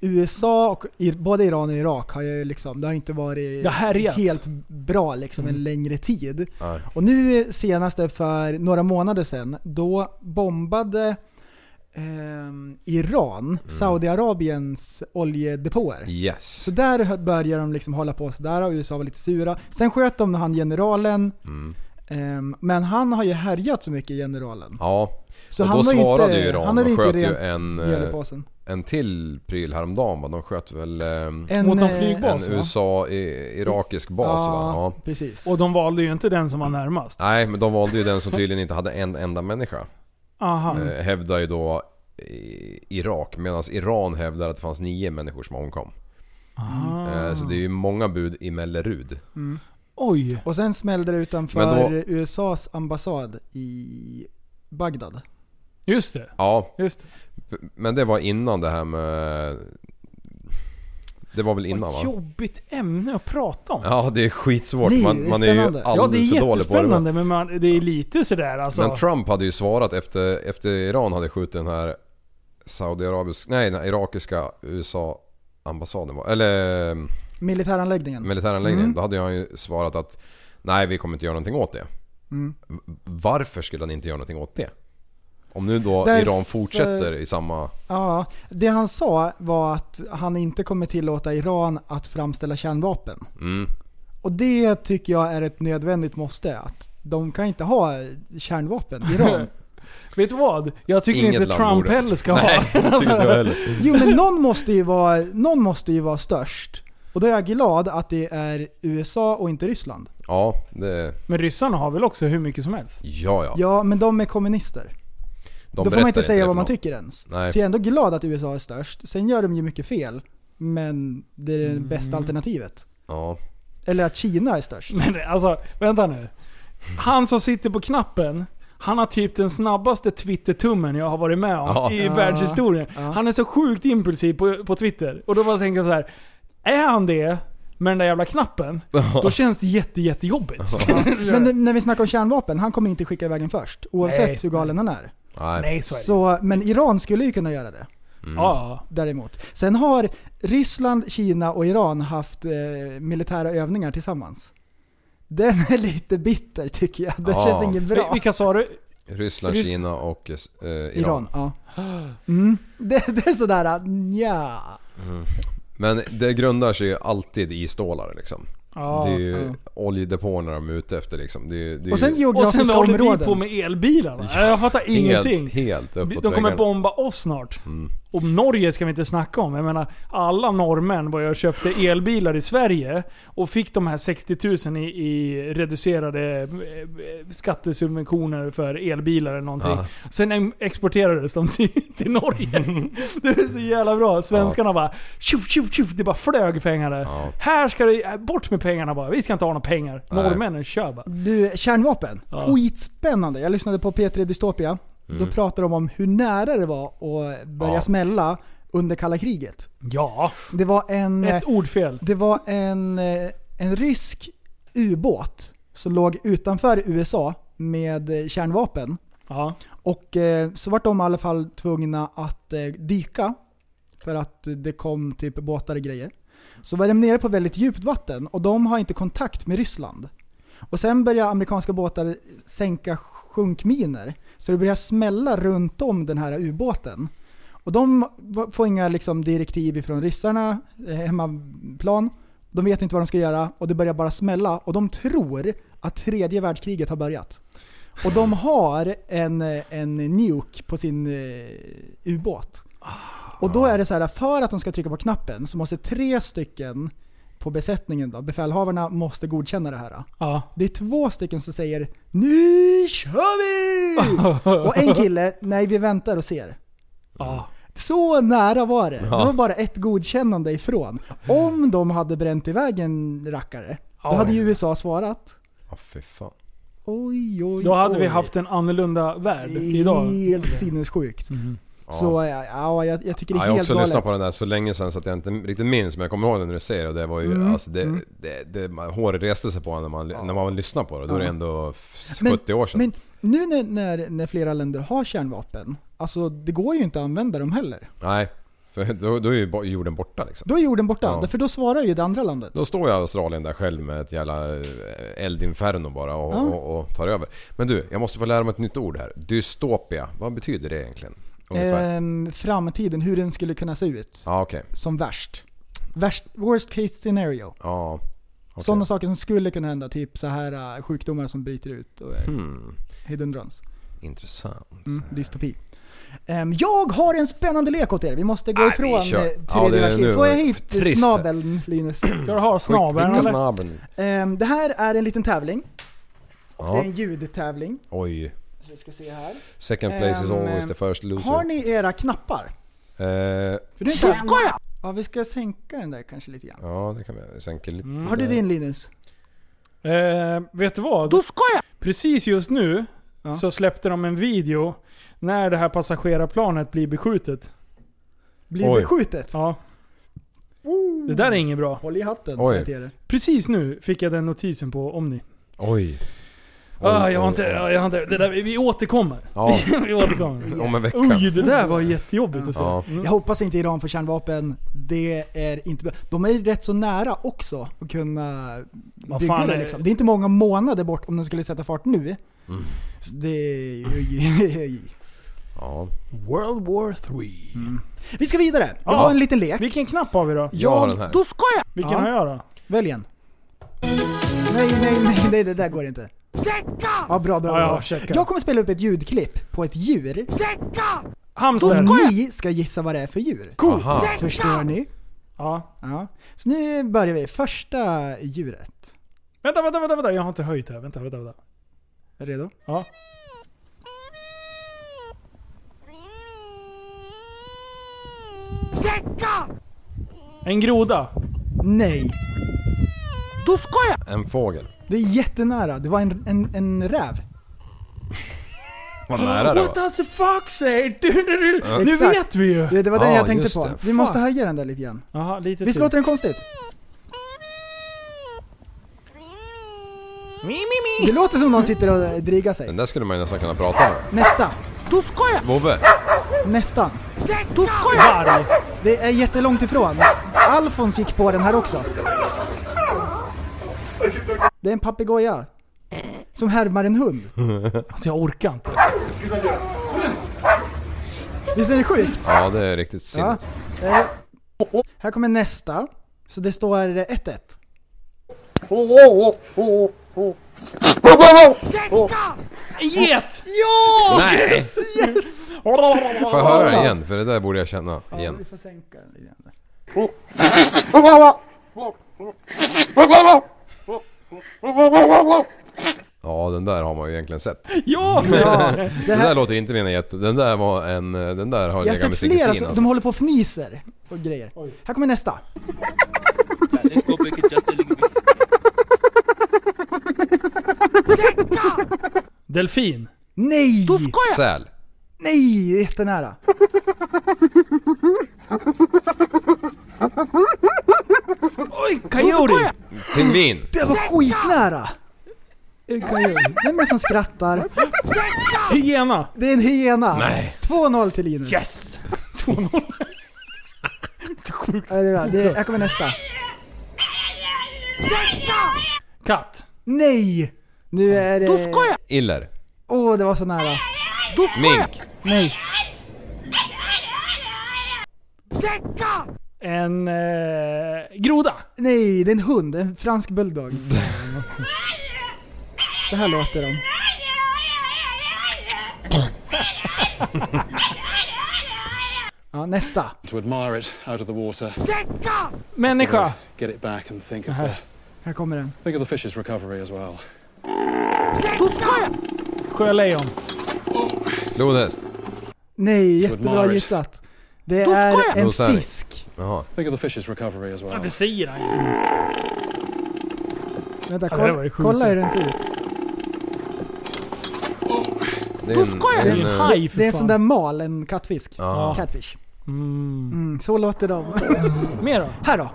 B: USA och i, både Iran och Irak har ju liksom, det har inte varit
A: Det har härjat.
B: helt bra liksom en längre tid.
F: Nej.
B: Och nu senaste för några månader sedan, då bombade ehm, Iran
F: Mm.
B: Saudiarabiens oljedepåer.
F: Yes.
B: Så där hö- började de liksom hålla på sådär och USA var lite sura. Sen sköt de han generalen,
F: Mm.
B: ehm, men han har ju härjat så mycket generalen.
F: Ja,
B: Så
F: och
B: han
F: då
B: var ju
F: svarade
B: inte-
F: ju Iran
B: han hade
F: och
B: inte
F: sköt ju
B: rent
F: en,
B: mjöl i
F: eh,
B: påsen.
F: en till pryl häromdagen va? De sköt väl ehm,
B: En,
A: Mot någon
B: eh,
A: flygbas
F: en
A: bas, va?
F: USA-irakisk bas va? Ja.
B: precis.
A: Och de valde ju inte den som var närmast.
F: Nej, men de valde ju den som tydligen inte hade en enda människa.
A: Aha.
B: Mm.
F: Eh, hävdar ju då eh, Irak, medan Iran hävdar att det fanns nio människor som omkom.
A: Ah.
B: Mm.
F: Eh, så det är ju många bud i Mellerud.
A: Oj.
B: Och sen smällde det utanför
F: Men då-
B: USAs ambassad i Bagdad.
A: Just det.
F: Ja,
A: Just det.
F: f- men det var innan det här med... Det var väl innan
A: Vad
F: va?
A: jobbigt ämne att prata om.
F: Ja, det är skitsvårt.
B: Nej, det
F: Man,
B: är
F: man är ju
B: spännande.
F: alldeles
B: Ja,
A: Ja, det är
F: för dålig på det. va?
A: jättespännande men man, det är lite sådär alltså.
F: Men Trump hade ju svarat efter, efter Iran hade skjutit den här Saudiarabisk, nej den här irakiska USA-ambassaden var, eller eh,
B: Militäranläggningen.
F: militäranläggningen.
B: Mm.
F: Då hade han ju svarat att nej vi kommer inte göra någonting åt det.
B: Mm.
F: V- Varför skulle han inte göra någonting åt det? Om nu då
B: Därför-
F: Iran fortsätter i samma...
B: Ja, det han sa var att han inte kommer tillåta Iran att framställa kärnvapen.
F: Mm,
B: Och det tycker jag är ett nödvändigt måste. Att de kan inte ha kärnvapen, Iran.
A: Vet du vad? Jag tycker
F: Inget
A: inte
F: land
A: Trump
F: borde.
A: heller ska
F: nej,
A: ha.
F: tycker inte jag heller.
B: Jo men någon måste ju vara, någon måste ju vara störst. Och då är jag glad att det är USA och inte Ryssland.
F: Ja, det...
A: Men ryssarna har väl också hur mycket som helst?
F: Ja, ja.
B: Ja, men de är kommunister.
F: De
B: då får man
F: berättar
B: inte säga
F: det
B: vad
F: för
B: man
F: någon.
B: tycker ens.
F: Nej.
B: Så jag är ändå glad att USA är störst. Sen gör de ju mycket fel. Men det är det
A: Mm.
B: bästa alternativet.
F: Ja.
B: Eller att Kina är störst.
A: Men alltså, vänta nu. Han som sitter på knappen, han har typ den snabbaste Twitter-tummen jag har varit med om
F: Ja.
A: i
B: Ja.
A: världshistorien.
B: Ja.
A: Han är så sjukt impulsiv på, på Twitter. Och då bara tänker jag så här. är han det med den där jävla knappen, då känns det jätte, jättejobbigt.
B: Men n- när vi snackar om kärnvapen, han kommer inte skicka iväg den först. Oavsett
A: Nej.
B: hur galen han är.
F: Nej.
A: Nej, så är det.
B: Så, men Iran skulle ju kunna göra det.
A: Ja.
B: Däremot. Sen har Ryssland, Kina och Iran haft eh, militära övningar tillsammans. Den är lite bitter tycker jag. Det
F: Ja.
B: känns inget
A: Vi-
B: bra.
A: Vilka sa du?
F: Ryssland,
A: Rys-
F: Kina och eh, s- eh, Iran.
B: Iran, ja. Mm. Det, det är sådär, ja.
F: Men det grundar sig ju alltid i stålar liksom.
A: Ja.
F: det är ju
B: ja.
F: oljedepåerna de är ute efter liksom. Det är, det är
B: Och sen
F: ju
A: Och sen
B: geografiska
A: håller vi
B: områden.
A: på med elbilarna. Jag fattar
F: helt,
A: ingenting.
F: helt uppåt
A: De kommer
F: väggarna.
A: bomba oss snart. Och Norge ska vi inte snacka om. Jag menar, alla norrmän var jag och köpte elbilar i Sverige och fick de här 60 000 i, i reducerade eh, skattesubventioner för elbilar eller någonting. Sen em- exporterades de till, till Norge. Det är så jävla bra. Svenskarna bara tjoff, tjoff, tjoff. Det bara flög pengar där. Här ska det, bort med pengarna bara. Vi ska inte ha några pengar.
F: Nej.
A: Norrmännen kör bara.
B: Du, kärnvapen. Skitspännande. Jag lyssnade på P3 Dystopia.
A: Mm.
B: Då pratade de om hur nära det var att börja
F: Ja.
B: smälla under kalla kriget.
A: Ja,
B: Det var en...
A: ett ordfel.
B: Det var en, eh, en rysk ubåt som låg utanför USA med eh, kärnvapen.
A: Ja.
B: Och eh, så vart de i alla fall tvungna att eh, dyka. För att eh, det kom typ båtar och grejer. Så var de nere på väldigt djupt vatten och de har inte kontakt med Ryssland. Och sen börjar amerikanska båtar sänka sjunkminer. Så det börjar smälla runt om den här ubåten. Och de va- får inga liksom, direktiv ifrån ryssarna, eh, hemmaplan. De vet inte vad de ska göra och det börjar bara smälla och de tror att tredje världskriget har börjat. Och de har en, eh, en nuke på sin eh, ubåt.
A: Ah.
B: Och då är det så här, för att de ska trycka på knappen så måste tre stycken på besättningen då, befälhavarna måste godkänna det här.
A: Ja.
B: Det är två stycken som säger Nu kör vi! och en kille, nej vi väntar och ser.
A: ja.
B: Så nära var det.
F: Ja.
B: Det var bara ett godkännande ifrån. Om de hade bränt iväg en rackare, då
A: Oj.
B: hade ju USA svarat.
F: Ja, Ah, fy fan.
B: Oj, oj,
A: Då hade
B: oj.
A: vi haft en annorlunda värld idag.
B: Helt sinnessjukt.
F: Ja.
B: Så ja, ja, jag, jag tycker det är
F: Ja, jag har
B: helt
F: också lyssnat på
B: galet.
F: den där så länge sedan så att jag inte riktigt minns men jag kommer ihåg den när du säger det. det var ju,
B: Mm,
F: alltså det, det, det, man, håret reste sig på en när man, när man lyssnade på det. Då är det
B: Ja.
F: ändå f-
B: Men-
F: 70 år sedan.
B: Men nu när, när, när flera länder har kärnvapen, alltså det går ju inte att använda dem heller.
F: Nej, för då, då är ju bo- jorden borta liksom.
B: Då är jorden borta,
F: Ja.
B: för då svarar ju det andra landet.
F: Då står jag i Australien där själv med ett jävla eh, eldinferno bara och,
B: Ja.
F: och, och tar över. Men du, jag måste få lära mig ett nytt ord här. Dystopia, vad betyder det egentligen? Ungefär.
B: Ehm, framtiden, hur den skulle kunna se ut.
F: Ja, okej.
B: Som värst. värst. Worst case scenario.
F: Ja. okej.
B: Sådana saker som skulle kunna hända, typ så här äh, sjukdomar som bryter ut och är
F: Hmm,
B: hedundrans.
F: intressant.
B: Mm, dystopi. Ehm, jag har en spännande lek åt er, vi måste gå
F: Nej, vi
B: ifrån
F: kör.
B: eh,
F: Ja, det
B: tredje
F: är nu.
B: världskriget. Får jag hit
F: Trist.
B: snabeln Linus?
A: Ska du ha snabeln
F: Skicka
A: eller?
F: snabeln.
B: Ehm, det här är en liten tävling, det är
F: Ja.
B: en ljudtävling.
F: Oj.
B: Så vi ska se här.
F: Second place is
B: Ehm,
F: always the first loser.
B: Har ni era knappar?
F: Eh,
B: För du är inte ja, vi ska sänka den där kanske lite grann.
F: ja, det kan vi sänka lite.
A: Mm.
B: Har du din Linus?
A: Eh, vet du vad? Då ska jag! Precis just nu
B: Ja.
A: så släppte de en video när det här passagerarplanet blir beskjutet.
B: Blir
F: Oj.
B: beskjutet?
A: Ja. Det där är inget bra.
B: Håll i hatten,
F: Oj.
B: säger jag till er.
A: Precis nu fick jag den notisen på Omni.
F: Oj.
A: ah,
F: Oj,
A: jag har
F: oj,
A: inte...
F: oj.
A: ah, Jag har inte det där, vi vi återkommer.
F: Ja,
A: vi återkommer.
F: om en vecka.
A: Oj, det där var jättejobbigt att se.
F: Ja.
A: Mm.
B: Jag hoppas inte Iran får kärnvapen. Det är inte bra. De är ju rätt så nära också att kunna
A: Vad
B: bygga
A: fan
B: det
A: är-
B: liksom. Det är inte många månader bort om de skulle sätta fart nu. Så Det är ju...
F: Ja. Mm.
A: World War 3.
B: Vi ska vidare. Jag
A: Ja.
B: har en liten lek.
A: Vilken knapp har vi då?
F: Jag har den här.
A: Vilken
B: Ja.
A: har jag då?
B: Välj en. Nej, nej, nej, nej, det där går inte. Checka! Ja, bra, bra,
A: Ja, ja,
B: bra.
A: checka.
B: jag kommer spela upp ett ljudklipp på ett djur.
A: Hamster.
B: Och ni ska gissa vad det är för djur.
A: Ko.
F: Aha.
B: Förstår ni?
A: Ja.
B: Ja. Så nu börjar vi. Första djuret.
A: Vänta, vänta, vänta, vänta. Jag har inte höjt här. Vänta, vänta, vänta.
B: Är du redo?
A: Ja. En groda.
B: Nej.
F: En fågel.
B: Det är jättenära. Det var en, en, en räv.
F: Vad nära det var.
A: does the fox say? Du, du, du. Nu
B: Exakt.
A: vet vi ju.
B: Det, det var den
F: Ja,
B: jag tänkte
F: just
B: på.
F: det.
B: Vi måste höja den där lite grann.
A: Jaha, lite
B: Visst
A: till.
B: låter den konstigt? Det låter som någon sitter och drygar
F: Den
B: sig.
F: där skulle man ju nästan kunna prata med.
B: Nästa.
F: Vovve.
B: Nästan.
A: Varg.
B: Det är jättelångt ifrån. Alfons gick på den här också. Det är en papegoja. Som härmar en hund.
A: Alltså jag orkar inte.
B: Visst är det sjukt?
F: Ja, det är riktigt
B: Ja.
F: sinnes.
B: Eh, här kommer nästa. Så det står 1-1.
A: En Get!
F: Nej! Får jag höra det igen? För det där borde jag känna igen.
B: Vi får sänka den lite grann. där.
F: Ja, den där har man ju egentligen sett.
A: Ja!
F: Så där låter inte mina jätte... Den där var en... eh, Den där har jag
B: Jag har
F: legat
B: sett
F: med sin kusin
B: flera som
F: alltså.
B: de håller på och fnyser och grejer. Här kommer nästa.
A: Delfin.
B: Nej!
F: Säl.
B: Nej! det är Jättenära.
A: Oj, coyote.
F: Pingvin.
B: Det var skitnära!
A: Eh,
B: Vem är det som skrattar?
A: Hyena.
B: Det är en hyena.
F: Nej.
B: 2-0 till Linus.
A: Yes! 2-0. Sjukt.
B: Ja, det är bra. Det är, här kommer nästa.
A: Katt.
B: Nej! Nu är det...
F: Iller.
B: Åh, det var så nära.
F: Mink.
B: Nej.
A: En eh, groda.
B: Nej, det är en hund. En fransk bulldog. Så här låter de. Ja, nästa.
H: to admire it out of the water,
A: Människa.
H: get it back, and think of the,
B: Här kommer den.
H: think of the fish's recovery as well.
A: Sjölejon.
F: Flodhäst.
B: Nej, jättebra
H: Marit.
B: gissat. Det är en
F: Rosario.
B: fisk.
F: Jaha.
H: Think of the fish's recovery as
A: Ja,
H: well.
A: det säger han ju.
B: Vänta,
A: Ja, det var
B: kolla,
A: det sjuka.
B: kolla hur den ser ut.
F: Det är en...
A: Det är en
F: eh,
A: haj för
B: Det är en
A: fan.
B: sån där mal, en kattfisk.
F: Ja.
B: Catfish. Mm, så låter de.
A: Mer då?
B: Här då!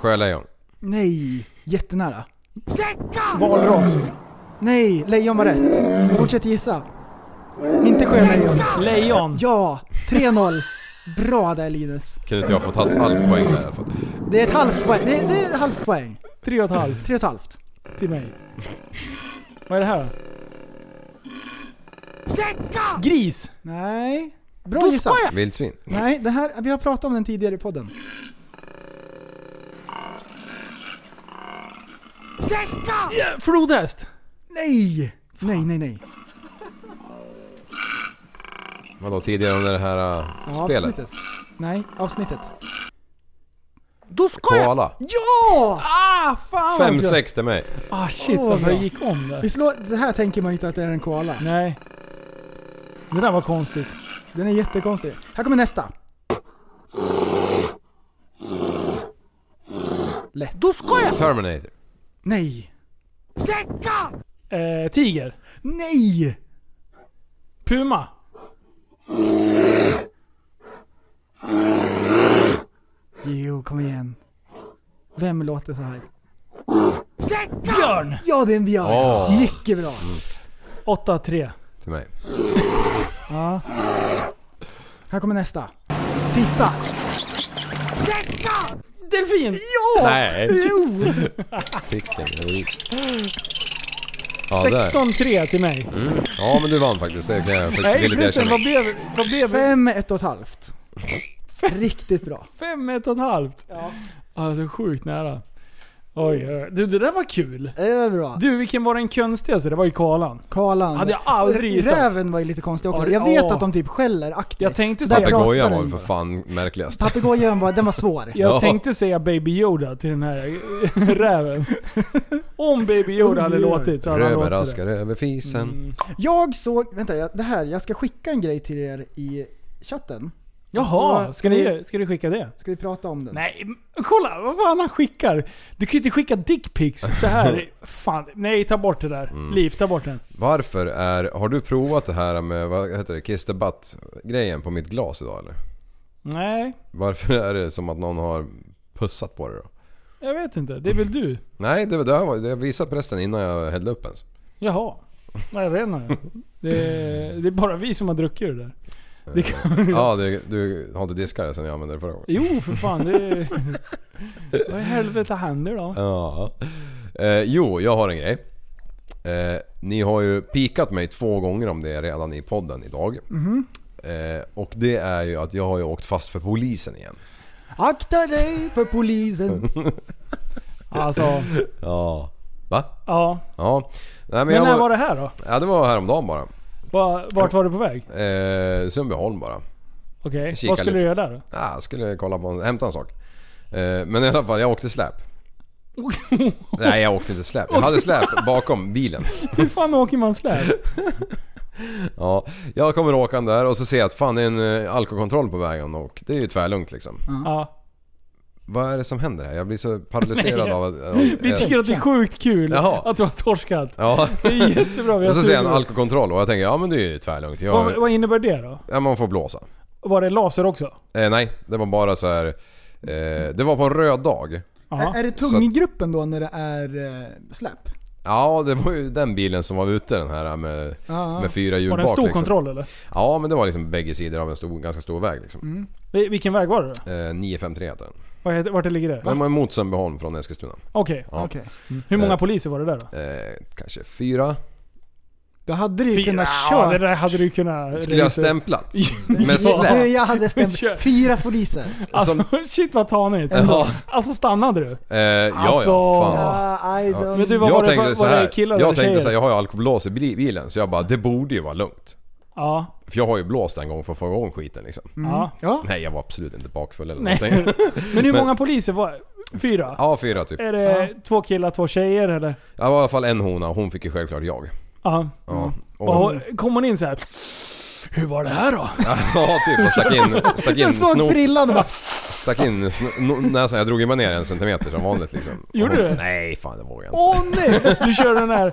F: Sjölejon.
B: Nej, jättenära.
A: Valras.
B: Nej, lejon var rätt. Fortsätt gissa. Inte sjölejon.
A: Lejon.
B: Ja, 3-0. Bra där Linus.
F: Kunde inte jag fått tagit all poäng där i alla fall.
B: Det är ett halvt poäng. Det, det är ett halvt poäng.
A: Tre och ett halvt
B: Tre och ett halvt.
A: till mig. Vad är det här då? Gris.
B: Nej. Bra gissat.
F: Vildsvin.
B: Nej, det här, vi har pratat om den tidigare i podden.
A: Ja, Flodhäst.
B: Nej! Nej, nej, nej.
F: Vadå tidigare under det här eh,
B: Ja,
F: spelet?
B: avsnittet. Nej, avsnittet.
F: Koala.
B: Ja!
A: Ah, fan vad bra.
F: 5-6 till mig.
A: Ah shit,
B: Åh,
A: varför jag
B: bra.
A: gick om där.
B: Vi slår, det här tänker man ju inte att det är en koala.
A: Nej. Det där var konstigt.
B: Den är jättekonstig. Här kommer nästa. Lätt. Då ska jag!
F: Terminator.
B: Nej!
A: Eh, tiger.
B: Nej!
A: Puma.
B: Jo, kom igen. Vem låter så här?
A: Björn.
B: Ja, det är en björn.
F: Åh.
B: Mycket bra.
A: 8-3.
F: Till mig.
B: Ja. Här kommer nästa. Sista.
A: Delfin.
F: Nej!
B: Jo!
F: Fick den. jag var ut. Ja, där.
A: 16-3 till mig.
F: Ja men du vann faktiskt. Det kan jag faktiskt
A: Nej
F: villigt
A: förresten,
F: erkänna.
A: vad blev Vad blev det?
B: Fem, ett och ett halvt. Riktigt bra.
A: Fem, ett och ett halvt. Ja. Alltså sjukt nära. Oj, oj. Du, det där var kul.
B: Det var bra.
A: Du, vilken var den konstigaste? Det var ju koalan.
B: Koalan.
A: Hade jag aldrig gissat.
B: Räven var ju lite konstig också.
A: Ja, det-
B: Jag vet
A: åh.
B: att de typ skäller aktivt.
A: Jag tänkte
B: Så där
A: säga-
B: pratar
F: Papegojan
B: den
F: var ju för
B: bara.
F: fan märkligast.
B: Papegojan var, den var svår.
A: Jag
F: Ja.
A: tänkte säga Baby Yoda till den här räven. Om Baby Yoda hade
B: Oj, oj.
A: låtit så hade han
F: Röva
A: låtit sådär.
F: raskar över fisen.
B: Jag såg, vänta, jag, det här, jag ska skicka en grej till er i chatten.
A: Jaha,
B: Så
A: ska, ni, ska du skicka det?
B: Ska vi prata om den?
A: Nej, men kolla vad fan han skickar. Du kan ju inte skicka dickpics så här. fan, nej ta bort det där.
F: Mm.
A: Liv, ta bort den.
F: Varför är... Har du provat det här med, vad heter det, kiss the butt grejen på mitt glas idag eller?
A: Nej,
F: Varför är det som att någon har pussat på det då?
A: jag vet inte. Det är väl du?
F: Nej, det var det här var, jag visade prästen innan jag hällde upp ens.
A: Jaha. Nej, jag vet inte. Det, det är bara vi som har druckit det där. Det kan,
F: Ja, det, du har inte diskat det sen jag använde det förra gången.
A: jo för fan. Det, vad i helvete händer då?
F: Ja. Eh, jo, jag har en grej. Eh, ni har ju pikat mig två gånger om det redan i podden idag.
A: Mhm.
F: Eh, och det är ju att jag har ju åkt fast för polisen igen.
B: Akta dig för polisen.
A: Alltså,
F: Ja. Va?
A: ja.
F: Ja. Nej, men
A: Men
F: jag
A: när var det här då?
F: Ja, det var häromdagen bara.
A: Va- Vart var du på väg?
F: Eh, Sundbyholm bara.
A: Okej,
F: Kika
A: vad skulle
F: lite.
A: du göra där då?
F: Ja, jag skulle kolla på en, hämta en sak. Eh, men i alla fall, jag åkte släp. Nej, jag åkte inte släp. Jag hade släp bakom bilen.
A: Hur fan åker man släp?
F: Ja, jag kommer åkande där och så ser jag att fan det är en eh, alkoholkontroll på vägen och det är ju tvärlugnt liksom.
A: Ja.
F: Vad är det som händer här? Jag blir så paralyserad
A: Nej,
F: av att... av-
A: Vi
F: eh,
A: tycker att det är sjukt kul
F: Jaha.
A: att du har torskat.
F: Ja.
A: Det är jättebra. Vi har
F: Och så ser jag en
A: tur.
F: alkoholkontroll och jag tänker ja men det är ju tvärlugnt.
A: vad,
F: Jag,
A: vad innebär det då?
F: ja, man får blåsa.
A: Var det laser också?
F: Eh, nej, det var bara så här. Eh, det var på en röd dag.
A: Jaha.
B: är, är det tunggruppen då när det är eh, släp?
F: Ja, det var ju den bilen som var ute den här med, med fyra hjul
A: Var det en
F: bak,
A: stor
F: liksom.
A: kontroll eller?
F: Ja, men det var liksom bägge sidor av en stor, ganska stor väg liksom.
A: Mm. Vi- Vilken väg var det då?
F: Eh, 953 heter den.
A: Vad heter- Vart det ligger det?
F: Den var mot Sundbyholm från Eskilstuna.
A: Okej. Mm.
F: Ja.
B: Okej.
A: Hur många
F: Eh.
A: poliser var det där då?
F: Eh, kanske fyra.
B: Då hade du ju
A: Fyra?
B: kunnat
A: Ja, det
B: köra.
A: där hade du kunnat...
F: Skulle jag ha
A: registrera.
F: stämplat?
A: Ja.
F: Med
B: Du,
F: släp?
B: jag hade stämt
A: Kör.
B: fyra poliser.
A: Alltså
F: Som-
A: shit vad tanigt.
F: Ja.
A: Alltså stannade du?
F: Eh, ja,
A: Alltså.
F: ja, fan.
B: Ah, I don't...
A: Men du, vad
F: jag
A: var det,
F: tänkte
A: för,
F: så
A: var
F: här,
A: det killar eller
F: jag tänkte
A: tjejer?
F: så här, jag har ju alkoholblås i bli- bilen så jag bara, det borde ju vara lugnt.
A: Ja.
F: För jag har ju blåst en gång för att få igång skiten liksom.
B: Mm.
A: ja.
B: Ja.
F: Nej jag var absolut inte bakfull eller
A: Nej.
F: någonting.
A: Men hur många poliser var Fyra?
F: Ja, fyra typ.
A: Är det två killar, två tjejer eller?
F: Jag var i alla fall en hona och hon fick ju självklart jag.
A: Ja.
F: Ja. Och,
A: Och, kom hon in så här? Hur var det här då?
F: Ja, typ. Och stack in, stack in
B: Jag såg
F: snor-
B: frillan och bara
F: stack in sn- no- näsan. Jag drog ju bara ner en centimeter som vanligt liksom.
A: Gjorde du?
F: Nej, fan det vågade jag inte.
A: Åh nej! Du kör den här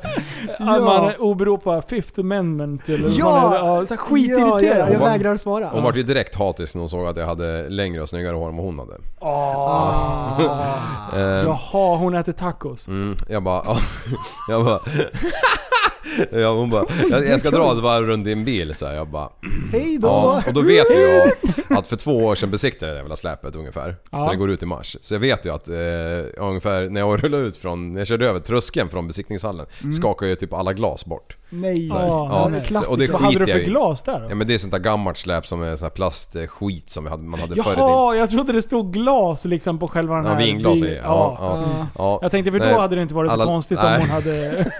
A: att man åberopar Fifth Amendment eller vad fan är det?
B: ja,
A: ja, så här skitirriterad.
B: Ja, ja, jag
F: Hon var-
B: vägrar svara.
F: Hon vart ju direkt hatisk när hon såg att jag hade längre och snyggare hår än vad hon hade. Eh,
A: Jaha, hon äter tacos.
F: Mm, jag bara... ja. jag bara... Ja, hon bara, jag, jag ska dra ett varv runt din bil så här. Jag bara,
B: Hej då!
F: ja. Och då vet ju jag att för två år sedan besiktade jag det jävla släpet ungefär.
A: Ja.
F: För det går ut i mars. Så jag vet ju att eh, ja, ungefär när jag rullade ut från, när jag körde över tröskeln från besiktningshallen skakade ju typ alla glas bort.
B: Nej.
A: här. Mm. Ja,
B: det är
F: så- och det
B: klassiker.
A: Vad
F: skiter
A: hade du
F: jag
A: för
F: i.
A: glas där
F: Ja
A: då?
F: men det är sånt där gammalt släp som är sån här plastskit som vi hade, man hade förr i tiden.
A: Jaha, jag trodde det stod glas liksom på själva den
F: Ja,
A: här...
F: vinglas
A: bi-
F: är ja, ja, ja, ja.
A: Jag tänkte för då
F: Nej,
A: hade det inte varit
F: alla-
A: så konstigt
F: nej.
A: om hon hade...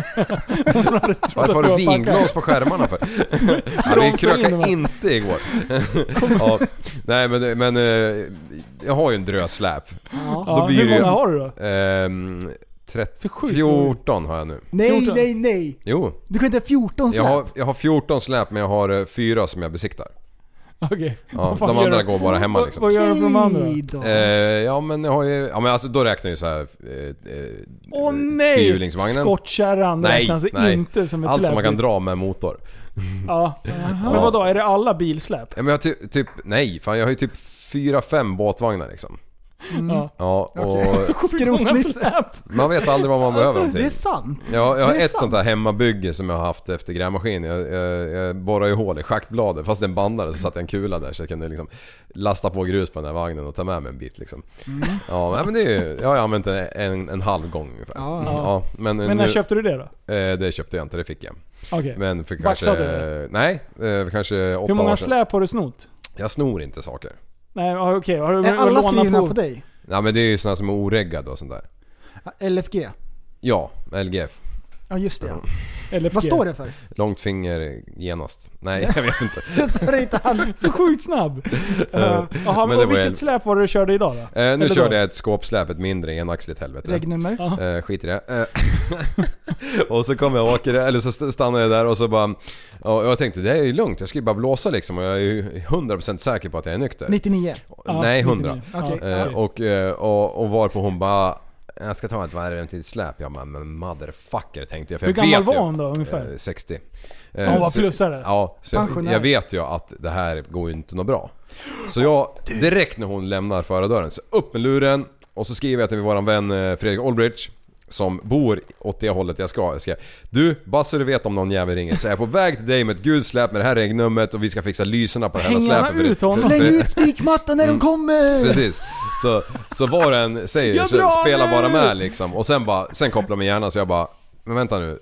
A: hon hade trott
F: Varför har du
A: att du var packad.
F: vinglas på skärmarna för? ja, vi
A: Bromsa in dem
F: krökade
A: här.
F: inte igår. ja, nej men, men eh, jag har ju en drös släp.
A: Ja, hur många har du då?
F: Ehm, 30,
A: Så sjukt
F: 14 har jag nu.
B: Nej,
A: 14.
B: nej, nej!
F: Jo,
B: Du kan inte ha 14
F: jag
B: släp.
F: har, jag har 14 släp men jag har eh, fyra som jag besiktar.
A: Okej.
F: Ja,
A: Vad fan
F: de
A: gör
F: andra
A: du?
F: går bara hemma
A: Vad-
F: liksom.
A: Vad gör du på de andra?
B: Okej då.
F: Eh, ja men jag har ju, ja men alltså då räknar jag ju såhär... Eh, eh,
A: Åh nej!
F: Fyrhjulingsvagnen.
A: Skottkärran
F: Nej,
A: räknas
F: nej.
A: inte som ett
F: Allt
A: släp.
F: som man kan dra med motor.
A: Ja. Men vadå, är det alla bilsläp?
F: Ja, men jag har ty, typ, nej fan jag har ju typ 4-5 båtvagnar liksom.
A: Mm. Ja.
F: Ja, och
A: Så sjukt många
B: Skrotnisse.
A: släp!
F: man vet aldrig vad man behöver dem
B: det är
F: till.
B: sant.
F: Ja, jag har
B: det är
F: ett
B: sant.
F: sånt där hemmabygge som jag har haft efter grävmaskin. Jag, jag, jag borrade ju hål i schaktbladet. Fast den bandade så satt jag en kula där så jag kunde liksom lasta på grus på den där vagnen och ta med mig en bit liksom. Ja, men- men det är ju, jag har använt det en, en halv gång ungefär.
B: Ja,
F: Mm,
A: ja.
F: men
A: Men när
F: nu,
A: köpte du det då?
F: eh, det köpte jag inte, det fick jag.
A: Okej.
F: Men för kanske...
A: Baxade du
F: Nej, eh, för kanske åtta
A: Hur
F: år
A: många
F: sedan.
A: släp har du snott?
F: Jag snor inte saker.
A: Nej, ja, okej. Har du
B: Är Eh, alla
A: lånat
B: skrivna på dig?
F: Nej men det är ju såna som är oreggade och sånt där.
B: LFG?
F: Ja, LGF.
B: Ja, just det. ja.
A: Eller
B: Vad står det för?
F: Långt finger genast. Nej, jag vet inte.
B: Det står inte alls.
A: Så sjukt snabb!
F: Eh,
A: Jaha,
F: men
A: men
F: det
A: och
F: var
A: vilket
F: en-
A: släp var det du körde idag då?
F: Eh, nu
A: Eller
F: körde
A: då?
F: jag ett skåpsläp, ett mindre enaxligt helvete.
B: Regnummer?
F: Eh, skit i det. Eh, och så kom jag och åker, eller så st- stannade jag där och så bara... Och jag tänkte det här är ju lugnt, jag ska ju bara blåsa liksom och jag är ju 100% säker på att jag är nykter.
B: 99?
A: Ja,
F: Nej,
A: 99.
F: 100.
A: Ja,
B: Okej.
F: Eh, och, eh, och, och varpå hon bara... Jag ska ta ett varv runt till ett släp. Jag bara, men motherfucker tänkte jag. För
A: Hur
F: jag
A: gammal
F: vet ju-
A: var hon då ungefär?
F: Eh, 60.
A: hon var
F: så-
A: plussare?
F: Ja, så jag,
B: Pensionär.
F: jag vet ju att det här går ju inte något bra. Så jag, direkt när hon lämnar förardörren, så upp med luren och så skriver jag till våran vän eh, Fredrik Olbrich som bor åt det hållet jag ska. Jag ska du, bara så du vet om någon jävel ringer så är jag på väg till dig med ett gult släp med det här regnumret och vi ska fixa lyserna på det här
A: Hänger
F: släpet.
A: han
F: för det-
A: ut honom?
F: för-
B: Släng ut spikmattan när de kommer!
F: Precis. Så, så vad den säger
A: Jag
F: så
A: drar
F: spela
A: nu!
F: bara med liksom. Och sen, bara, sen kopplar min hjärna så jag bara, men vänta nu.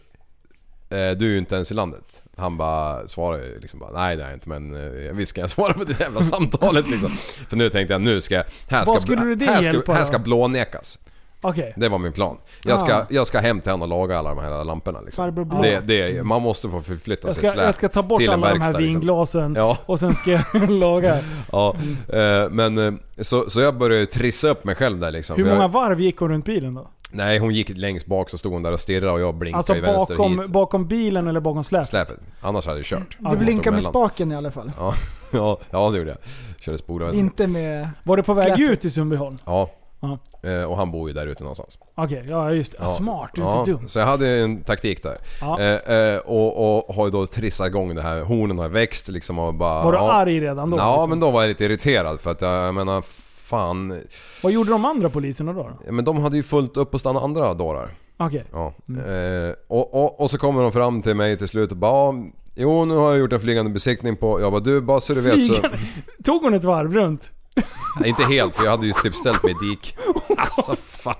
F: Eh, Du är ju inte ens i landet. Han bara svarar ju liksom bara, nej det är jag inte men eh, visst ska jag svara på det jävla samtalet liksom. För nu tänkte jag nu ska jag, här ska,
A: Vad skulle du det
F: här
A: hjälpa
F: ska, här
A: då?
F: ska blånekas.
A: Okej.
F: Det var min plan. Jag ska,
B: Ah.
F: jag ska hem till honom och laga alla de här lamporna liksom.
B: Farbror Blå.
F: Det, det, man måste få förflytta
A: Jag
F: sitt
A: ska,
F: släp
A: jag ska ta bort
F: till en
A: alla de här
F: verkstad, liksom.
A: vinglasen
F: Ja.
A: och sen ska jag laga.
F: Ja, eh, men eh, så, så jag började trissa upp mig själv där liksom.
A: Hur
F: För jag-
A: många varv gick hon runt bilen då?
F: Nej, hon gick längst bak så stod hon där och stirrade och jag blinkade
A: Alltså
F: i vänster
A: bakom,
F: hit.
A: bakom bilen eller bakom släpet?
F: Släpet. Annars hade jag kört.
B: Du
F: Jag
B: blinkar
F: stod
B: med
F: mellan.
B: spaken i alla fall.
F: Ja, ja, ja det gjorde jag. Körde spola vänster.
B: Inte med...
A: Var du på väg
B: Släpet.
A: ut i Sundbyholm?
F: Ja.
A: Ja.
F: Eh, Och han bor ju där ute någonstans.
A: Okej, ja just det.
F: Ja.
A: Smart, du är
F: ja.
A: inte dum.
F: Så jag hade en taktik där.
A: Ja.
F: Eh, eh, och, och har ju då trissat igång det här. Hornen har växt liksom och bara...
A: Var du
F: ja.
A: arg redan då?
F: Ja,
A: liksom?
F: men då var jag lite irriterad för att jag, jag menar fan...
A: Vad gjorde de andra poliserna då? då?
F: Men de hade ju fullt upp och stanna andra dårar.
A: Okej.
F: Ja.
A: Mm.
F: Eh, och, och, och så kommer de fram till mig till slut och bara "Ja, Jo nu har jag gjort en flygande besiktning på... Jag bara du bara så du vet så...
A: Flygande? Tog hon ett varv runt?
F: Nej, inte helt för jag hade ju typ ställt mig i dik.
A: Oh
F: Alltså fan.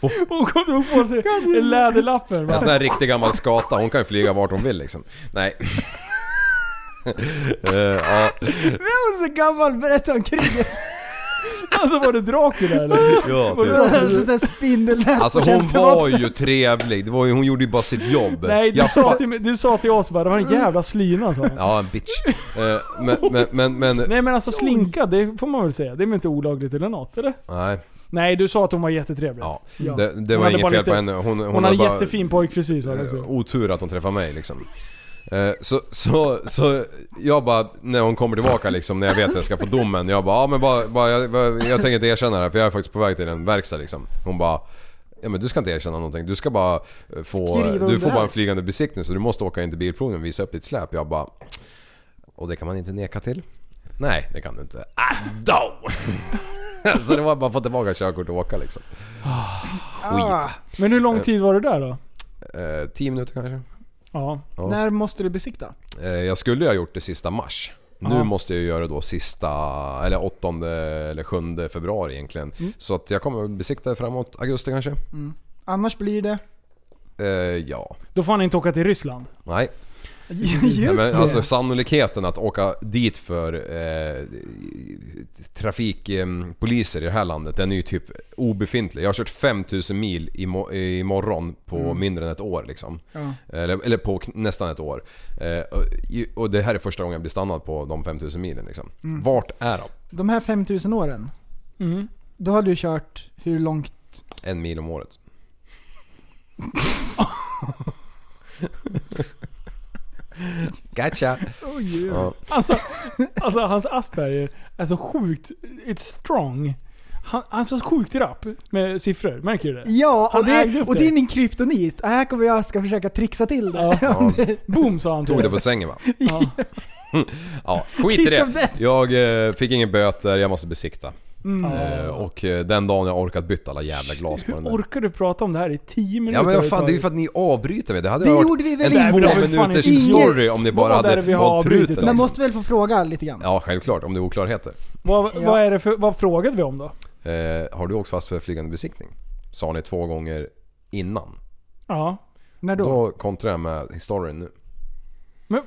A: Hon kom och drog på sig läderlappen. va?
F: En sån här riktig gammal skata, hon kan ju flyga vart hon vill liksom. Nej. Eh, ja.
B: Vem är så gammal? Berätta om kriget!
A: Alltså var det Dracula eller?
F: ja,
A: Var det
F: typ.
A: Dracula?
B: Det är spindelnät
F: Alltså hon var ju trevlig, det var ju, hon gjorde ju bara sitt jobb.
A: Nej, du
F: Jag
A: sa,
F: fa-
A: till, mig- du sa till oss bara det var en jävla slyna sa hon.
F: Ja, en bitch. Eh, men, men, men, men...
A: Nej men alltså slinka, det får man väl säga. Det är väl inte olagligt eller något eller?
F: Nej.
A: Nej, du sa att hon var jättetrevlig.
F: Ja.
B: Ja.
F: Det, det
A: Hon
F: var
A: hade
F: inget
A: bara
F: fel på
A: lite-
F: henne. Hon, hon,
A: Hon,
F: hade
A: hade
F: bara
A: jättefin pojkfrisyr sa du
B: Alltså.
F: eh,
A: också.
F: otur att hon träffade mig liksom. Eh, Så, så, så jag bara, när hon kommer tillbaka liksom, när jag vet att jag ska få domen. Jag bara, ja men bara, bara jag, jag, jag tänker inte erkänna det här för jag är faktiskt på väg till en verkstad liksom. Hon bara, ja men du ska inte erkänna någonting. Du ska bara eh, få,
B: Skriva
F: du
B: under
F: får bara en
B: här.
F: flygande besiktning så du måste åka in till bilprovningen och visa upp ditt släp. Jag bara, och det kan man inte neka till? Nej, det kan du inte. Ah, då! så det var bara att få tillbaka körkort och åka liksom.
B: Ah,
A: Men hur lång tid var du där då?
F: Eh, 10 minuter kanske.
A: Ja.
F: Ja.
B: När måste du besikta?
F: Eh, Jag skulle ju ha gjort det sista mars. Nu
A: Ja.
F: måste jag ju göra det då sista, eller 8 eller 7 februari egentligen. Så att jag kommer att besikta framåt augusti kanske.
B: Annars blir det...
F: Eh, ja,
A: Då får han inte åka till Ryssland.
F: nej.
B: Just
F: nej men
B: det!
F: alltså sannolikheten att åka dit för eh, trafikpoliser i det här landet, den är ju typ obefintlig. Jag har kört 5000 mil imo- imorgon på mindre än ett år liksom.
B: Mm. Ja.
F: Eller, eller på kn- nästan ett år. Eh, och, och det här är första gången jag blir stannad på de 5000 milen liksom.
B: Mm.
F: Vart är de?
B: De här 5000 åren,
A: Mm.
B: då har du kört hur långt?
F: En mil om året. Gotcha! Ja.
A: Alltså hans Asperger är så sjukt... It's strong. Han, han är så sjukt rapp med siffror. Märker du det?
B: Ja,
A: Han
B: och
A: ägde
B: det,
A: upp
B: och
A: det.
B: det är min kryptonit. Här kommer jag ska försöka trixa till det.
A: Ja.
F: Ja,
A: Boom sa han till
F: tog det
A: dig.
F: på sängen va?
A: Ja.
F: Ja, skit i
B: Piece of
F: det.
B: death.
F: Jag eh, fick ingen böter, jag måste besikta.
A: Mm.
F: Eh,
A: Ja.
F: och eh, den dagen jag orkat byta alla jävla glas på den
A: Hur
F: där.
A: orkar du prata om det här i 10 minuter?
F: Ja men vad fan, det är ju för att ni avbryter mig. Det hade
B: Det
F: ju varit
B: gjorde vi
F: en
B: väl inte.
F: två
B: Det har
A: vi fan
F: minuters
A: inte-
F: story om ni bara
A: Vad är det vi
F: hade
A: har
F: hållit
A: avbrutit
F: ut den
A: om?
B: Man
F: liksom.
B: måste väl få fråga lite grann?
F: Ja, självklart. Om det är oklarheter.
A: vad,
B: Ja.
A: vad, är det för, vad frågade vi om då?
F: Eh, har du åkt fast för flygande besiktning? Sa ni två gånger innan.
A: Ja.
B: När då?
F: Då, kontrar jag med historien nu.
A: Men-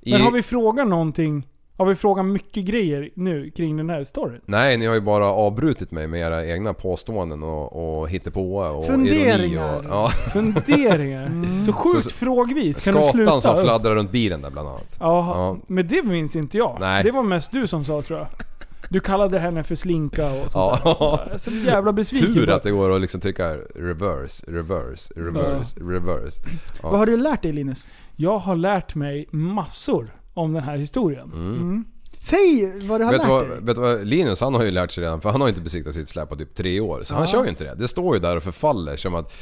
F: I,
A: Men har vi frågat någonting? Har vi frågat mycket grejer nu kring den här storyn?
F: Nej, ni har ju bara avbrutit mig med era egna påståenden och, och hittepåa och ironi
B: Funderingar.
F: och... Ja,
A: Funderingar?
B: Mm.
A: Så sjukt
F: Så- så-
A: frågvis. Kan du
F: skatan
A: sluta?
F: som
A: upp?
F: fladdrar runt bilen där bland annat.
A: Jaha,
F: Ja.
A: men det minns inte jag.
F: Nej.
A: Det var mest du som sa tror jag. Du kallade henne för slinka och sånt
F: Ja.
A: där. Jag är så jävla besviken.
F: Tur
A: på-
F: att det går att liksom trycka reverse, reverse, reverse, reverse. Ja.
B: Vad har du lärt dig Linus?
A: Jag har lärt mig massor om den här historien.
F: Mm.
B: Säg vad du har
F: Vet du,
B: lärt
F: vad,
B: dig.
F: vet du vad, Linus han har ju lärt sig redan för han har ju inte besiktat sitt släp på typ tre år. Så han kör ju inte det. Det står ju där och förfaller som att...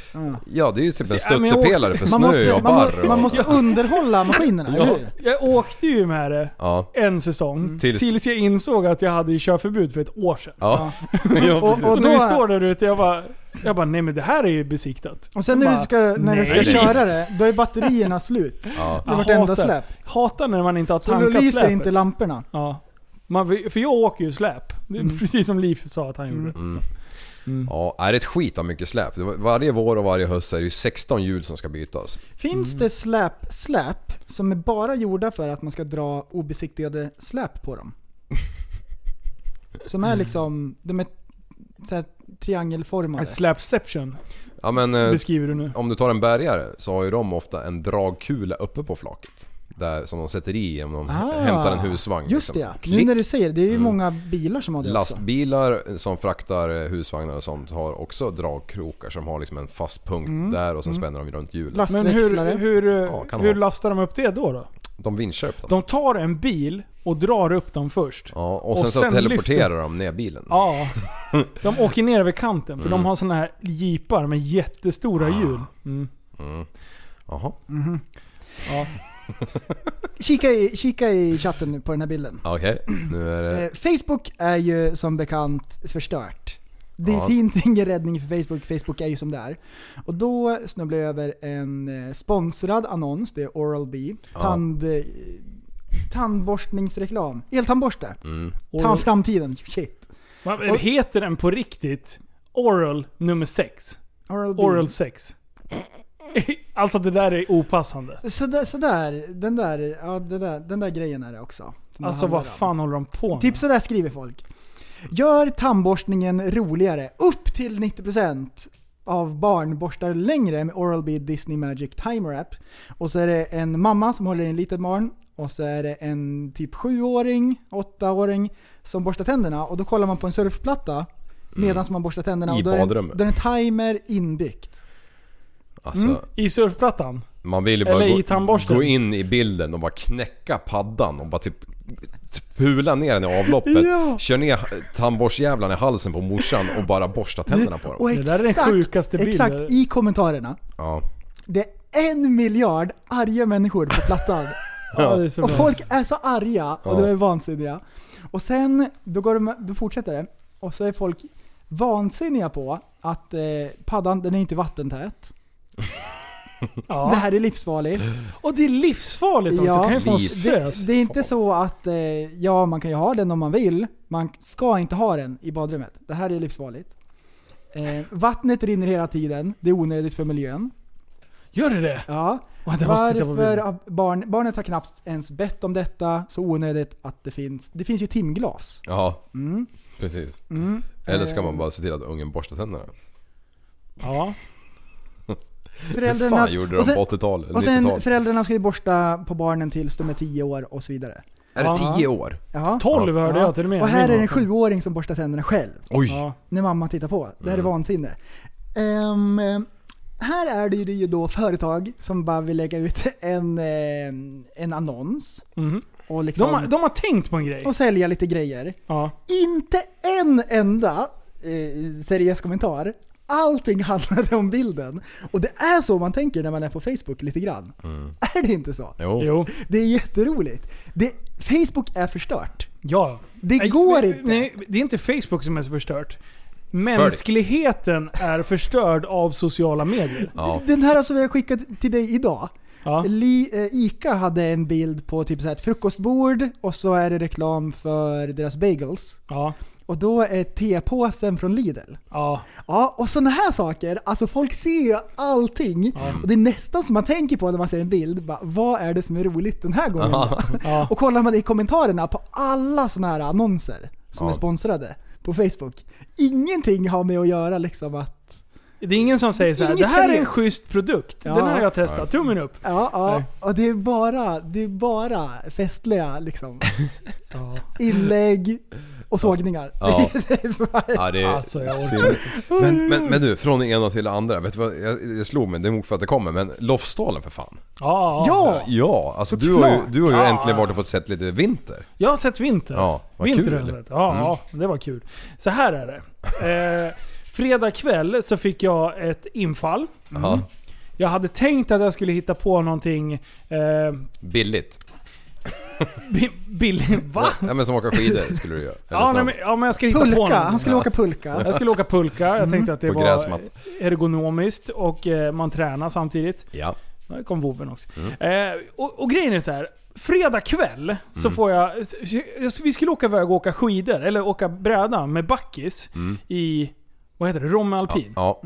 F: Ja, det är ju typ en
A: ja, men jag
F: stöttepelare för
B: Man
F: snö
B: måste,
F: och
B: man,
F: barr.
B: må-
F: och-
B: man måste underhålla maskinerna, eller hur?
A: Jag åkte ju med det
F: Ja.
A: en säsong. Tills...
F: Tills-
A: jag insåg att jag hade ju körförbud för ett år sedan.
F: Ja.
B: Och, och,
A: så när vi
B: då-
A: står där ute, jag bara, jag bara nej men det här är ju besiktat.
B: och sen när
A: Bara,
B: du ska, när du
A: nej.
B: ska köra det, då är batterierna slut.
F: ja.
B: Det är
A: Jag hatar-
B: vartenda släp.
A: Hatar när man inte har
B: Så då
A: tankat
B: lyser
A: släpet.
B: inte lamporna.
A: Ja. Man, vill- för jag åker ju släp. Det är
B: Mm.
A: precis som Liv sa att han gjorde. Mm. Så.
F: Mm. Ja, är det ett skit av mycket släp. Det var- Varje vår och varje höst är det ju 16 hjul som ska bytas.
B: Finns
A: Mm.
B: det släp-släp som är bara gjorda för att man ska dra obesiktigade släp på dem? Som är liksom, de är så här triangelformade.
A: Ett slapception
F: Ja men eh,
A: beskriver du nu.
F: om du tar en bärgare så har ju de ofta en dragkula uppe på flaket. Där, som de sätter i om de
B: Ah,
F: Typ hämtar en husvagn.
B: Just det
F: liksom.
B: ja. nu
F: Klick. Mm.
B: när du säger det, det är ju många bilar som har det också.
F: Lastbilar som fraktar eh, husvagnar och sånt har också dragkrokar som har liksom en fast punkt
B: Mm.
F: där och sen spänner de runt hjulet.
A: Men hur,
B: Lastväxlare.
A: hur,
F: Ja, kan
A: hur
F: ha.
A: lastar de upp det då, då?
F: De vinschar upp dem.
A: De tar en bil och drar upp dem först. Ja.
F: Ja, och
A: och
F: sen, så
A: sen
F: teleporterar
A: lyfter-
F: de ner bilen.
A: De åker ner över kanten för de
F: Mm.
A: har såna här jeepar med jättestora
F: Ah.
A: hjul. Mm.
F: Jaha.
B: Kika, i, kika i chatten nu på den här bilden.
F: Okej, nu är det...
B: Eh, Facebook är ju som bekant förstört. Det
F: Ja.
B: finns ingen räddning för Facebook, Facebook är ju som det är. Och då snubblade jag över en eh, sponsrad annons, det är Oral-B. Tand, eh, tandborstningsreklam. Eltandborste.
F: Mm.
B: Ta
A: Oral-
B: framtiden. Shit.
A: Vad- vad Heter den på riktigt Oral nummer 6?
B: Oral-B.
A: Oral 6. Alltså det där är opassande.
B: Sådär, sådär, den där, ja, det där, den där grejen är det också. som det
A: Alltså vad
B: handlar om.
A: fan håller de på med?
B: Typ sådär skriver folk. Gör tandborstningen roligare. Upp till 90% av barn borstar längre med Oral-B Disney Magic Timer App. Och så är det en mamma som håller i en litet barn. Och så är det en typ 7-åring, 8-åring som borstar tänderna. Och då kollar man på en surfplatta medan man borstar tänderna.
F: Mm. I
B: och då är det-
F: badrummet.
B: Då är det en timer inbyggt.
F: Alltså,
B: mm.
A: I surfplattan?
F: man vill ju
A: Eller i
F: bara gå,
A: tandborsten.
F: gå in i bilden och bara knäcka paddan och bara typ pula ner den i avloppet,
B: Ja.
F: kör ner tandborstjävlarna i halsen på morsan och bara borsta tänderna på
B: Och
F: dem.
A: Det där är den
B: exakt,
A: sjukaste bilden.
B: exakt i kommentarerna.
F: Ja.
B: Det är en miljard arga människor på plattan.
A: Ja, det är så
B: Och
A: bra.
B: folk är så arga och
F: Ja.
B: de är vansinniga. Och sen, då, går de, då fortsätter det. Och så är folk vansinniga på att eh, paddan, den är inte vattentät. Det
A: Ja.
B: här är livsfarligt.
A: Och det är livsfarligt också,
B: Ja.
A: kan ju få en
F: Livs-
A: stöt.
B: Det är inte så att, eh, ja man kan ju ha den om man vill. Man ska inte ha den i badrummet. Det här är livsfarligt. Eh, vattnet rinner hela tiden. Det är onödigt för miljön.
A: Gör det det?
B: Ja.
A: Vänta, jag måste titta på
B: Varför
A: bilden.
B: har barn, barnet har knappt ens bett om detta, så onödigt att det finns. Det finns ju timglas.
F: Ja, precis. Eller ska man bara se till att ungen borstar tänderna?
A: Ja.
F: Hur fan gjorde de
B: och sen-
F: på 80-talet?
B: Och sen
F: 90-talet?
B: föräldrarna ska ju borsta på barnen tills de är 10 år och så vidare.
F: Är det 10 år?
B: Ja.
A: 12 hörde
B: Ja.
A: jag till och med.
B: Och här är det en
A: Min mamma.
B: sjuåring som borstar tänderna själv.
F: Oj!
A: Ja.
B: När mamma tittar på. Det här är vansinne. Ehm, här är det ju- det är ju då företag som bara vill lägga ut en, ehm, en annons.
A: Mhm.
B: Och,
A: De,
B: liksom,
A: har, de har tänkt på en grej.
B: och sälja lite grejer.
A: Ja.
B: Inte en enda eh, seriös kommentar. Allting handlade om bilden. Och det är så man tänker när man är på Facebook lite grann. Är det inte så?
F: Jo.
A: Jo.
B: Det är jätteroligt. Det, Facebook är förstört.
A: Ja.
B: Det går
A: nej,
B: inte.
A: Nej, det är inte Facebook som är så förstört. Mänskligheten är förstörd av sociala medier.
F: Ja.
B: Den här som jag skickat till dig idag.
A: Ja.
B: Li, eh, Ica hade en bild på typ så här ett frukostbord och så är det reklam för deras bagels.
A: Ja.
B: Och då är tepåsen från Lidl.
A: Ja.
B: Ja, och sådana här saker. Alltså folk ser ju allting. Och det är nästan som man tänker på när man ser en bild. Bara, vad är det som är roligt den här gången? då?
A: Ja.
B: Och kollar man i kommentarerna på alla sådana här annonser som
F: Ja.
B: är sponsrade på Facebook. Ingenting har med att göra liksom att...
A: Det är ingen som säger så här.
B: Inget
A: det här är en
B: seriöst."
A: schysst produkt.
B: Ja.
A: Den här har jag testat. Tummen upp.
B: Ja, ja.
A: Nej.
B: Och det är bara, det är bara festliga liksom.
A: Ja.
B: Inlägg och sågningar.
F: Ja.
B: Det är bara-
F: Ja, det är
A: Alltså, jag orkar
F: synd. Men, men, men du, från det ena till det andra. Vet du vad, jag, jag slog mig, det är nog för att det kommer, men Lofsdalen för fan.
A: Ja.
B: ja!
F: Ja, alltså du har, ju,
B: Såklart.
F: du har ju äntligen varit och fått sett lite vinter.
A: Jag har sett vinter.
F: Ja, vad
A: vinter
F: kul. Mm.
A: har jag sett. Ja, ja, det var kul. Så här är det. Eh, fredag kväll så fick jag ett infall.
F: Ja,
A: Jag hade tänkt att jag skulle hitta på någonting eh,
F: billigt.
A: bi- billigt. Va?
F: Ja, men som åka skidor skulle du göra. Eller
A: Ja, nej,
F: snabb-
A: men, ja, men jag ska hitta på
B: Pulka,
A: någonting.
B: han skulle
F: Ja.
B: åka Mm. pulka.
A: Jag skulle åka pulka. Jag tänkte att det
F: På
A: var
F: gräsmatt.
A: ergonomiskt och eh, man tränar samtidigt.
F: Ja.
A: Där kom vovven också. Eh, och, och grejen är så här. Fredag kväll så får jag... s- s- Vi skulle åka iväg och åka skidor, eller åka bräda med backis i... Vad heter det? Romme alpin. Mm. Ja.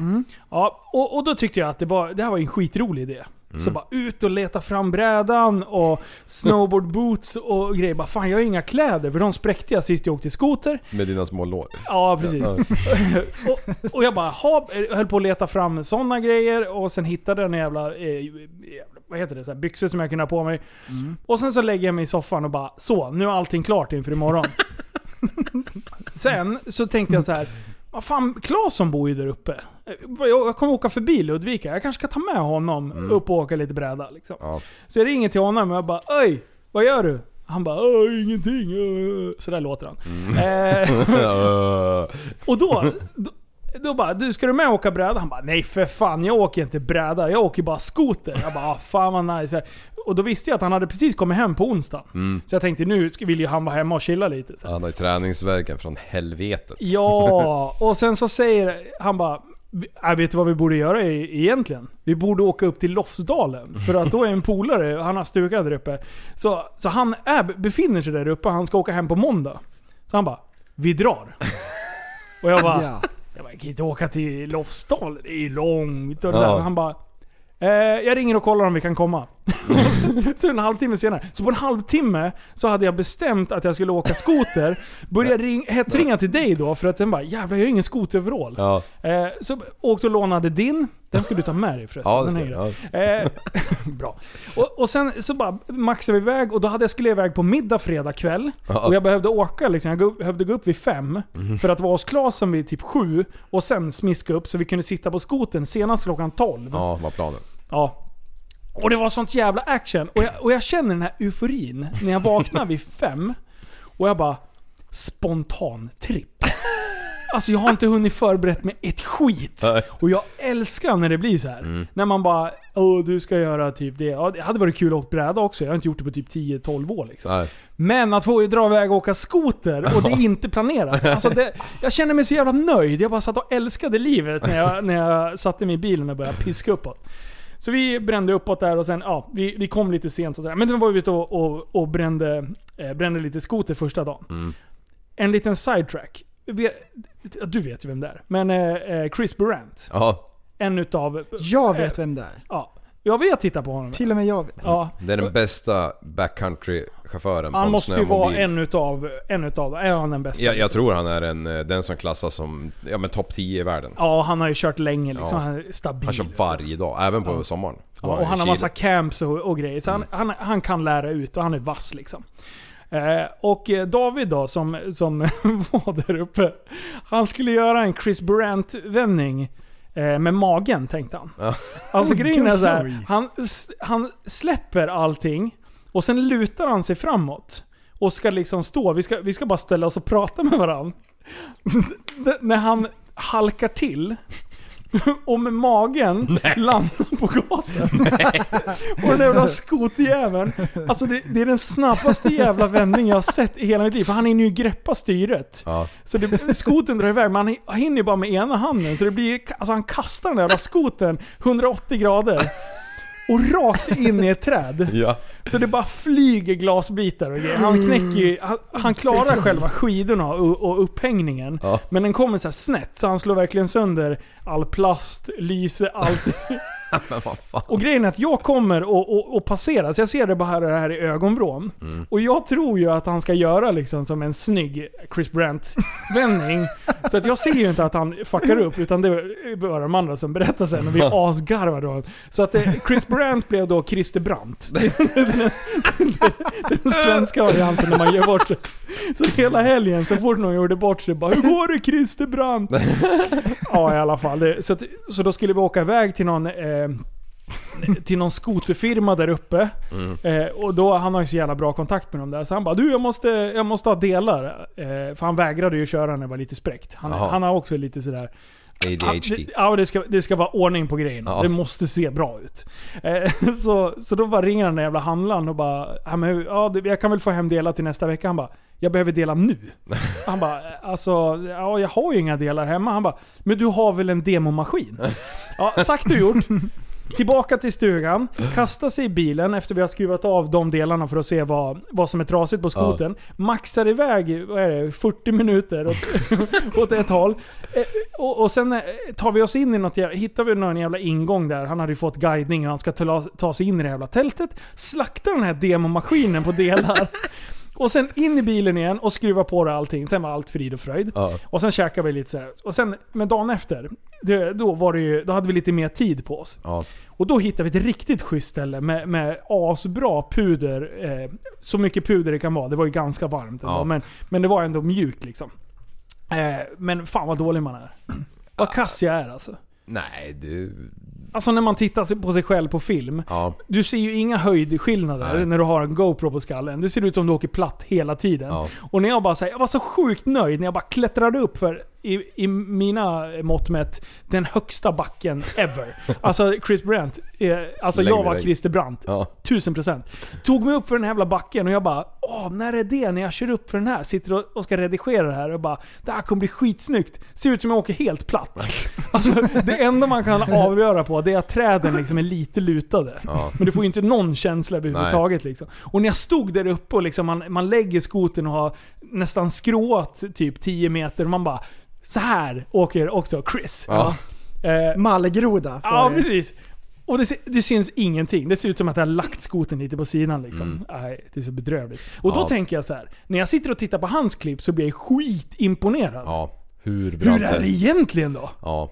F: Ja.
A: och, och då tyckte jag att det, var, det här var ju en skitrolig idé. Så bara ut och leta fram brädan och snowboardboots och grejer. Bara, fan jag har inga kläder för de spräckte jag sist jag åkte skoter.
F: Med dina små lår.
A: Ja, precis. och, och jag bara ha, höll på att leta fram sådana grejer och sen hittade jag en jävla, eh, jävla vad heter det, så här, byxor som jag kunde ha på mig. Och sen så lägger jag mig i soffan och bara så, nu är allting klart inför imorgon. sen så tänkte jag så här. Vad fan, Claesson bor ju där uppe. Eh, Jag, jag kommer åka förbi Ludvika, jag kanske ska ta med honom upp och åka lite bräda. Liksom.
F: Ja.
A: Så jag ringer till honom och jag bara Öj, vad gör du? Han bara "Öj, ingenting. öj." Så där låter han. Eh,
F: Ja.
A: och då, då, då bara, du ska du med och åka bräda? Han bara, nej för fan jag åker inte bräda, jag åker bara skoter. Jag bara, ah, fan vad nice. Och då visste jag att han hade precis kommit hem på onsdag Så jag tänkte nu ska- vill ju han vara hemma och chilla lite. Så.
F: Han har ju träningsvärken från helvetet.
A: Ja, och sen så säger han bara, jag vet du vad vi borde göra e- egentligen? Vi borde åka upp till Lofsdalen. För att då är en polare, han har stuga där uppe. Så, så han är, befinner sig där uppe, han ska åka hem på måndag. Så han bara, vi drar. Och jag bara,
B: Ja.
A: jag bara, jag kan inte åka till Lofsdal, det är ju långt. Och det
F: Ja.
A: där. Och Han bara, eh, jag ringer och kollar om vi kan komma. så en halvtimme senare. Så på en halvtimme så hade jag bestämt att jag skulle åka skoter. Började ring, hetsringa till dig då för att den bara, jävlar jag har ingen skoteröverall.
F: Ja.
A: Eh, så åkte och lånade din. Den ska du ta med dig förresten.
F: Ja, det
A: den
F: ska
A: är
F: jag.
A: grym.
F: Ja.
A: Eh, bra. Och, och sen så bara maxade vi iväg och då hade jag skulle iväg på middag fredag kväll.
F: Ja. Mhm.
A: Och jag behövde åka liksom. Jag gå- behövde gå upp vid fem. För att vara hos Klasen vid typ sju. Och sen smiska upp så vi kunde sitta på skoten senast klockan tolv.
F: Ja, vad planen.
A: Ja. Och det var sånt jävla action. Och jag, och jag känner den här euforin när jag vaknar vid fem. Och jag bara... Spontan tripp. Alltså jag har inte hunnit förberett mig ett skit.
F: Nej.
A: Och jag älskar när det blir så här. När man bara Åh, du ska göra typ det. Ja, det hade varit kul att åka bräda också. Jag har inte gjort det på typ 10-12 år liksom.
F: Nej.
A: Men att få dra iväg och åka skoter och det är inte planerat. Alltså det, jag känner mig så jävla nöjd. Jag bara satt och älskade livet när jag, när jag satte mig i bilen och började piska uppåt. Så vi brände uppåt där och sen, ja, vi, vi kom lite sent och sådär. Men då var vi ute och, och, och brände, eh, brände lite skoter första dagen. En liten sidetrack. Vi, ja, du vet ju vem det är. Men eh, eh, Chris Burant.
F: Ja,
A: En utav... eh,
B: Jag vet vem det är.
A: Ja. Ja, vi har tittat på honom.
B: Till och med jag vet.
A: Ja.
F: det är den bästa backcountry-chauffören på
A: Han
F: en
A: måste ju vara
F: snömobil.
A: en utav... En utav... Är han den bästa?
F: Jag,
A: liksom?
F: jag tror han är en, eh, den som klassas som ja, men topp 10 i världen.
A: Ja, han har ju kört länge liksom.
F: Ja.
A: Han är stabil. liksom.
F: Han kör varje dag, även på sommaren. Då
A: Ja,
F: är
A: och han
F: i
A: har
F: Chile.
A: massa camps och, och grejer. Så
F: Mm.
A: han, han, han kan lära ut och han är vass liksom. Eh, och eh, David då, som, som var där uppe. Han skulle göra en Chris Brandt-vändning eh, med magen, tänkte han. Alltså grejen är så här, han, s- han släpper allting och sen lutar han sig framåt. Och ska liksom stå, vi ska, vi ska bara ställa oss och prata med varandra. när han halkar till och med magen landar på gasen. och den där jävla skoterjäveln. Alltså det, det är den snabbaste jävla vändning jag har sett i hela mitt liv. För han hinner ju greppa styret.
F: Ja.
A: Så det, skoten drar iväg, men han hinner ju bara med ena handen. Så det blir, alltså han kastar den där jävla skoten 180 grader. Och rakt in i ett träd.
F: Ja.
A: Så det bara flyger glasbitar och grejer. Han knäcker ju, han, han klarar själva skidorna och, och upphängningen.
F: Ja.
A: Men den kommer så här snett så han slår verkligen sönder all plast, lyse, allt. Och grejen är att jag kommer och, och, och passerar, så jag ser det bara här, det här i ögonvrån. Och jag tror ju att han ska göra liksom som en snygg Chris Brandt-vändning. så att jag ser ju inte att han fuckar upp, utan det är bara de andra som berättar sen och vi asgarvar då. Så att eh, Chris Brandt blev då Christer Brandt. Det är den, den svenska varianten när man gör bort sig. Så hela helgen, så fort någon gjorde bort sig, bara Hur går det Christer Brandt? ja i alla fall. Det, så, att, så då skulle vi åka iväg till någon eh, till någon skoterfirma där uppe. Eh, och då, han har ju så jävla bra kontakt med dem där. Så han bara du jag måste, jag måste ha delar. Eh, för han vägrade ju köra när det var lite spräckt. Han,
F: Jaha.
A: han har också lite sådär... Ja,
F: ADHD.
A: det, ja, det, ska, det ska vara ordning på grejerna.
F: Ja.
A: Det måste se bra ut. Eh, så, så då bara ringer den där jävla handlaren och bara ja, men, hur- ja, det- jag kan väl få hem delar till nästa vecka. Han bara jag behöver delar nu. Han bara alltså, ja, jag har ju inga delar hemma. Han bara men du har väl en demomaskin? Ja, sagt och gjort. Tillbaka till stugan, kasta sig i bilen efter vi har skruvat av de delarna för att se vad, vad som är trasigt på skoten. Maxar iväg vad är det, 40 minuter åt, åt ett håll. Eh, Och, och sen eh, tar vi oss in i något jävla, hittar vi någon jävla ingång där. Han hade ju fått guidning hur han ska ta, ta sig in i det jävla tältet. Slaktar den här demomaskinen på delar. Och sen in i bilen igen och skruva på det allting. Sen var allt frid och fröjd.
F: Ja.
A: Och sen käkade vi lite så här. Och sen, men dagen efter, det, då, var det ju, då hade vi lite mer tid på oss.
F: Ja.
A: Och då hittade vi ett riktigt schysst ställe med, med asbra puder. Eh, så mycket puder det kan vara. Det var ju ganska varmt ändå,
F: Ja.
A: men, men det var ändå mjukt liksom. Eh, men fan vad dålig man är. Vad kass jag är alltså.
F: Nej, du...
A: Alltså när man tittar på sig själv på film.
F: Ja.
A: Du ser ju inga höjdskillnader
F: Nej.
A: när du har en GoPro på skallen. Det ser ut som du åker platt hela tiden.
F: Ja.
A: Och när jag bara säger, jag var så sjukt nöjd när jag bara klättrade upp för, i, i mina mått mätt, den högsta backen ever. alltså Chris Brandt. Eh, alltså
F: Släng
A: jag
F: dig
A: var
F: iväg.
A: Christer Brandt.
F: Ja.
A: Tusen procent. Tog mig upp för den här jävla backen och jag bara Åh, när är det? När jag kör upp för den här? Sitter och, och ska redigera det här och bara Det här kommer bli skitsnyggt. Ser ut som jag åker helt platt. alltså, det enda man kan avgöra på det är att träden liksom är lite lutade.
F: Ja.
A: Men du får ju inte någon känsla överhuvudtaget liksom. Och när jag stod där uppe och liksom man, man lägger skoten och har nästan skråat typ 10 meter och man bara så här åker också Chris.
F: Ja.
A: Eh,
B: Mallgroda. får
A: Ja,
B: jag ju.
A: precis. Och det, se- det syns ingenting. Det ser ut som att jag har lagt skoten lite på sidan liksom. Nej, det är så bedrövligt. Och då
F: Mm. Ja.
A: tänker jag så här. när jag sitter och tittar på hans klipp så blir jag skitimponerad.
F: ja. Hur bra
A: Hur är det egentligen då?
F: Ja.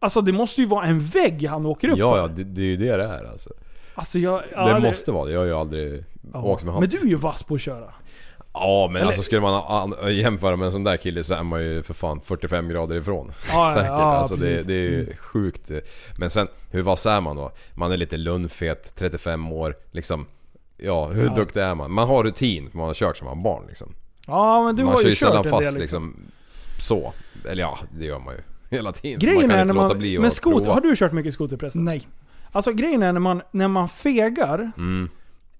A: Alltså det måste ju vara en vägg han åker upp
F: Ja,
A: för.
F: ja det, det är ju det det är alltså.
A: Alltså jag... ja,
F: det måste vara det. Jag har ju aldrig
A: ja.
F: åkt med
A: Men
F: honom.
A: du är ju vass på att köra.
F: Ja, men alltså skulle man an- jämföra med en sån där kille så är man ju för fan 45 grader ifrån.
A: ja,
F: Säkert.
A: ja,
F: alltså det,
A: precis. Mm.
F: det är ju sjukt. Men sen, hur vass är man då? Man är lite lundfet, 35 år, liksom. Ja, hur duktig är man? Man har rutin, för man har kört som man var barn liksom.
A: Ja men du
F: man
A: har
F: kör
A: ju
F: ju
A: kört
F: sällan
A: en del
F: fast
A: liksom.
F: liksom. så. Eller ja, det gör man ju hela tiden.
A: Grejen
F: man kan
A: är när
F: inte låta
A: man...
F: bli
A: Men
F: att
A: skoter,
F: prova.
A: har du kört mycket skoter förresten?
B: Nej.
A: Alltså grejen är när man, när man fegar.
F: Mm.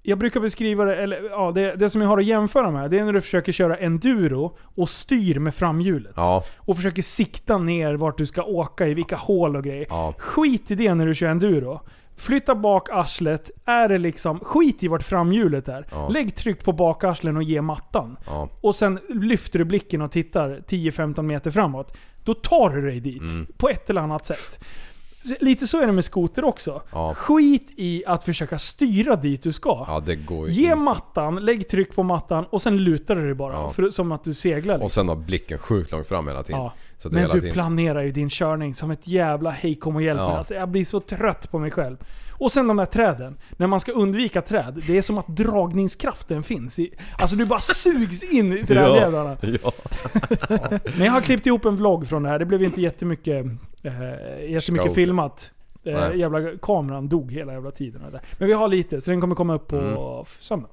A: Jag brukar beskriva det, eller ja, det, det som jag har att jämföra med. Det är när du försöker köra enduro och styr med framhjulet.
F: Ja,
A: Och försöker sikta ner vart du ska åka, i vilka hål och grejer.
F: ja.
A: Skit i det när du kör enduro. Flytta bak arslet, är det liksom, skit i vart framhjulet är.
F: Ja.
A: Lägg tryck på bakarslen och ge mattan.
F: Ja.
A: Och sen lyfter du blicken och tittar 10-15 meter framåt. Då tar du dig dit.
F: Mm.
A: På ett eller annat sätt. Så- Lite så är det med skoter också.
F: Ja.
A: Skit i att försöka styra dit du ska.
F: Ja, det går ju
A: Ge
F: inte.
A: mattan, lägg tryck på mattan och sen lutar du dig bara.
F: Ja.
A: För, som att du seglar. liksom.
F: Och sen har blicken sjukt långt fram hela tiden.
A: Ja.
F: Så att du
A: Men
F: hela
A: du
F: tiden...
A: planerar ju din körning som ett jävla hej kom och hjälp mig.
F: Ja.
A: Alltså, jag blir så trött på mig själv. Och sen de där träden. När man ska undvika träd, det är som att dragningskraften finns. I, alltså du bara sugs in i trädjävlarna.
F: ja.
A: Men jag har klippt ihop en vlogg från det här. Det blev inte jättemycket, eh, jättemycket
F: Scout.
A: filmat. Eh,
F: Nej.
A: jävla kameran dog hela jävla tiden. och det där. Men vi har lite, så den kommer komma upp på
F: Mm.
A: söndag.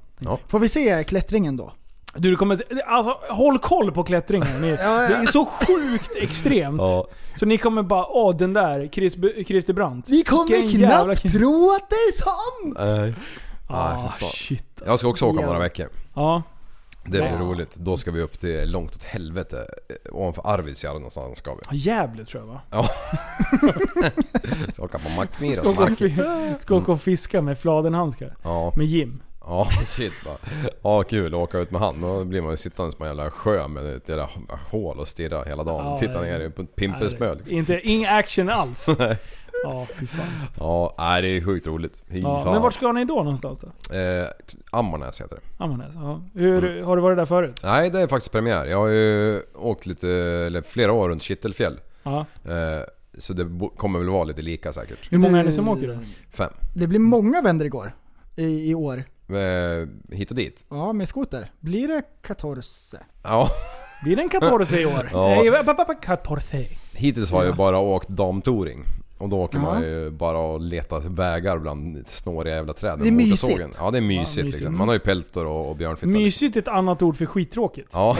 B: Får vi se klättringen då?
A: Du, det kommer, alltså, håll koll på klättringen. Ni, Det är så sjukt extremt.
F: ja.
A: Så ni kommer bara, åh den där, Chris, Christer Brandt.
B: Vi kommer
A: Vilken jävla
B: knappt
A: kille.
B: tro att det är sant!
F: Nej.
A: Ah,
F: Ah, fy fan.
A: shit.
F: Jag ska också åka om
B: Ja.
F: några veckor.
A: Ja.
F: Det blir roligt. Då ska vi upp till långt åt helvete. eh, Ovanför Arvidsjaur någonstans ska vi.
A: Ja, Gävle tror jag va?
F: Ska åka på
A: Ska
F: Mackmyra.
A: åka, och
F: Mack.
A: fi- ska åka och fiska med fladenhandskar.
F: Ja,
A: Med Jim.
F: ja shit va. Ja kul att åka ut med han. Då blir man ju sittandes på en jävla sjö med ett jävla hål och stirra hela dagen.
A: Ja,
F: Titta
A: det-
F: ner på ett pimpelspö
A: Nej,
F: liksom.
A: Inte, ingen action alls. Ja, fy fan.
F: Ja, nej, det är sjukt roligt. Fy
A: Ja,
F: fan.
A: men vart ska ni då någonstans då?
F: Eh, Ammarnäs heter det.
A: Ammarnäs? Ja. Hur,
F: Mm.
A: Har du varit där förut?
F: Nej, det är faktiskt premiär. Jag har ju åkt lite, eller flera år runt Kittelfjäll.
A: Ja.
F: Eh, så det bo- kommer väl vara lite lika säkert.
A: Hur många är ni
B: Det-
A: som åker då?
F: Fem.
B: Det blir många vändor igår. I, I år.
F: Eh, hit och dit.
B: Ja, med skoter. Blir det 14?
F: Ja,
A: Blir det en 14 i år?
F: Ja.
A: Nej, va- va- va- 14.
F: hittills har jag bara åkt damtouring. Och då åker
B: Ja.
F: man ju bara och letar vägar bland snåriga jävla träd.
B: Det är
F: med
B: mysigt.
F: motorsågen. Ja, det är mysigt,
A: Ja, mysigt.
F: liksom. Man har ju peltor och, och björnfitta.
A: Mysigt är ett annat ord för skittråkigt.
F: Ja.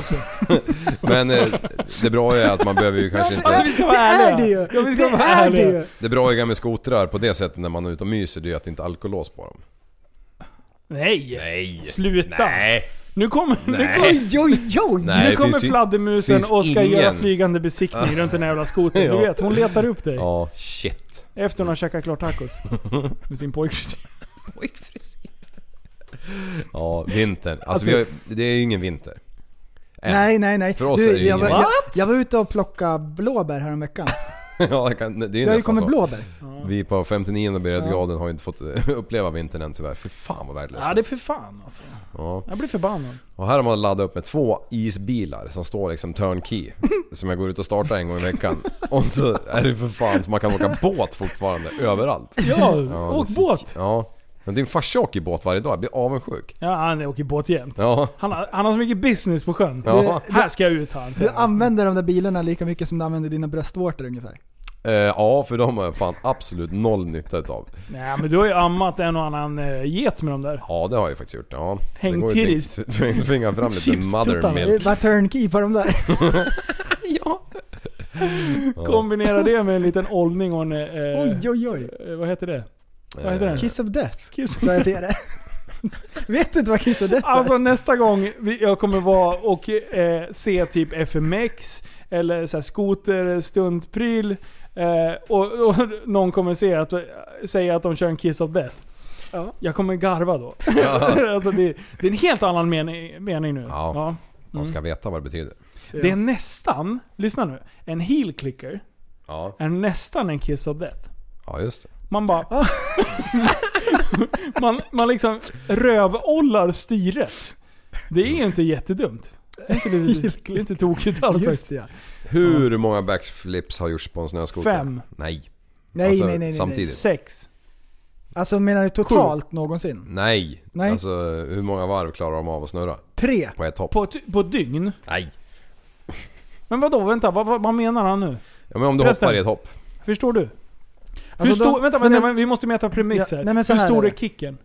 F: Men eh, det bra är att man behöver ju kanske
A: Alltså
F: inte...
A: vi ska
B: Det
A: vara
B: är det
A: ärliga.
B: ju!
A: Ja, vi ska
B: Det
A: vara
B: är det
A: ärliga.
B: ju!
F: Det bra är med skotrar på det sättet när man är ute och myser, det är ju att det inte är alkolås på dem.
A: Nej.
F: Nej!
A: Sluta.
F: Nej!
A: Nu kommer... Nu
F: Nej.
A: kommer
B: Oj, oj, oj!
F: Nej,
A: nu
F: det
A: kommer
F: finns ju-
A: fladdermusen
F: finns
A: och ska
F: ingen.
A: göra flygande besiktning runt den här jävla skotern.
F: Ja.
A: Du vet, hon letar upp dig.
F: Ja, shit.
A: Efter hon har käkat klart tacos. Med sin pojkfrisyr.
F: Ja, vintern. Alltså,
A: Alltså-
F: vi har, ju- det är ju ingen vinter. Än.
B: Nej, nej, nej.
F: För oss är det ju
B: jag, var,
F: ingen-
B: jag, jag var ute och plockade blåbär häromveckan.
F: ja, det, kan, det är ju
B: Det har ju
F: nästan
B: kommit
F: så.
B: blåbär.
F: Vi på 59 breddgraden
B: Ja.
F: graden har ju inte fått eh, uppleva vintern än tyvärr. Fy fan vad värdelöst.
A: Ja, det är för fan alltså.
F: Ja.
A: Jag blir förbannad.
F: Och här har man laddat upp med två isbilar som står liksom turnkey. som jag går ut och startar en gång i veckan. och så är det för fan så man kan åka båt fortfarande överallt.
A: Ja,
F: Ja,
A: åk
F: det är så-
A: båt!
F: Ja. Men din farsa åker ju båt varje dag, jag blir avundsjuk.
A: Ja, han åker båt jämt.
F: Ja.
A: Han, har- han har så mycket business på sjön.
F: Ja.
A: Här ska jag ut sa han.
B: Du använder de där bilarna lika mycket som du använder dina bröstvårtor ungefär.
F: Eh, ja, för de har jag fan absolut noll nytta utav.
A: Nej men du har ju ammat en och annan eh, get med de där.
F: Ja, det har jag ju faktiskt gjort. Ja.
A: Häng
F: Det går ju
A: titties.
F: att tving- Tvinga fram lite
A: Chips-tuttarna.
F: mother
B: Det
F: milk.
B: är bara turnkey på de där.
A: Kombinera det med en liten ollning och en... Eh,
B: Oj, oj, oj.
A: eh, vad heter det? Vad heter
F: Eh,
A: den?
B: Kiss of death,
A: Kiss.
B: sa jag till er. Vet du inte vad kiss of death är?
A: Alltså nästa gång vi, jag kommer vara och eh, se typ FMX, eller så här skoter, stuntpryl. Eh, och, och någon kommer se att, säga att de kör en Kiss of Death.
B: Ja.
A: Jag kommer garva då. alltså det, det är en helt annan mening, mening nu.
F: Ja. Eh, Man
A: Mm.
F: ska veta vad det betyder.
A: Det är nästan, lyssna nu, en heel clicker
F: Ja,
A: är nästan en Kiss of Death.
F: ja just det.
A: Man bara... man, man liksom rövollar styret. Det är ju inte jättedumt. Det är inte, lite, det är inte tokigt alls
B: Just
A: faktiskt.
B: ja.
F: Hur många backflips har gjorts på en snöskoter?
A: Fem.
F: Nej.
B: Nej,
F: Alltså,
B: nej, nej, nej, nej.
F: samtidigt.
A: Sex.
B: Alltså menar du totalt någonsin?
F: Nej.
B: Nej.
F: Alltså hur många varv klarar de av att snurra?
B: Tre.
F: På ett hopp?
A: På ett, på ett dygn?
F: Nej.
A: Men vadå, vänta, vad, vad, vad menar han nu?
F: Ja, men om du
A: Förresten.
F: hoppar i ett hopp.
A: Förstår du? Hur
B: Alltså, de-
A: stor, vänta,
B: nej,
A: vänta,
B: men-
A: vi måste mäta premisser.
B: Ja, nej, men så
A: Hur
B: här
A: stor
B: är
A: är,
B: det.
A: kicken?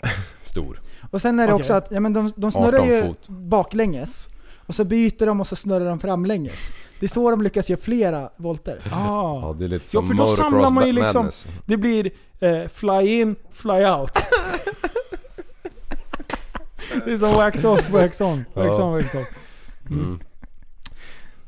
F: Stor.
B: Och sen är det
A: Okej.
B: också att ja, men de, de snurrar ju
F: 18 fot.
B: baklänges. Och så byter de och så snurrar de framlänges. Det är så de lyckas göra flera volter.
A: Ah.
F: Ja, det är lite
A: Ja,
F: som
A: för då samlar
F: motocross
A: man ju liksom...
F: madness.
A: Det blir eh, fly in, fly out. det är som wax off, wax on. Wax
F: Ja.
A: on, wax off.
F: Mm.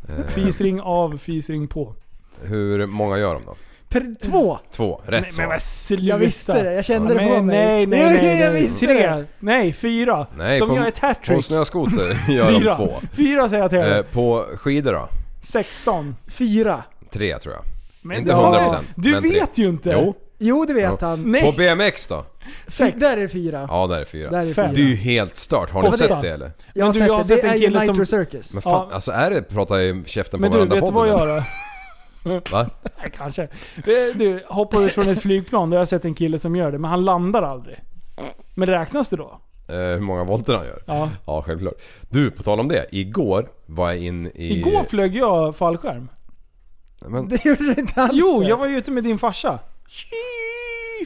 F: Eh.
A: Fisring av, fisring på.
F: Hur många gör de då?
B: Tre, två!
F: Två.
A: nej,
F: Rätt
A: men
F: svar.
A: vad sluta.
B: Jag visste det, jag kände
A: Ja,
B: det på
A: men, nej,
B: mig.
A: nej,
B: Jag-
A: nej,
B: jag
A: nej.
B: visste det.
A: Tre. Nej, fyra.
F: Nej,
A: De
F: på-
A: gör ett
F: På
A: hattrick.
F: snöskoter gör de
A: Fyra.
F: två.
A: Fyra säger jag till
F: Eh,
A: er.
F: på skidor då?
A: 16.
B: Fyra.
F: Tre tror jag.
A: Men
F: Inte
A: du-
F: 100%,
A: Du
F: men tre.
A: vet ju inte.
F: Jo.
B: Jo, det vet
F: Ja.
B: han.
A: Nej.
F: På BMX då?
A: Sex.
B: Där är fyra.
F: Ja, där är fyra.
B: Där
A: Fem.
B: är fyra.
F: Det är ju helt stört. Har ni
A: Åtta.
F: sett det eller?
B: Jag har
A: Men du,
B: sett
A: jag har
B: det.
A: sett
B: det
A: en
B: är ju
A: kille
B: Nitro
A: som-
B: Circus.
F: Men fan,
A: Ja.
F: alltså är det prata i käften
A: Men
F: på
A: du,
F: varandra
A: vet du vad jag
F: eller?
A: gör då?
F: Va?
A: Nej, kanske. Eh, Du, hoppar ut från ett flygplan, då har jag sett en kille som gör det, men han landar aldrig. Men räknas det då?
F: Eh, hur många volter han gör?
A: Ja.
F: Ja, självklart. Du, på tal om det. Igår var jag in i...
A: Igår flög jag fallskärm.
F: Men,
B: Det gjorde det inte alls
A: Jo,
B: det.
A: jag var ju ute med din farsa.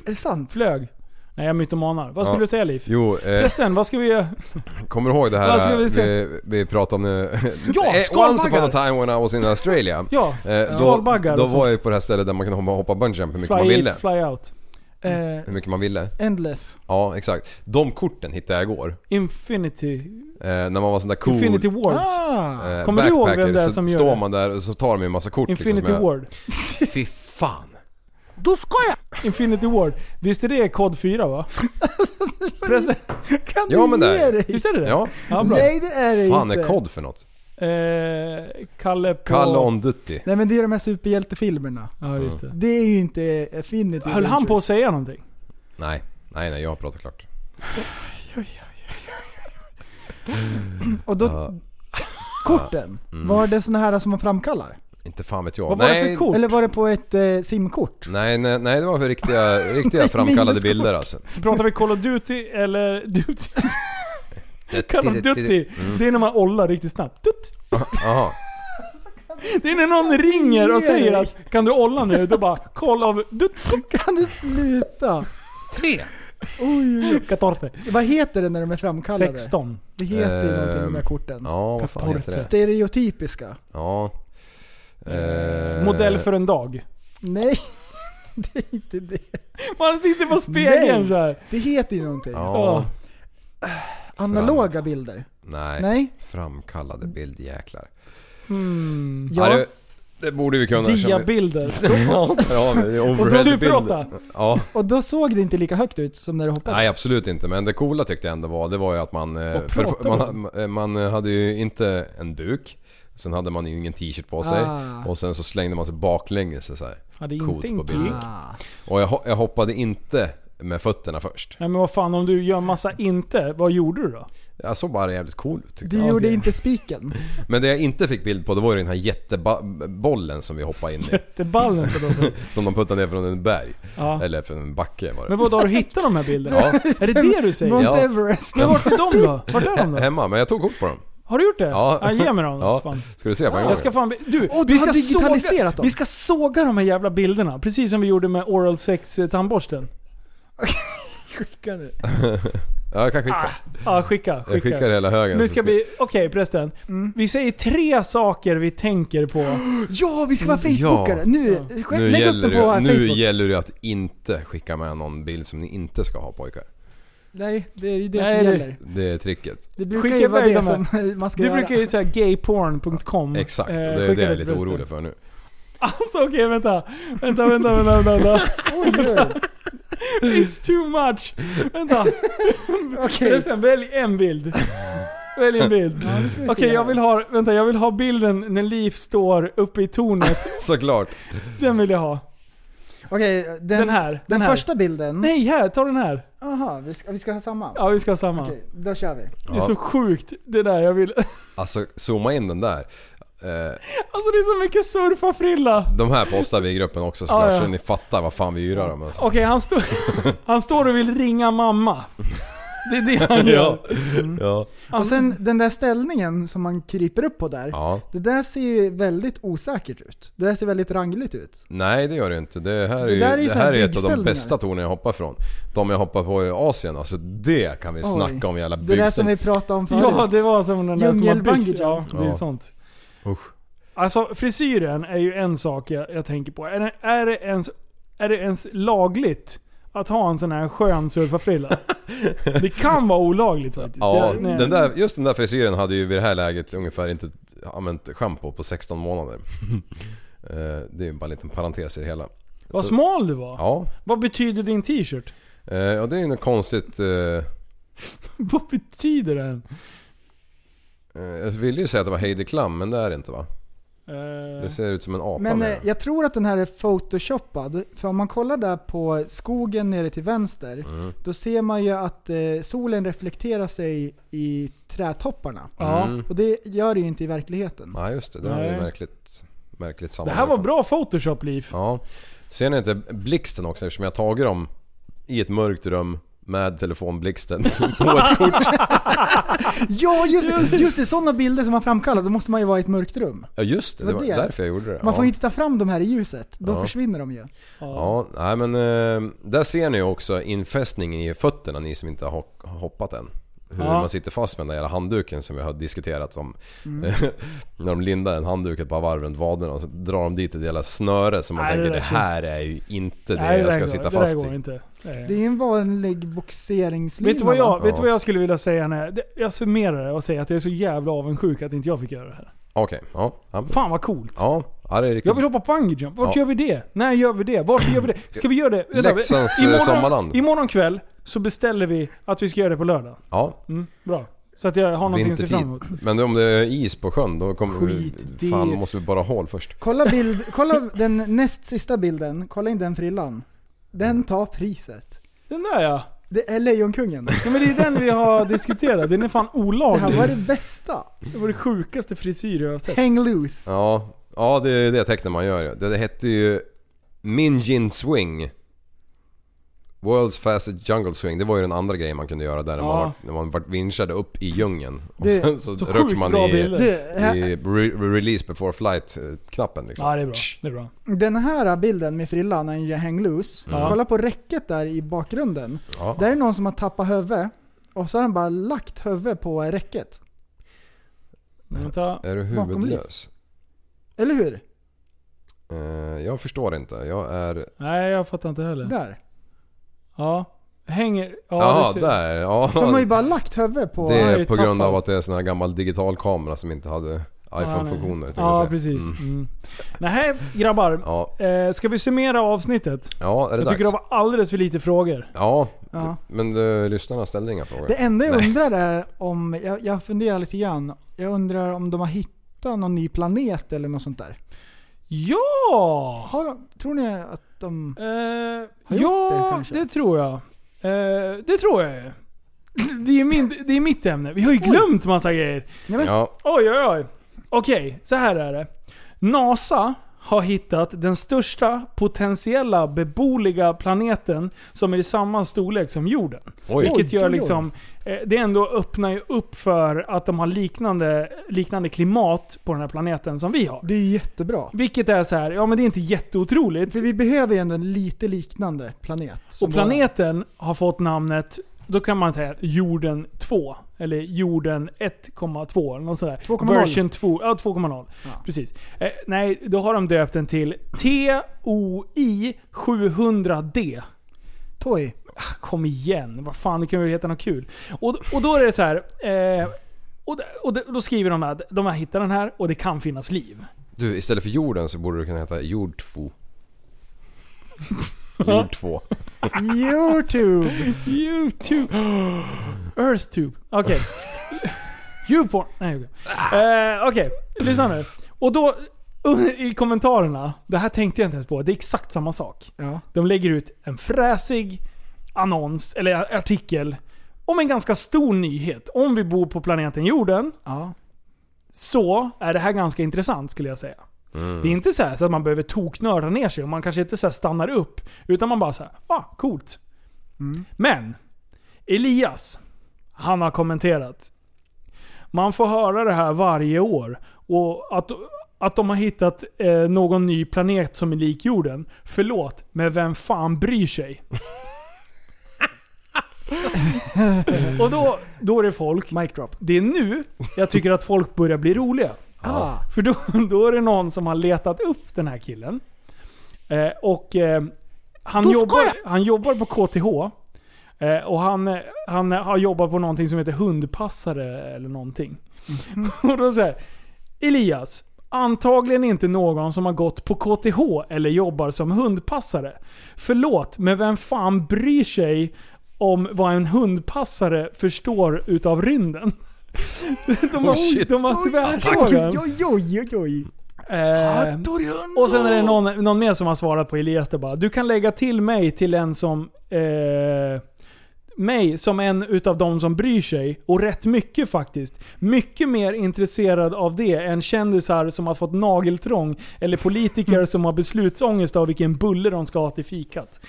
B: Är det sant?
A: Flög. Nej, jag mytomanar. Vad skulle
F: Ja.
A: du säga Liv?
F: jo, eh,
A: Förresten, vad ska vi göra?
F: kommer du ihåg det
A: Vad ska
F: här
A: vi
F: vi,
A: se?
F: vi, pratade om... eh,
A: Ja,
F: eh, Once upon
A: skalbaggar.
F: a time when I was in Australia.
A: Ja,
F: Eh, då,
A: skalbaggar
F: då
A: och sånt.
F: var jag ju på det här stället där man kunde hoppa bungyjump hur mycket man
A: Fly
F: ville.
A: it, fly out. Mm.
B: Eh,
F: Hur mycket man ville.
B: endless.
F: Ja, exakt. De korten hittade jag igår.
A: Infinity...
F: Eh, när man var sån där cool...
A: Infinity Wards.
B: Ah.
F: eh,
A: Kommer du ihåg vem
F: backpacker,
A: det är
F: så
A: som gör
F: står
A: det?
F: man där och så tar de en massa kort
A: Infinity
F: liksom.
A: Ward.
F: Jag, fy fan.
A: Infinity Ward. Visst är det kod 4 va? Förresten,
B: Kan
F: Ja,
B: du
F: men
B: ge
F: där.
B: dig?
A: Visst är det det?
F: Ja.
A: ja bra.
B: Nej det är det
F: Fan
B: inte.
F: är kod för något?
A: Eh, Kalle på...
F: Call on duty.
B: Nej men det är de här superhjältefilmerna.
A: Ja, just det.
B: Det är ju inte eh, Affinity
A: Höll han
B: Adventures.
A: på att säga någonting?
F: Nej, nej, nej jag har pratat klart.
B: Och då...
F: Ja. Mm.
B: Korten? Var det såna här som man framkallar?
F: Inte fan vet jag.
A: Vad var
F: nej,
A: det för kort?
B: Eller var det på ett eh, simkort?
F: Nej, nej, nej, det var för riktiga, riktiga
B: Nej,
F: framkallade
B: minneskort.
F: bilder alltså.
A: Så pratar vi Call of Duty eller... Duty? Call of Duty.
F: mm.
A: Det är när man ollar riktigt snabbt. Dutt.
F: Jaha.
A: Det är när någon ringer och säger att kan du olla nu? Då bara Call of Duty.
B: Kan du sluta? Oj, oj, oj.
A: 14.
B: Vad heter det när de är framkallade?
A: 16.
B: Det heter ju någonting med de här
F: Ehm,
B: korten.
F: Ja, vad fan heter det?
B: Stereotypiska.
F: Ja. Eh,
A: Modell för en dag.
B: Nej, det är inte det.
A: Man sitter på spegeln
B: Nej.
A: såhär.
B: Det heter ju någonting.
F: Ja.
A: Ja.
B: Analoga bilder.
F: Nej.
B: Nej.
F: Framkallade bild, jäklar.
A: Mm.
F: Ja.
B: Ja.
F: det, det borde vi kunna. eftersom vi-
A: Diabilder.
F: ja, men det är overhead
A: Super
F: bild.
A: 8.
F: Ja.
B: Och då såg det inte lika högt ut som när du hoppade.
F: Nej absolut inte, men det coola tyckte jag ändå var, det var ju att man... eh,
A: Och
F: För,
A: prata
F: man, eh, man hade ju inte en duk, sen hade man ju ingen t-shirt på sig
B: Ah.
F: och sen så slängde man sig baklänges så här.
A: Hade
F: Coolt på
A: inte en
F: bild.
A: kuk.
B: Ah.
F: Och jag, ho- jag hoppade inte med fötterna först.
A: Nej men vad fan om du gör massa inte, vad gjorde du då?
F: Jag såg bara jävligt cool ut tyckte
B: Du
F: jag.
B: gjorde
A: okej.
B: inte spiken.
F: Men det jag inte fick bild på det var ju den här jättebollen som vi hoppade in i.
A: Det är ballen som då.
F: Som de puttade ner från en berg.
A: Ja.
F: Eller från en backe var
A: Men
F: det.
A: vad har du hittat de här bilderna?
F: Ja,
A: Är det det du säger?
B: Mount
F: Ja.
B: Everest.
A: Men vart är de då? Vart är de då?
F: hemma. Men jag tog kort på dem.
A: Har du gjort det?
F: Ja.
A: ge mig dem
F: Ja.
A: fan.
F: Ska du se på en gång?
A: Jag ska fan... Du,
B: Åh, du
A: vi,
B: har
A: ska såga,
B: digitaliserat dem.
A: vi ska såga de här jävla bilderna. Precis som vi gjorde med oral sex eh, tandborsten.
F: Ja, jag kan skicka.
A: Ja, skicka.
F: jag
A: Ah, skicka.
F: skickar hela högen.
A: nu
F: så
A: ska vi... Okej prästen.
F: Mm.
A: Vi säger tre saker vi tänker på.
B: Ja, vi ska vara facebookare! Nu, själv,
F: Nu
B: lägg upp
F: gäller,
B: det på
F: det,
B: Facebook.
F: nu gäller det att inte skicka med någon bild som ni inte ska ha pojkar.
B: Nej, det är ju det
A: Nej,
B: som
A: det-
B: gäller.
F: Det är tricket.
B: Det brukar
A: Skicka
B: ju vara
A: iväg
B: det
A: de här.
B: som man ska
A: Du
B: göra.
A: brukar ju säga gayporn.com.
B: Mm.
F: Exakt, och
A: Eh,
F: det är
A: skicka
F: det jag är
A: till
F: lite
A: prästen.
F: orolig för nu.
A: Alltså okej, vänta. Vänta, vänta, vänta, vänta. vänta.
B: Oj, oj.
A: It's too much. Vänta.
B: Okej.
A: Förresten, välj en bild. Välj en bild.
B: ska vi
A: Okej,
B: se
A: jag
B: här.
A: vill ha, vänta, jag vill ha bilden när Liv står uppe i tornet.
F: Såklart.
A: Den vill jag ha.
B: Okej, den,
A: Den här. Den,
B: den
A: här.
B: första bilden.
A: Nej, här. Ta den här.
B: Jaha, vi ska, vi ska ha samma?
A: Ja, vi ska ha samma.
B: Okej, då kör vi.
A: Det är så sjukt det där jag vill.
F: Alltså zooma in den där. Eh,
A: Alltså det är så mycket surfarfrilla.
F: de här postar vi i gruppen också såklart,
B: Ah,
A: Ja, ja.
F: så ni fattar vad fan vi yrar om alltså.
A: Okej, han, står han står och vill ringa mamma. Det är det han gör.
B: Mm.
F: ja.
B: Och sen den där ställningen som man kryper upp på där.
F: Ja.
B: Det där ser ju väldigt osäkert ut. Det där ser väldigt rangligt ut.
F: Nej det gör det inte. Det här är,
B: Det
F: ju,
B: där är ju
F: det
B: så här
F: här är ett av de
B: byggställningar.
F: bästa tornen jag hoppar från. De jag hoppar på i Asien alltså, det kan vi
B: Oj.
F: snacka om jävla
B: Det där som vi
F: byggställning.
B: pratade om förut.
A: Ja, det var som den där som har
B: Djungel-bungee
A: byxor. Ja, det är
F: Ja.
A: sånt.
F: Usch.
A: Alltså frisyren är ju en sak jag, jag tänker på. Är det, är, det ens, är det ens lagligt att ha en sån här skön surfarfrilla? det kan vara olagligt faktiskt.
F: Ja,
A: Jag- nej.
F: den där, just den där frisyren hade ju vid det här läget ungefär inte använt schampo på 16 månader. Eh, det är ju bara en liten parentes i det hela.
A: Vad
F: så-
A: smal du var.
F: Ja,
A: Vad betyder din t-shirt?
F: eh, och det är ju något konstigt... eh,
A: Vad betyder den?
F: Eh, Jag ville ju säga att det var Heidi Klum, men det är det inte va? Det
A: Eh,
F: ser ut som en apa
B: Men eh,
F: med.
B: jag tror att den här är photoshoppad. För om man kollar där på skogen nere till vänster.
F: Mm.
B: Då ser man ju att eh, solen reflekterar sig i trädtopparna.
F: Mm.
A: ja.
B: Och det gör det ju inte i verkligheten.
F: Nej just det, det här är
A: Nej.
F: ju märkligt, märkligt
A: Det
F: sammanhang.
A: här var bra photoshop-liv.
F: Ja. Ser ni inte blixten också eftersom jag har tagit dem i ett mörkt rum med telefonblixten på ett kort.
B: Ja just det! Just det, sådana bilder som man framkallar, då måste man ju vara i ett mörkt rum.
F: Ja just det,
B: Det
F: det
B: var
F: var
B: det.
F: därför jag gjorde det.
B: Man
F: ja.
B: får ju inte ta fram de här i ljuset, då
F: Ja.
B: försvinner de ju.
F: Ja, nej men eh, där ser ni ju också infästningen i fötterna ni som inte har ho- hoppat än. Hur
A: Ja.
F: man sitter fast med den där jävla handduken som vi har diskuterat om.
A: Mm.
F: När de lindar en handduk ett par varv runt vaderna och så drar de dit ett jävla snöre som man
A: Nej, det
F: tänker
A: där
F: det
A: känns-
F: här är ju inte det
A: Nej, det
F: jag
A: där
F: ska
A: går-
F: sitta
A: det där
F: fast
A: går
F: i.
A: inte. Nej.
B: Det är ju en vanlig boxeringslina.
A: Vet du vad
B: va?
A: jag, vet du
F: Ja.
A: vad jag skulle vilja säga? När, det- jag summerar det och säger att jag är så jävla avundsjuk att inte jag fick göra det här.
F: Okej, ja. Ja,
A: Fan vad coolt.
F: ja, ja det är
A: Jag
F: riktigt.
A: vill hoppa bungee jump. Vart
F: Ja.
A: gör vi det? När gör vi det? Varför gör vi det? Ska vi göra det? Vänta,
F: Leksands, eh, sommarland.
A: Imorgon kväll så beställer vi att vi ska göra det på lördag.
F: Ja,
A: Mm, bra. Så att jag har någonting att se fram emot.
F: vintertid. Men om det är is på sjön då kommer
B: Skit, det-
F: vi... Fan, måste vi bara ha hål först.
B: Kolla, bild, kolla den näst sista bilden, kolla in den frillan.
A: Mm.
B: Den tar priset.
A: Den där ja.
B: Det är Lejonkungen.
A: ja men det är den vi har diskuterat. Den är fan
B: Det här
A: olaglig.
B: var det bästa.
A: Det var det sjukaste frisyr jag har sett.
B: Hang loose.
F: Ja, ja det är det tecknet man gör ju. Det, det hette ju Minjin Swing. World's fastest jungle swing, det var ju den andra grejen man kunde göra där när
A: Ja.
F: man vart- när man vart vinschade upp i djungeln. Och
B: Det-
F: sen så,
A: Så
F: rök
A: sjukt
F: man
A: bra
F: i,
A: bilder.
B: Du,
F: i
B: här,
F: re, release before flight eh, knappen liksom.
A: Ja det är bra. Det är bra.
B: den här bilden med frillan när han gör hang loose.
A: Ja.
B: Kolla på räcket där i bakgrunden.
F: Ja.
B: Där är någon som har tappat huvudet och så har han bara lagt huvudet på räcket.
A: Vänta.
F: Är du
B: bakom
F: huvudlös?
B: Eller hur?
F: Eh, jag förstår inte. Jag är...
A: Nej jag fattar inte heller.
B: Där.
A: Ja. Hänger... Ja,
F: Ja,
A: det ser-
F: där. Ja.
B: De har ju bara lagt huvudet på...
F: Det
A: har
F: är
A: ju
F: på grund
A: tappat.
F: av att det är sån här gammal digital kamera som inte hade iPhone-funktioner. tänkte jag
A: Ja
F: säga.
A: precis.
F: Mm.
A: Mm. Nej grabbar.
F: Ja.
A: Eh, ska vi summera avsnittet?
F: ja, är det
A: Jag tycker det
F: dags?
A: var alldeles för lite frågor.
F: Ja,
B: Ja.
F: men eh, lyssnarna ställde inga frågor.
B: Det enda jag undrar är om, jag, jag funderar lite grann, jag undrar om de har hittat någon ny planet eller något sånt där.
A: Ja!
B: Har de, tror ni att de...
A: Eh,
B: Har gjort det
A: ja,
B: kanske?
A: det, tror jag. Eh, det tror jag ju. Det är, min, det är mitt ämne. Vi har ju glömt massa grejer.
F: Ja,
A: Oj, oj, oj. Okej, så här är det. NASA har hittat den största potentiella beboliga planeten som är i samma storlek som jorden.
F: oj.
A: Vilket
B: oj,
A: gör
B: oj.
A: liksom, eh, det ändå öppnar ju upp för att de har liknande, liknande klimat på den här planeten som vi har.
B: Det är ju jättebra.
A: Vilket är så här, ja men det är inte jätteotroligt.
B: För vi behöver ju ändå en lite liknande planet. som
A: Och planeten har fått namnet, då kan man säga jorden 2. Eller jorden 1,2 eller något sådär.
B: 2,0.
A: Version 2. Ja, 2,0. Precis. Eh, nej, då har de döpt den till TOI 700D.
B: vår Toy.
A: Kom igen, vad fan, det kan ju heta något kul. Och, och då är det så här. Eh, och, och då skriver de att de har hittat den här och det kan finnas liv.
F: Du, istället för jorden så borde du kunna heta jord 2. Jord 2.
B: Youtube!
A: YouTube. Earthtube. Okej. Youporn. Nej, okej. Eh, Okej, lyssna nu. Och då i kommentarerna, det här tänkte jag inte ens på, det är exakt samma sak.
B: Ja.
A: De lägger ut en fräsig annons, eller artikel, om en ganska stor nyhet. Om vi bor på planeten jorden
B: ja.
A: så är det här ganska intressant skulle jag säga. Det är inte så, här så att man behöver toknörda ner sig och man kanske inte så här stannar upp. Utan man bara så här, ah, coolt. Men, Elias, han har kommenterat. Man får höra det här varje år. Och att, att de har hittat eh, någon ny planet som är lik jorden. Förlåt, men vem fan bryr sig? och då, då är det folk.
B: Mic drop.
A: Det är nu jag tycker att folk börjar bli roliga.
B: Ah.
A: För då, då är det någon som har letat upp den här killen. Eh, och eh, han, jobbar, han jobbar på KTH. Eh, och han, eh, han har jobbat på någonting som heter hundpassare eller någonting.
B: Mhm.
A: och då säger Elias, antagligen inte någon som har gått på KTH eller jobbar som hundpassare. Förlåt, men vem fan bryr sig om vad en hundpassare förstår utav rymden? De har, de har tvärfrågan.
B: Oh, Oj, oj, oj, oj, oj.
A: Eh, och sen är det någon, någon mer som har svarat på Elias det bara. Du kan lägga till mig till en som... Eh, mig som en utav de som bryr sig. Och rätt mycket faktiskt. Mycket mer intresserad av det än kändisar som har fått nageltrång. Eller politiker som har beslutsångest av vilken bulle de ska ha till fikat.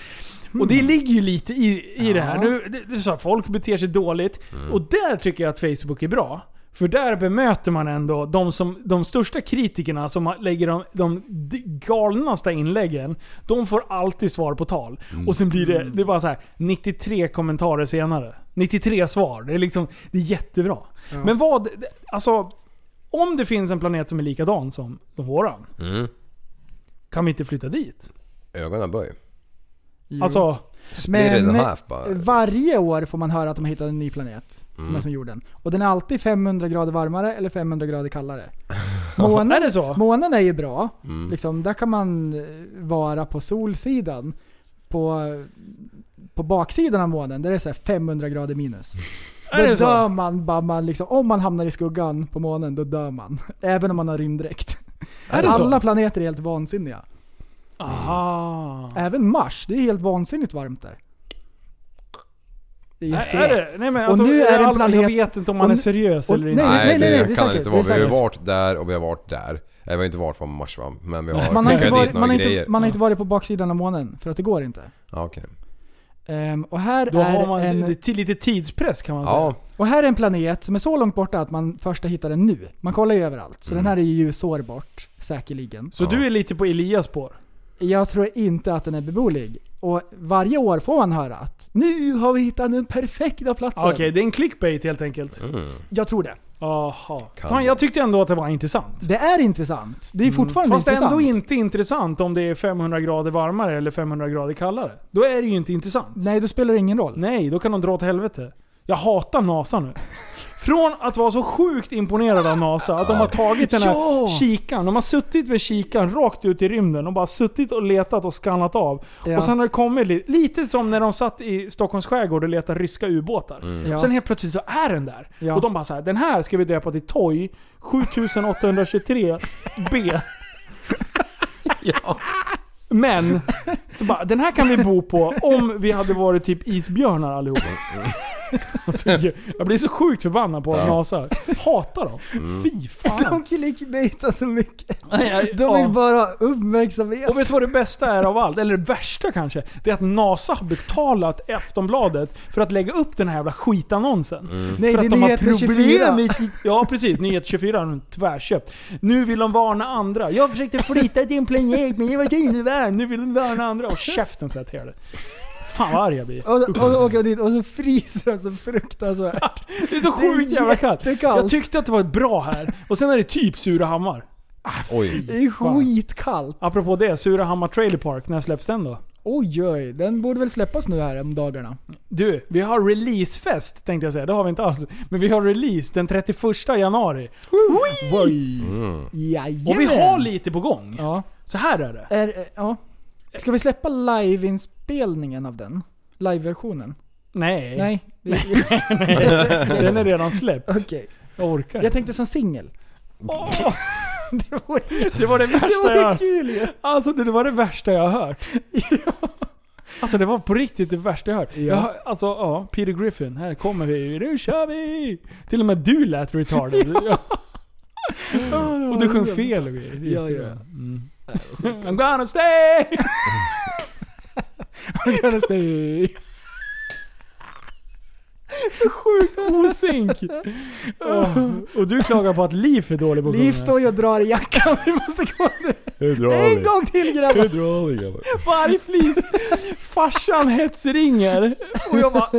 A: Och det ligger ju lite i, i det här. Nu, det, det, är så här, folk beter sig dåligt. Och där tycker jag att Facebook är bra. För där bemöter man ändå de, som, de största kritikerna som har- lägger de, de d- galnaste inläggen. De får alltid svar på tal. Och sen blir det, det är bara så här 93 kommentarer senare. 93 svar. Det är liksom, det är jättebra. Men vad, alltså. Om det finns en planet som är likadan som, som våran.
F: Mm.
A: Kan vi inte flytta dit?
F: Ögonen böj.
A: Alltså,
F: Split it in half bara. Mm.
B: varje år får man höra att de har hittat en ny planet. Som är som jorden. Och den är alltid 500 grader varmare eller 500 grader kallare. Månen,
A: är det så?
B: månen är ju bra.
F: Mm.
B: Liksom, där kan man eh, vara på solsidan. På, på baksidan av månen, där det är så här 500 grader minus. Då
A: är det så?
B: dör man, bara man liksom, om man hamnar i skuggan på månen, då dör man. Även om man har rymddräkt.
A: Är det så?
B: Alla planeter är helt vansinniga.
A: Aha.
B: Även Mars, det är helt vansinnigt varmt där. Det är
A: Nej,
B: jättebra.
A: är det? Nej, men alltså,
B: nu är det en planet-
A: Jag vet inte om man
B: och
A: är
B: nu-
A: seriös
B: och-
A: eller inte.
B: nej,
F: Nej,
B: nej,
F: det
B: det är
F: kan
B: säkert,
F: inte
B: det
F: vara.
B: är
F: Vi har ju
B: säkert.
F: varit där och vi har varit där. Nej, vi har inte varit på Mars va? Men vi har
A: Man
B: Man har, inte
F: skickat
B: varit,
F: dit några
B: man, har inte,
F: grejer.
B: man har inte varit på baksidan av månen, för att det går inte.
F: Ja, okej.
B: Ehm, och, här
A: Då har
B: är
A: man
B: en,
A: till lite tidspress kan man
F: Ja,
A: säga.
B: och här är en planet som är så långt borta att man först har hittat den nu. Man kollar ju överallt,
F: Mm.
B: så den här är ju ljusår bort, säkerligen.
A: Så
F: Ja.
A: du är lite på Elias spår?
B: Jag tror inte att den är beboelig. Och varje år får man höra att nu har vi hittat den perfekta platsen.
A: Okej, det är en clickbait helt enkelt.
B: Jag tror det.
A: Jaha.
F: Kan
A: Fan, jag tyckte ändå att det var intressant.
B: Det är intressant. Det är fortfarande
A: Mm. Fast
B: intressant.
A: ändå inte intressant om det är 500 grader varmare eller 500 grader kallare. Då är det ju inte intressant.
B: Nej, då spelar det ingen roll.
A: Nej, då kan de dra åt helvete. Jag hatar NASA nu. Från att vara så sjukt imponerad av NASA, att de har tagit den här
B: Ja!
A: kikan. De har suttit med kikan rakt ut i rymden och bara suttit och letat och skannat av.
B: Ja.
A: Och sen har det kommit lite, lite som när de satt i Stockholms skärgård och letade ryska ubåtar.
B: Ja.
A: Sen helt plötsligt så är den där.
B: Ja.
A: Och de bara så här, den här ska vi döpa till TOJ 7823B. Men, så bara, den här kan vi bo på om vi hade varit typ isbjörnar allihopa. Alltså, jag- jag blir så sjukt förbannad på NASA. Hatar dem. Fy fan.
B: De clickbaitar så mycket. De vill
A: Ja.
B: bara ha uppmärksamhet.
A: Och vet du vad det bästa är av allt? Eller det värsta kanske? Det är att NASA har betalat Aftonbladet för att lägga upp den här jävla skitannonsen.
B: Nej,
A: för
B: det
A: att
B: är
A: de har
B: nyheter 24
A: profilerat.
B: musik.
A: Ja precis, Nyheter 24 har de tvärköpt. Nu vill de varna andra. Jag försökte flytta till en planet men jag var tyvärr. Nu vill de varna andra. Och käften så här till det. Fan vad arg jag blir.
B: Och, och, och, åker de dit och så fryser de så fruktansvärt.
A: Det är så sjukt jävla kallt.
B: jättekallt.
A: Jag tyckte att det var ett bra här. Och sen är det typ Surahammar.
F: oj.
B: Det är
A: Fan.
B: skitkallt.
A: Apropå det, Surahammar Trailer Park. När släpps den då?
B: Oj oj, den borde väl släppas nu här om dagarna.
A: Du, vi har releasefest tänkte jag säga. Det har vi inte alls. Men vi har release den 31 januari.
B: Oj.
A: Och
B: Jajamän.
A: vi har lite på gång.
B: Ja.
A: Så här är det.
B: Är, eh, ja. Ska vi släppa liveinspelningen av den? Liveversionen?
A: Nej,
B: Nej. Det-
A: den är redan släppt.
B: Okej.
A: Jag orkar
B: Jag
A: inte.
B: tänkte som singel.
A: Åh,
B: Det vore,
A: det var det värsta
B: det
A: jag
B: vore
A: hört.
B: kul ju.
A: Alltså det var det värsta jag har hört. Alltså det var på riktigt det värsta jag hört.
B: Ja.
A: Jag hör, alltså ja, Peter Griffin. Här kommer vi. Nu kör vi! Till och med du lät retarded. Ja. Och du sjöng fel och grejer. Det är
B: Ja,
A: jättebra.
B: ja.
A: Mm. I'm gonna stay! I'm gonna stay! Så sjukt osynk! Och du klagar på att Liv är dålig på att
B: Liv
A: sjunga.
B: står ju och drar i jackan, vi måste gå nu.
F: Hur drar
B: En gång till grabbar!
F: drar vi grabbar.
A: på arg flis. Farsan hetsringer. Och jag bara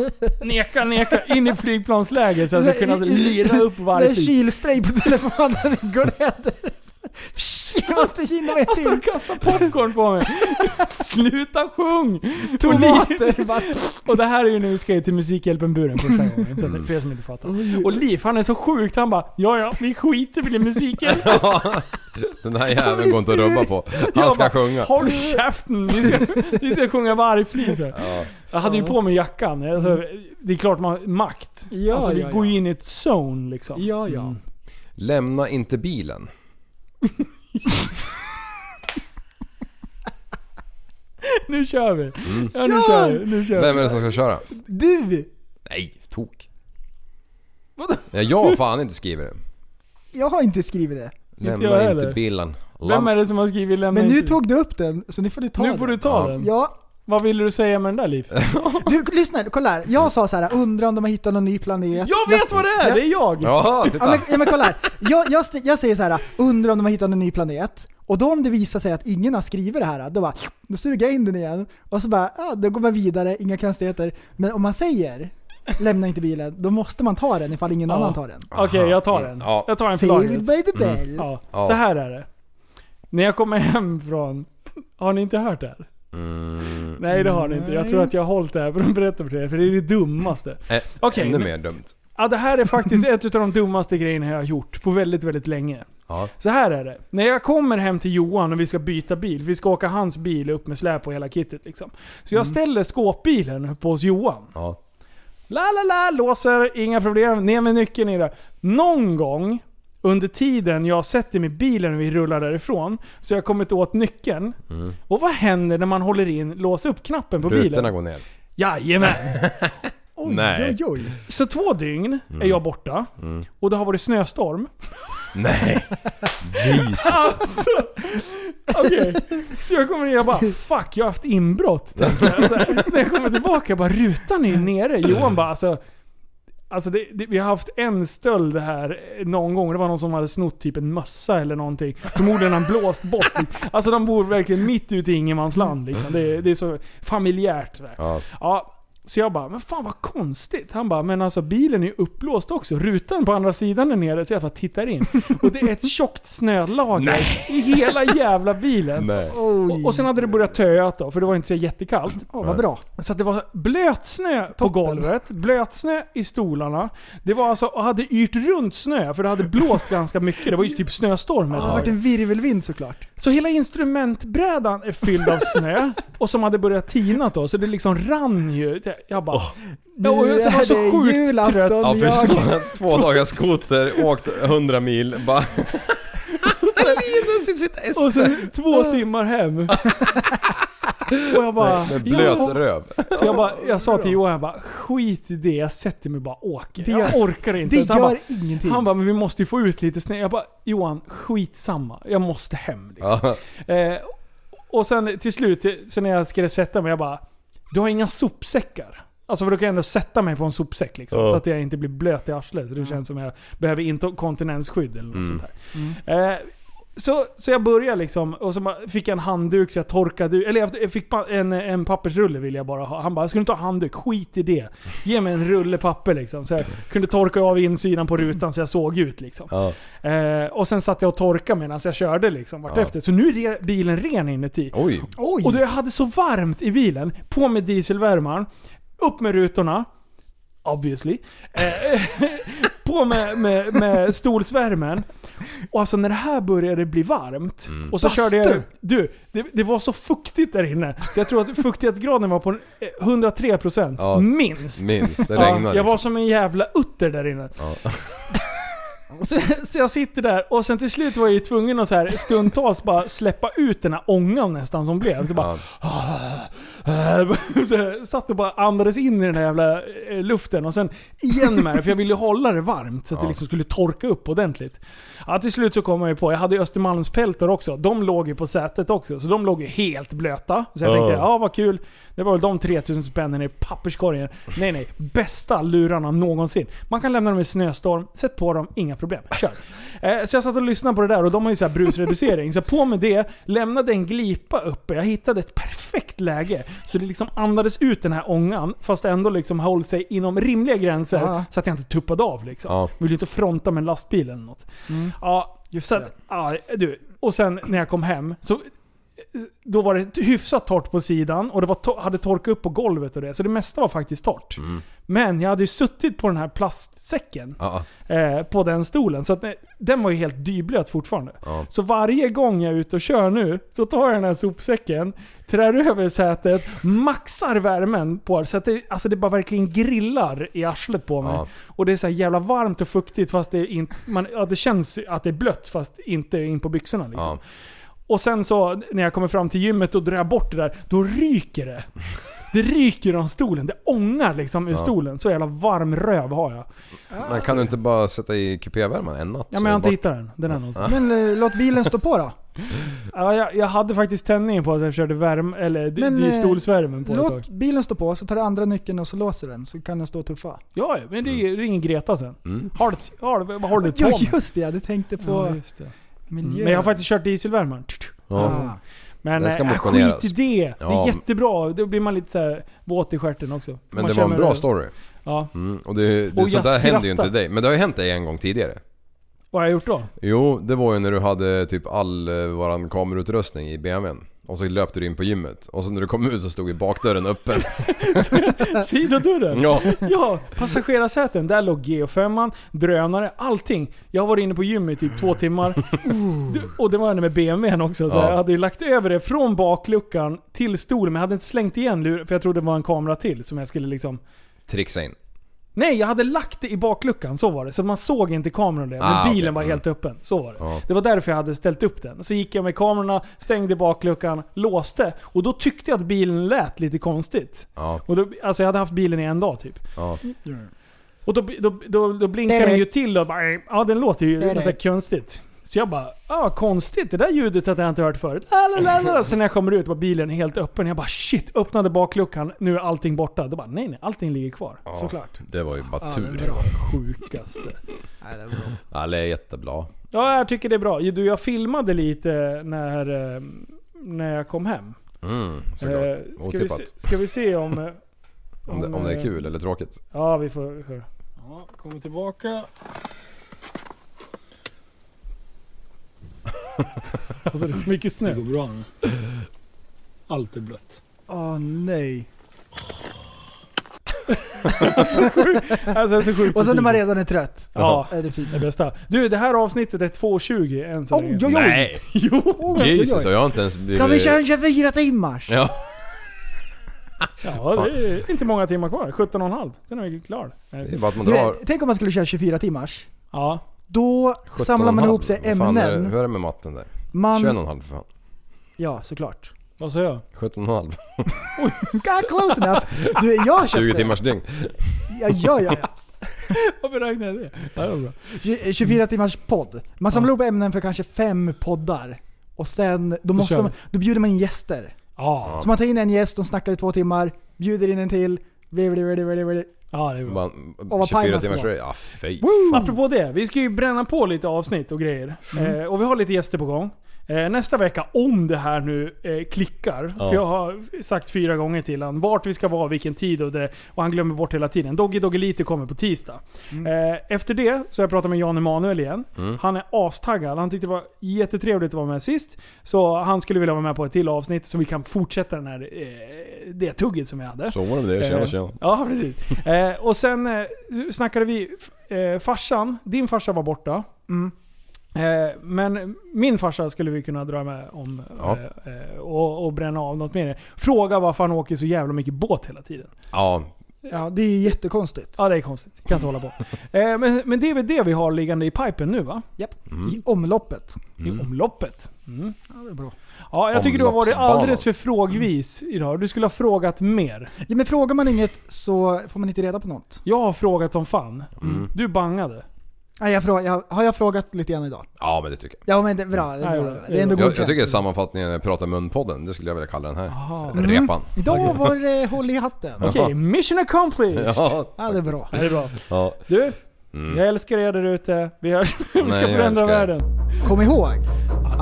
A: nekar, nekar in i flygplansläge så jag ska kunna lira upp varje
B: Det är
A: flis.
B: kylspray på telefonen, det glöder. Psh, Jag måste kinda mig
A: Han står
B: till.
A: och Alltså, kastar popcorn på mig. Sluta sjung!
B: Tomater bara...
A: Och det här är ju nu ska jag till Musikhjälpen-buren första gången. Så att, för er som inte fattar. Och Liv, han är så sjukt. Han bara ja ja, vi skiter väl i musiken.
F: Den här jäveln går inte att rubba på. Han
A: Jag
F: ska
A: bara,
F: sjunga.
A: Håll käften! Vi ska, vi ska sjunga vargflis här. Jag hade ju på mig jackan. Alltså, det är klart man makt.
B: Ja,
A: alltså, vi
B: ja,
A: går
B: ja.
A: ju in i ett zone liksom.
B: Ja, ja.
F: Lämna inte bilen.
A: Nu kör vi! Ja, nu kör vi. Nu kör vi.
F: Vem är det som ska köra?
B: Du!
F: Nej, tok. Ja, jag har fan inte skrivit det.
B: Jag har inte skrivit det.
A: jag
F: Lämna
A: heller.
F: inte bilen.
A: Vem
F: Lam-
A: är det som har skrivit lämna
B: Men nu
A: inte-
B: tog du upp den, så nu får du ta
A: Nu
B: den.
A: får du ta
F: Ja.
A: den.
B: Ja,
A: Vad ville du säga med den där Liv?
B: du lyssna, kolla här. Jag sa så här, undrar om de har hittat någon ny planet.
A: Jag vet vad det är! Det är jag!
F: Jaha,
B: Ja men,
F: titta.
B: ja, men kolla här. Jag, jag, st- jag säger så här, undrar om de har hittat en ny planet. Och då om det visar sig att ingen har skrivit det här, då bara, då suger jag in den igen. Och så bara, ja, då går man vidare, inga konstigheter. Men om man säger, lämna inte bilen, då måste man ta den ifall ingen
A: Ja.
B: annan tar den.
A: Okej, jag tar den.
F: Ja.
A: Jag tar den för laget.
B: Saved by the bell.
A: Ja.
F: Ja.
A: Så här är det. När jag kommer hem från... Har ni inte hört det här? Nej det har ni inte. Jag tror att jag har hållit det här för de berättar för er. För det är det dummaste.
F: Äh,
A: Okej,
F: Ännu
A: men-
F: mer dumt.
A: Ja, det här är faktiskt ett av de dummaste grejerna jag har gjort på väldigt, väldigt länge.
F: Ja.
A: Så här är det. När jag kommer hem till Johan och vi ska byta bil. Vi ska åka hans bil upp med släp och hela kittet liksom. Så
F: Mm.
A: jag ställer skåpbilen uppe hos Johan.
F: Ja.
A: La la la, låser, inga problem, ner med nyckeln i det. Någon gång under tiden jag sätter mig i bilen och vi rullar därifrån, så jag har kommit åt nyckeln. Och vad händer när man håller in lås upp-knappen på
F: Mm. Rutorna
A: bilen?
F: går ner.
A: Jajamän!
B: Oj,
F: Nej.
B: oj, oj.
A: Så två dygn är jag borta och det har varit snöstorm.
F: Nej. Jesus.
A: Alltså, Okej, så jag kommer in och jag bara 'Fuck, jag har haft inbrott' tänker jag. Så här, när jag kommer tillbaka jag bara 'Rutan är ju nere' Johan bara alltså, alltså det, det, vi har haft en stöld här eh, någon gång. Det var någon som hade snott typ en mössa eller någonting. Förmodligen har han blåst bort. Alltså de bor verkligen mitt ute i ingenmansland liksom. det, det är så familjärt. Där.
F: Ja.
A: Ja, så jag bara, men fan vad konstigt. Han bara, men alltså bilen är ju upplåst också. Rutan på andra sidan är nere, så jag bara tittar in. Och det är ett tjockt snölager i hela jävla bilen.
F: Nej.
B: Oj.
A: Och, och sen hade det börjat töa då, för det var inte så jättekallt.
B: Åh, vad bra.
A: Så att det var blötsnö på golvet, blötsnö i stolarna. Det var alltså, och hade yrt runt snö, för det hade blåst ganska mycket. Det var ju typ snöstorm
B: Det
A: ett
B: har
A: tag.
B: varit en virvelvind såklart.
A: Så hela instrumentbrädan är fylld av snö och som hade börjat tina då, så det liksom rann ju. Jag bara... Ja, och jag så var
B: Det
A: så
B: är
A: sjukt
B: julafton.
A: trött.
F: Ja,
B: Jag-
F: förstå. Två dagar skoter, åkt 100 mil, bara... Lina sitt, sitt
A: Och
F: esse.
A: sen två timmar hem. Och jag bara...
F: Med blöt
A: ja.
F: röv.
A: Så jag, bara, jag sa till Johan, jag bara, skit i det, jag sätter mig och bara åker.
B: Det
A: jag
B: gör-
A: orkar inte.
B: Det
A: Så han, bara,
B: gör ingenting.
A: han bara, men vi måste ju få ut lite snö. Jag bara, Johan, skitsamma. Jag måste hem liksom.
F: Ja.
A: Eh, och sen till slut, sen när jag skulle sätta mig, jag bara Du har inga sopsäckar. Alltså för då kan jag ändå sätta mig på en sopsäck liksom.
F: Ja.
A: Så att jag inte blir blöt i arslet. Så det känns som jag behöver inkontinensskydd eller något
F: Mm.
A: sånt där. Eh, så, så jag började liksom, och så bara fick jag en handduk så jag torkade ut- Eller jag fick pa- en, en pappersrulle ville jag bara ha. Han bara, ska du inte ha handduk? Skit i det. Ge mig en rulle papper liksom. Så jag kunde torka av insidan på rutan så jag såg ut liksom.
F: Ja.
A: Eh, och sen satt jag och torkade medan jag körde liksom vartefter. Så nu är re- bilen ren inuti.
F: Oj.
B: Oj.
A: Och då jag hade så varmt i bilen. På med dieselvärmaren. Upp med rutorna. Obviously. Eh, på med, med, med stolsvärmen. Och alltså när det här började bli varmt. Och så körde jag...
B: Bastu!
A: Du, det, det var så fuktigt där inne. Så jag tror att fuktighetsgraden var på eh, 103%.
F: Ja.
A: Minst.
F: Minst. Det
A: Ja,
F: regnar
A: jag var
F: liksom.
A: som en jävla utter där inne. Så, så jag sitter där och sen till slut var jag ju tvungen att så här, stundtals bara släppa ut den här ångan nästan som blev. Så bara,
F: Ja.
A: så jag satt och bara andades in i den här jävla eh, luften och sen igen med det, för jag ville hålla det varmt så att det liksom skulle torka upp ordentligt. Ja, till slut så kom jag ju på, jag hade ju Östermalmspeltor också. De låg ju på sätet också, så de låg ju helt blöta. Så jag tänkte, ja vad kul. Det var väl de 3000 spännen i papperskorgen. Nej nej, bästa lurarna någonsin. Man kan lämna dem i snöstorm, sätt på dem, inga problem. Kör. Eh, så jag satt och lyssnade på det där och de har ju så här brusreducering. Så på med det, lämnade en glipa uppe. Jag hittade ett perfekt läge. Så det liksom andades ut den här ångan, fast ändå liksom höll sig inom rimliga gränser.
B: Ja.
A: Så att jag inte tuppade av liksom.
F: Ja.
A: Vill ju inte fronta med en lastbil eller något. Ja, så att, ja, du. Och sen när jag kom hem, så då var det hyfsat torrt på sidan och det var to- hade torkat upp på golvet och det. Så det mesta var faktiskt torrt.
F: Mm.
A: Men jag hade ju suttit på den här plastsäcken
F: Ja.
A: eh, på den stolen. Så att eh, den var ju helt dyblöt fortfarande.
F: Ja.
A: Så varje gång jag är ute och kör nu så tar jag den här sopsäcken, trär över sätet, maxar värmen på det. Så att det, alltså det bara verkligen grillar i arslet på mig.
F: Ja.
A: Och det är så här jävla varmt och fuktigt fast det, är in, man, ja, det känns att det är blött fast inte in på byxorna. Liksom.
F: Ja.
A: Och sen så när jag kommer fram till gymmet och drar bort det där, då ryker det. Det ryker om stolen. Det ångar liksom ur stolen. Så jävla varm röv har jag.
F: Men kan du inte bara sätta i kupévärmen en natt?
A: Ja,
F: så
A: men jag har
F: är det
A: inte hittat den. Den är någonstans.
B: Men eh, låt bilen stå på då.
A: Ja, jag, jag hade faktiskt tändningen på så jag körde värme, eller
B: Men,
A: men, det är ju
B: eh,
A: stolsvärmen på ett tag.
B: Låt bilen stå på, så tar du andra nyckeln och så låser du den, så kan den stå och tuffa.
A: Ja, men det är- ringer Greta sen.
F: Mm.
A: Har du- har du- Vad håller du på
B: Ja
A: med?
B: just det, ja, du tänkte på
A: Ja, just det.
B: miljön.
A: Men jag har faktiskt kört dieselvärmen.
F: Ja.
B: Ah.
A: Men
F: Den ska
A: äh,
F: motioneras.
A: skit i det. Det
F: Ja.
A: är jättebra. Då blir man lite så här våt i stjärten också.
F: Men
A: man
F: det var en
A: känner
F: bra
A: det.
F: story.
A: Ja.
F: Mm. Och det, det,
A: Och
F: sånt
A: jag
F: där händer ju inte
A: skrattar.
F: dig. Men det har ju hänt dig en gång tidigare.
A: Vad har jag gjort då?
F: Jo, det var ju när du hade typ all eh, våran kamerautrustning i BMWn. Och så löpte du in på gymmet. Och så när du kom ut så stod ju bakdörren öppen.
A: Sidodörren?
F: ja.
A: Ja, passagerarsäten. Där låg G5, drönare, allting. Jag var inne på gymmet i typ två timmar. Du- Och det var det med BMWn också. Så
F: Ja.
A: Jag hade ju lagt över det från bakluckan till stolen, men jag hade inte slängt igen luren, för jag trodde det var en kamera till som jag skulle liksom...
F: Trixa in.
A: Nej, jag hade lagt det i bakluckan, så var det. Så man såg inte kameran där, men
F: Ah,
A: bilen
F: okej.
A: var
F: Mm.
A: helt öppen. Så var det.
F: Ja.
A: Det var därför jag hade ställt upp den. Så gick jag med kamerorna, stängde bakluckan, låste. Och då tyckte jag att bilen lät lite konstigt.
F: Ja,
A: Och då, alltså jag hade haft bilen i en dag typ.
F: ja.
A: Och då, då, då, då blinkar den ju till och bara, "Eh." ja den låter ju
B: Det är
A: så här
B: det.
A: konstigt. Så jag bara, ja konstigt, det där ljudet hade jag inte hört förut. La, la, la, la. Sen när jag kommer ut var bilen helt öppen. Jag bara shit, öppnade bakluckan, nu är allting borta. Då bara nej nej, allting ligger kvar.
F: ja.
B: Såklart.
F: Det var ju bara
B: Ja, det är
F: tur.
B: bra.
A: Sjukaste.
B: Nej, det var bra.
F: Ja, det är jättebra.
A: Ja jag tycker det är bra. Du jag filmade lite när, eh, när jag kom hem.
F: Mm, såklart.
A: Eh, ska, vi se,
F: Otippat.
A: ska vi se om... eh,
F: om, det, om det
A: eh,
F: är kul eller tråkigt.
A: Ja vi får höra. Ja, kommer tillbaka. Alltså det är så mycket snö.
I: bra nu. Allt är blött.
B: Åh nej.
A: Alltså det är så sjukt
B: Och sen när man
A: försiktigt.
B: redan är trött.
A: Ja,
B: Är det fint.
A: det bästa. Du det här avsnittet är 2.20 än så länge.
B: Oj, oj, oj.
F: Nej!
A: Jo!
F: Jesus, och jag har inte ens blivit...
B: Ska vi köra en 24 timmars?
F: Ja.
A: Ja, det är inte många timmar kvar. 17,5. Sen är vi klara.
F: Det är bara att man
B: Du
F: drar...
B: vet, tänk om man skulle köra 24 timmars.
A: Ja.
B: Då
F: 17,5.
B: samlar man ihop sig
F: Vad fan är det-
B: ämnen.
F: Hur är det med matten där?
B: Man,
F: 21,5 för fan.
B: ja, såklart.
A: Vad sa jag?
F: 17,5.
B: God, close enough. Du, jag köpte
F: 20
B: det.
F: timmars dygn.
B: Ja, ja, ja. ja.
A: Varför räknade jag det? Ja, det var bra.
B: Tju- 24 eh,
A: Mm.
B: timmars podd. Man samlar ihop ämnen för kanske fem poddar. Och sen,
A: kör
B: då, måste man,
A: vi.
B: då bjuder man in gäster.
A: Ja.
B: Så man tar in en gäst, de snackar i två timmar, bjuder in en till. blir- blir- blir- blir- blir.
A: Ja, det är bra.
F: Bara,
B: vad paj
F: 24
B: man ska
F: timmars
B: vara.
F: dygn. Ja, fy.
A: Apropå det, vi ska ju bränna på lite avsnitt och grejer. Eh, och vi har lite gäster på gång. Eh, nästa vecka, om det här nu eh, klickar,
F: Ja.
A: för jag har sagt fyra gånger till han vart vi ska vara, vilken tid och det, och han glömmer bort hela tiden. Doggy Doggelite kommer på tisdag. Eh, efter det så har jag pratat med Jan Emanuel igen. Han är astaggad. Han tyckte det var jättetrevligt att vara med sist. Så han skulle vilja vara med på ett till avsnitt så vi kan fortsätta den här, eh, det tugget som vi hade.
F: Så var det med det.
A: Eh,
F: Tjena tjena.
A: Ja, precis. Eh, och sen eh, snackade vi, f- eh, farsan, din farsa var borta.
B: Mm.
A: Eh, men min farsa skulle vi kunna dra med om
F: Ja.
A: eh, eh, och, och bränna av något mer. Fråga varför han åker så jävla mycket båt hela tiden.
F: Ja,
B: Ja, det är ju jättekonstigt.
A: Ja, det är konstigt. Kan inte hålla på. Eh, men, men det är väl det vi har liggande i pipen nu va? Mm.
B: I omloppet.
A: I omloppet. Mm.
B: Ja, det är bra.
A: Ja, jag tycker du har varit
F: Omloppsbanan.
A: alldeles för frågvis idag. Du skulle ha frågat mer.
B: Ja, men frågar man inget så får man inte reda på något.
A: Jag har frågat som fan.
F: Mm.
A: Du bangade.
B: Nej, jag frågar, jag, har jag frågat lite grann idag?
F: Ja men det tycker jag.
B: Ja men det är bra. Det
A: Ja,
B: är,
A: jo,
B: bra.
A: jo.
B: Det är ändå
F: Jag, jag
B: godkänt.
F: tycker sammanfattningen Prata mun-podden, det skulle jag vilja kalla den här.
A: Aha.
F: Repan.
B: Idag var det håll i hatten.
A: Okej, mission accomplished! Ja.
F: Ja.
B: Ja, det är bra.
A: Det är bra.
F: ja.
A: Du, jag älskar er där ute. Vi, hörs. vi ska
F: Nej, jag
A: förändra
F: älskar er.
A: världen.
B: Kom ihåg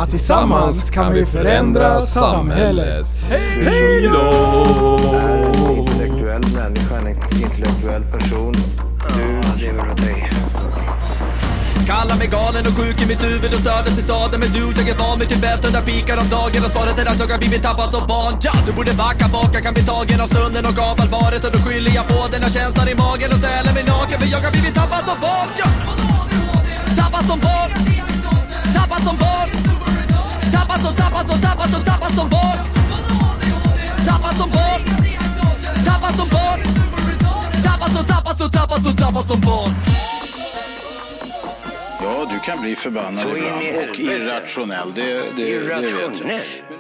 B: att tillsammans kan vi förändra samhället.
F: Hej då!
C: Är en intellektuell människa en intellektuell person? Du lever åt dig.
D: Kallar mig galen och sjuk i mitt huvud och stördes i staden Men du, jag är van vid Tibet under fikar om dagen Och svaret är att jag har blivit tappad som barn ja, Du borde backa baka, kan bli tagen av stunden och av allvaret Och då skyller jag på den här känslan i magen och ställer mig naken För jag har blivit tappad som barn ja. Tappad som barn Tappad som barn Tappad som, tappad som, tappad som, tappad som barn Tappad som barn Tappad som barn Tappad som, tappad som, tappad som, tappad som barn
E: Ja, du kan bli förbannad ibland och irrationell. Det, det, det vet jag.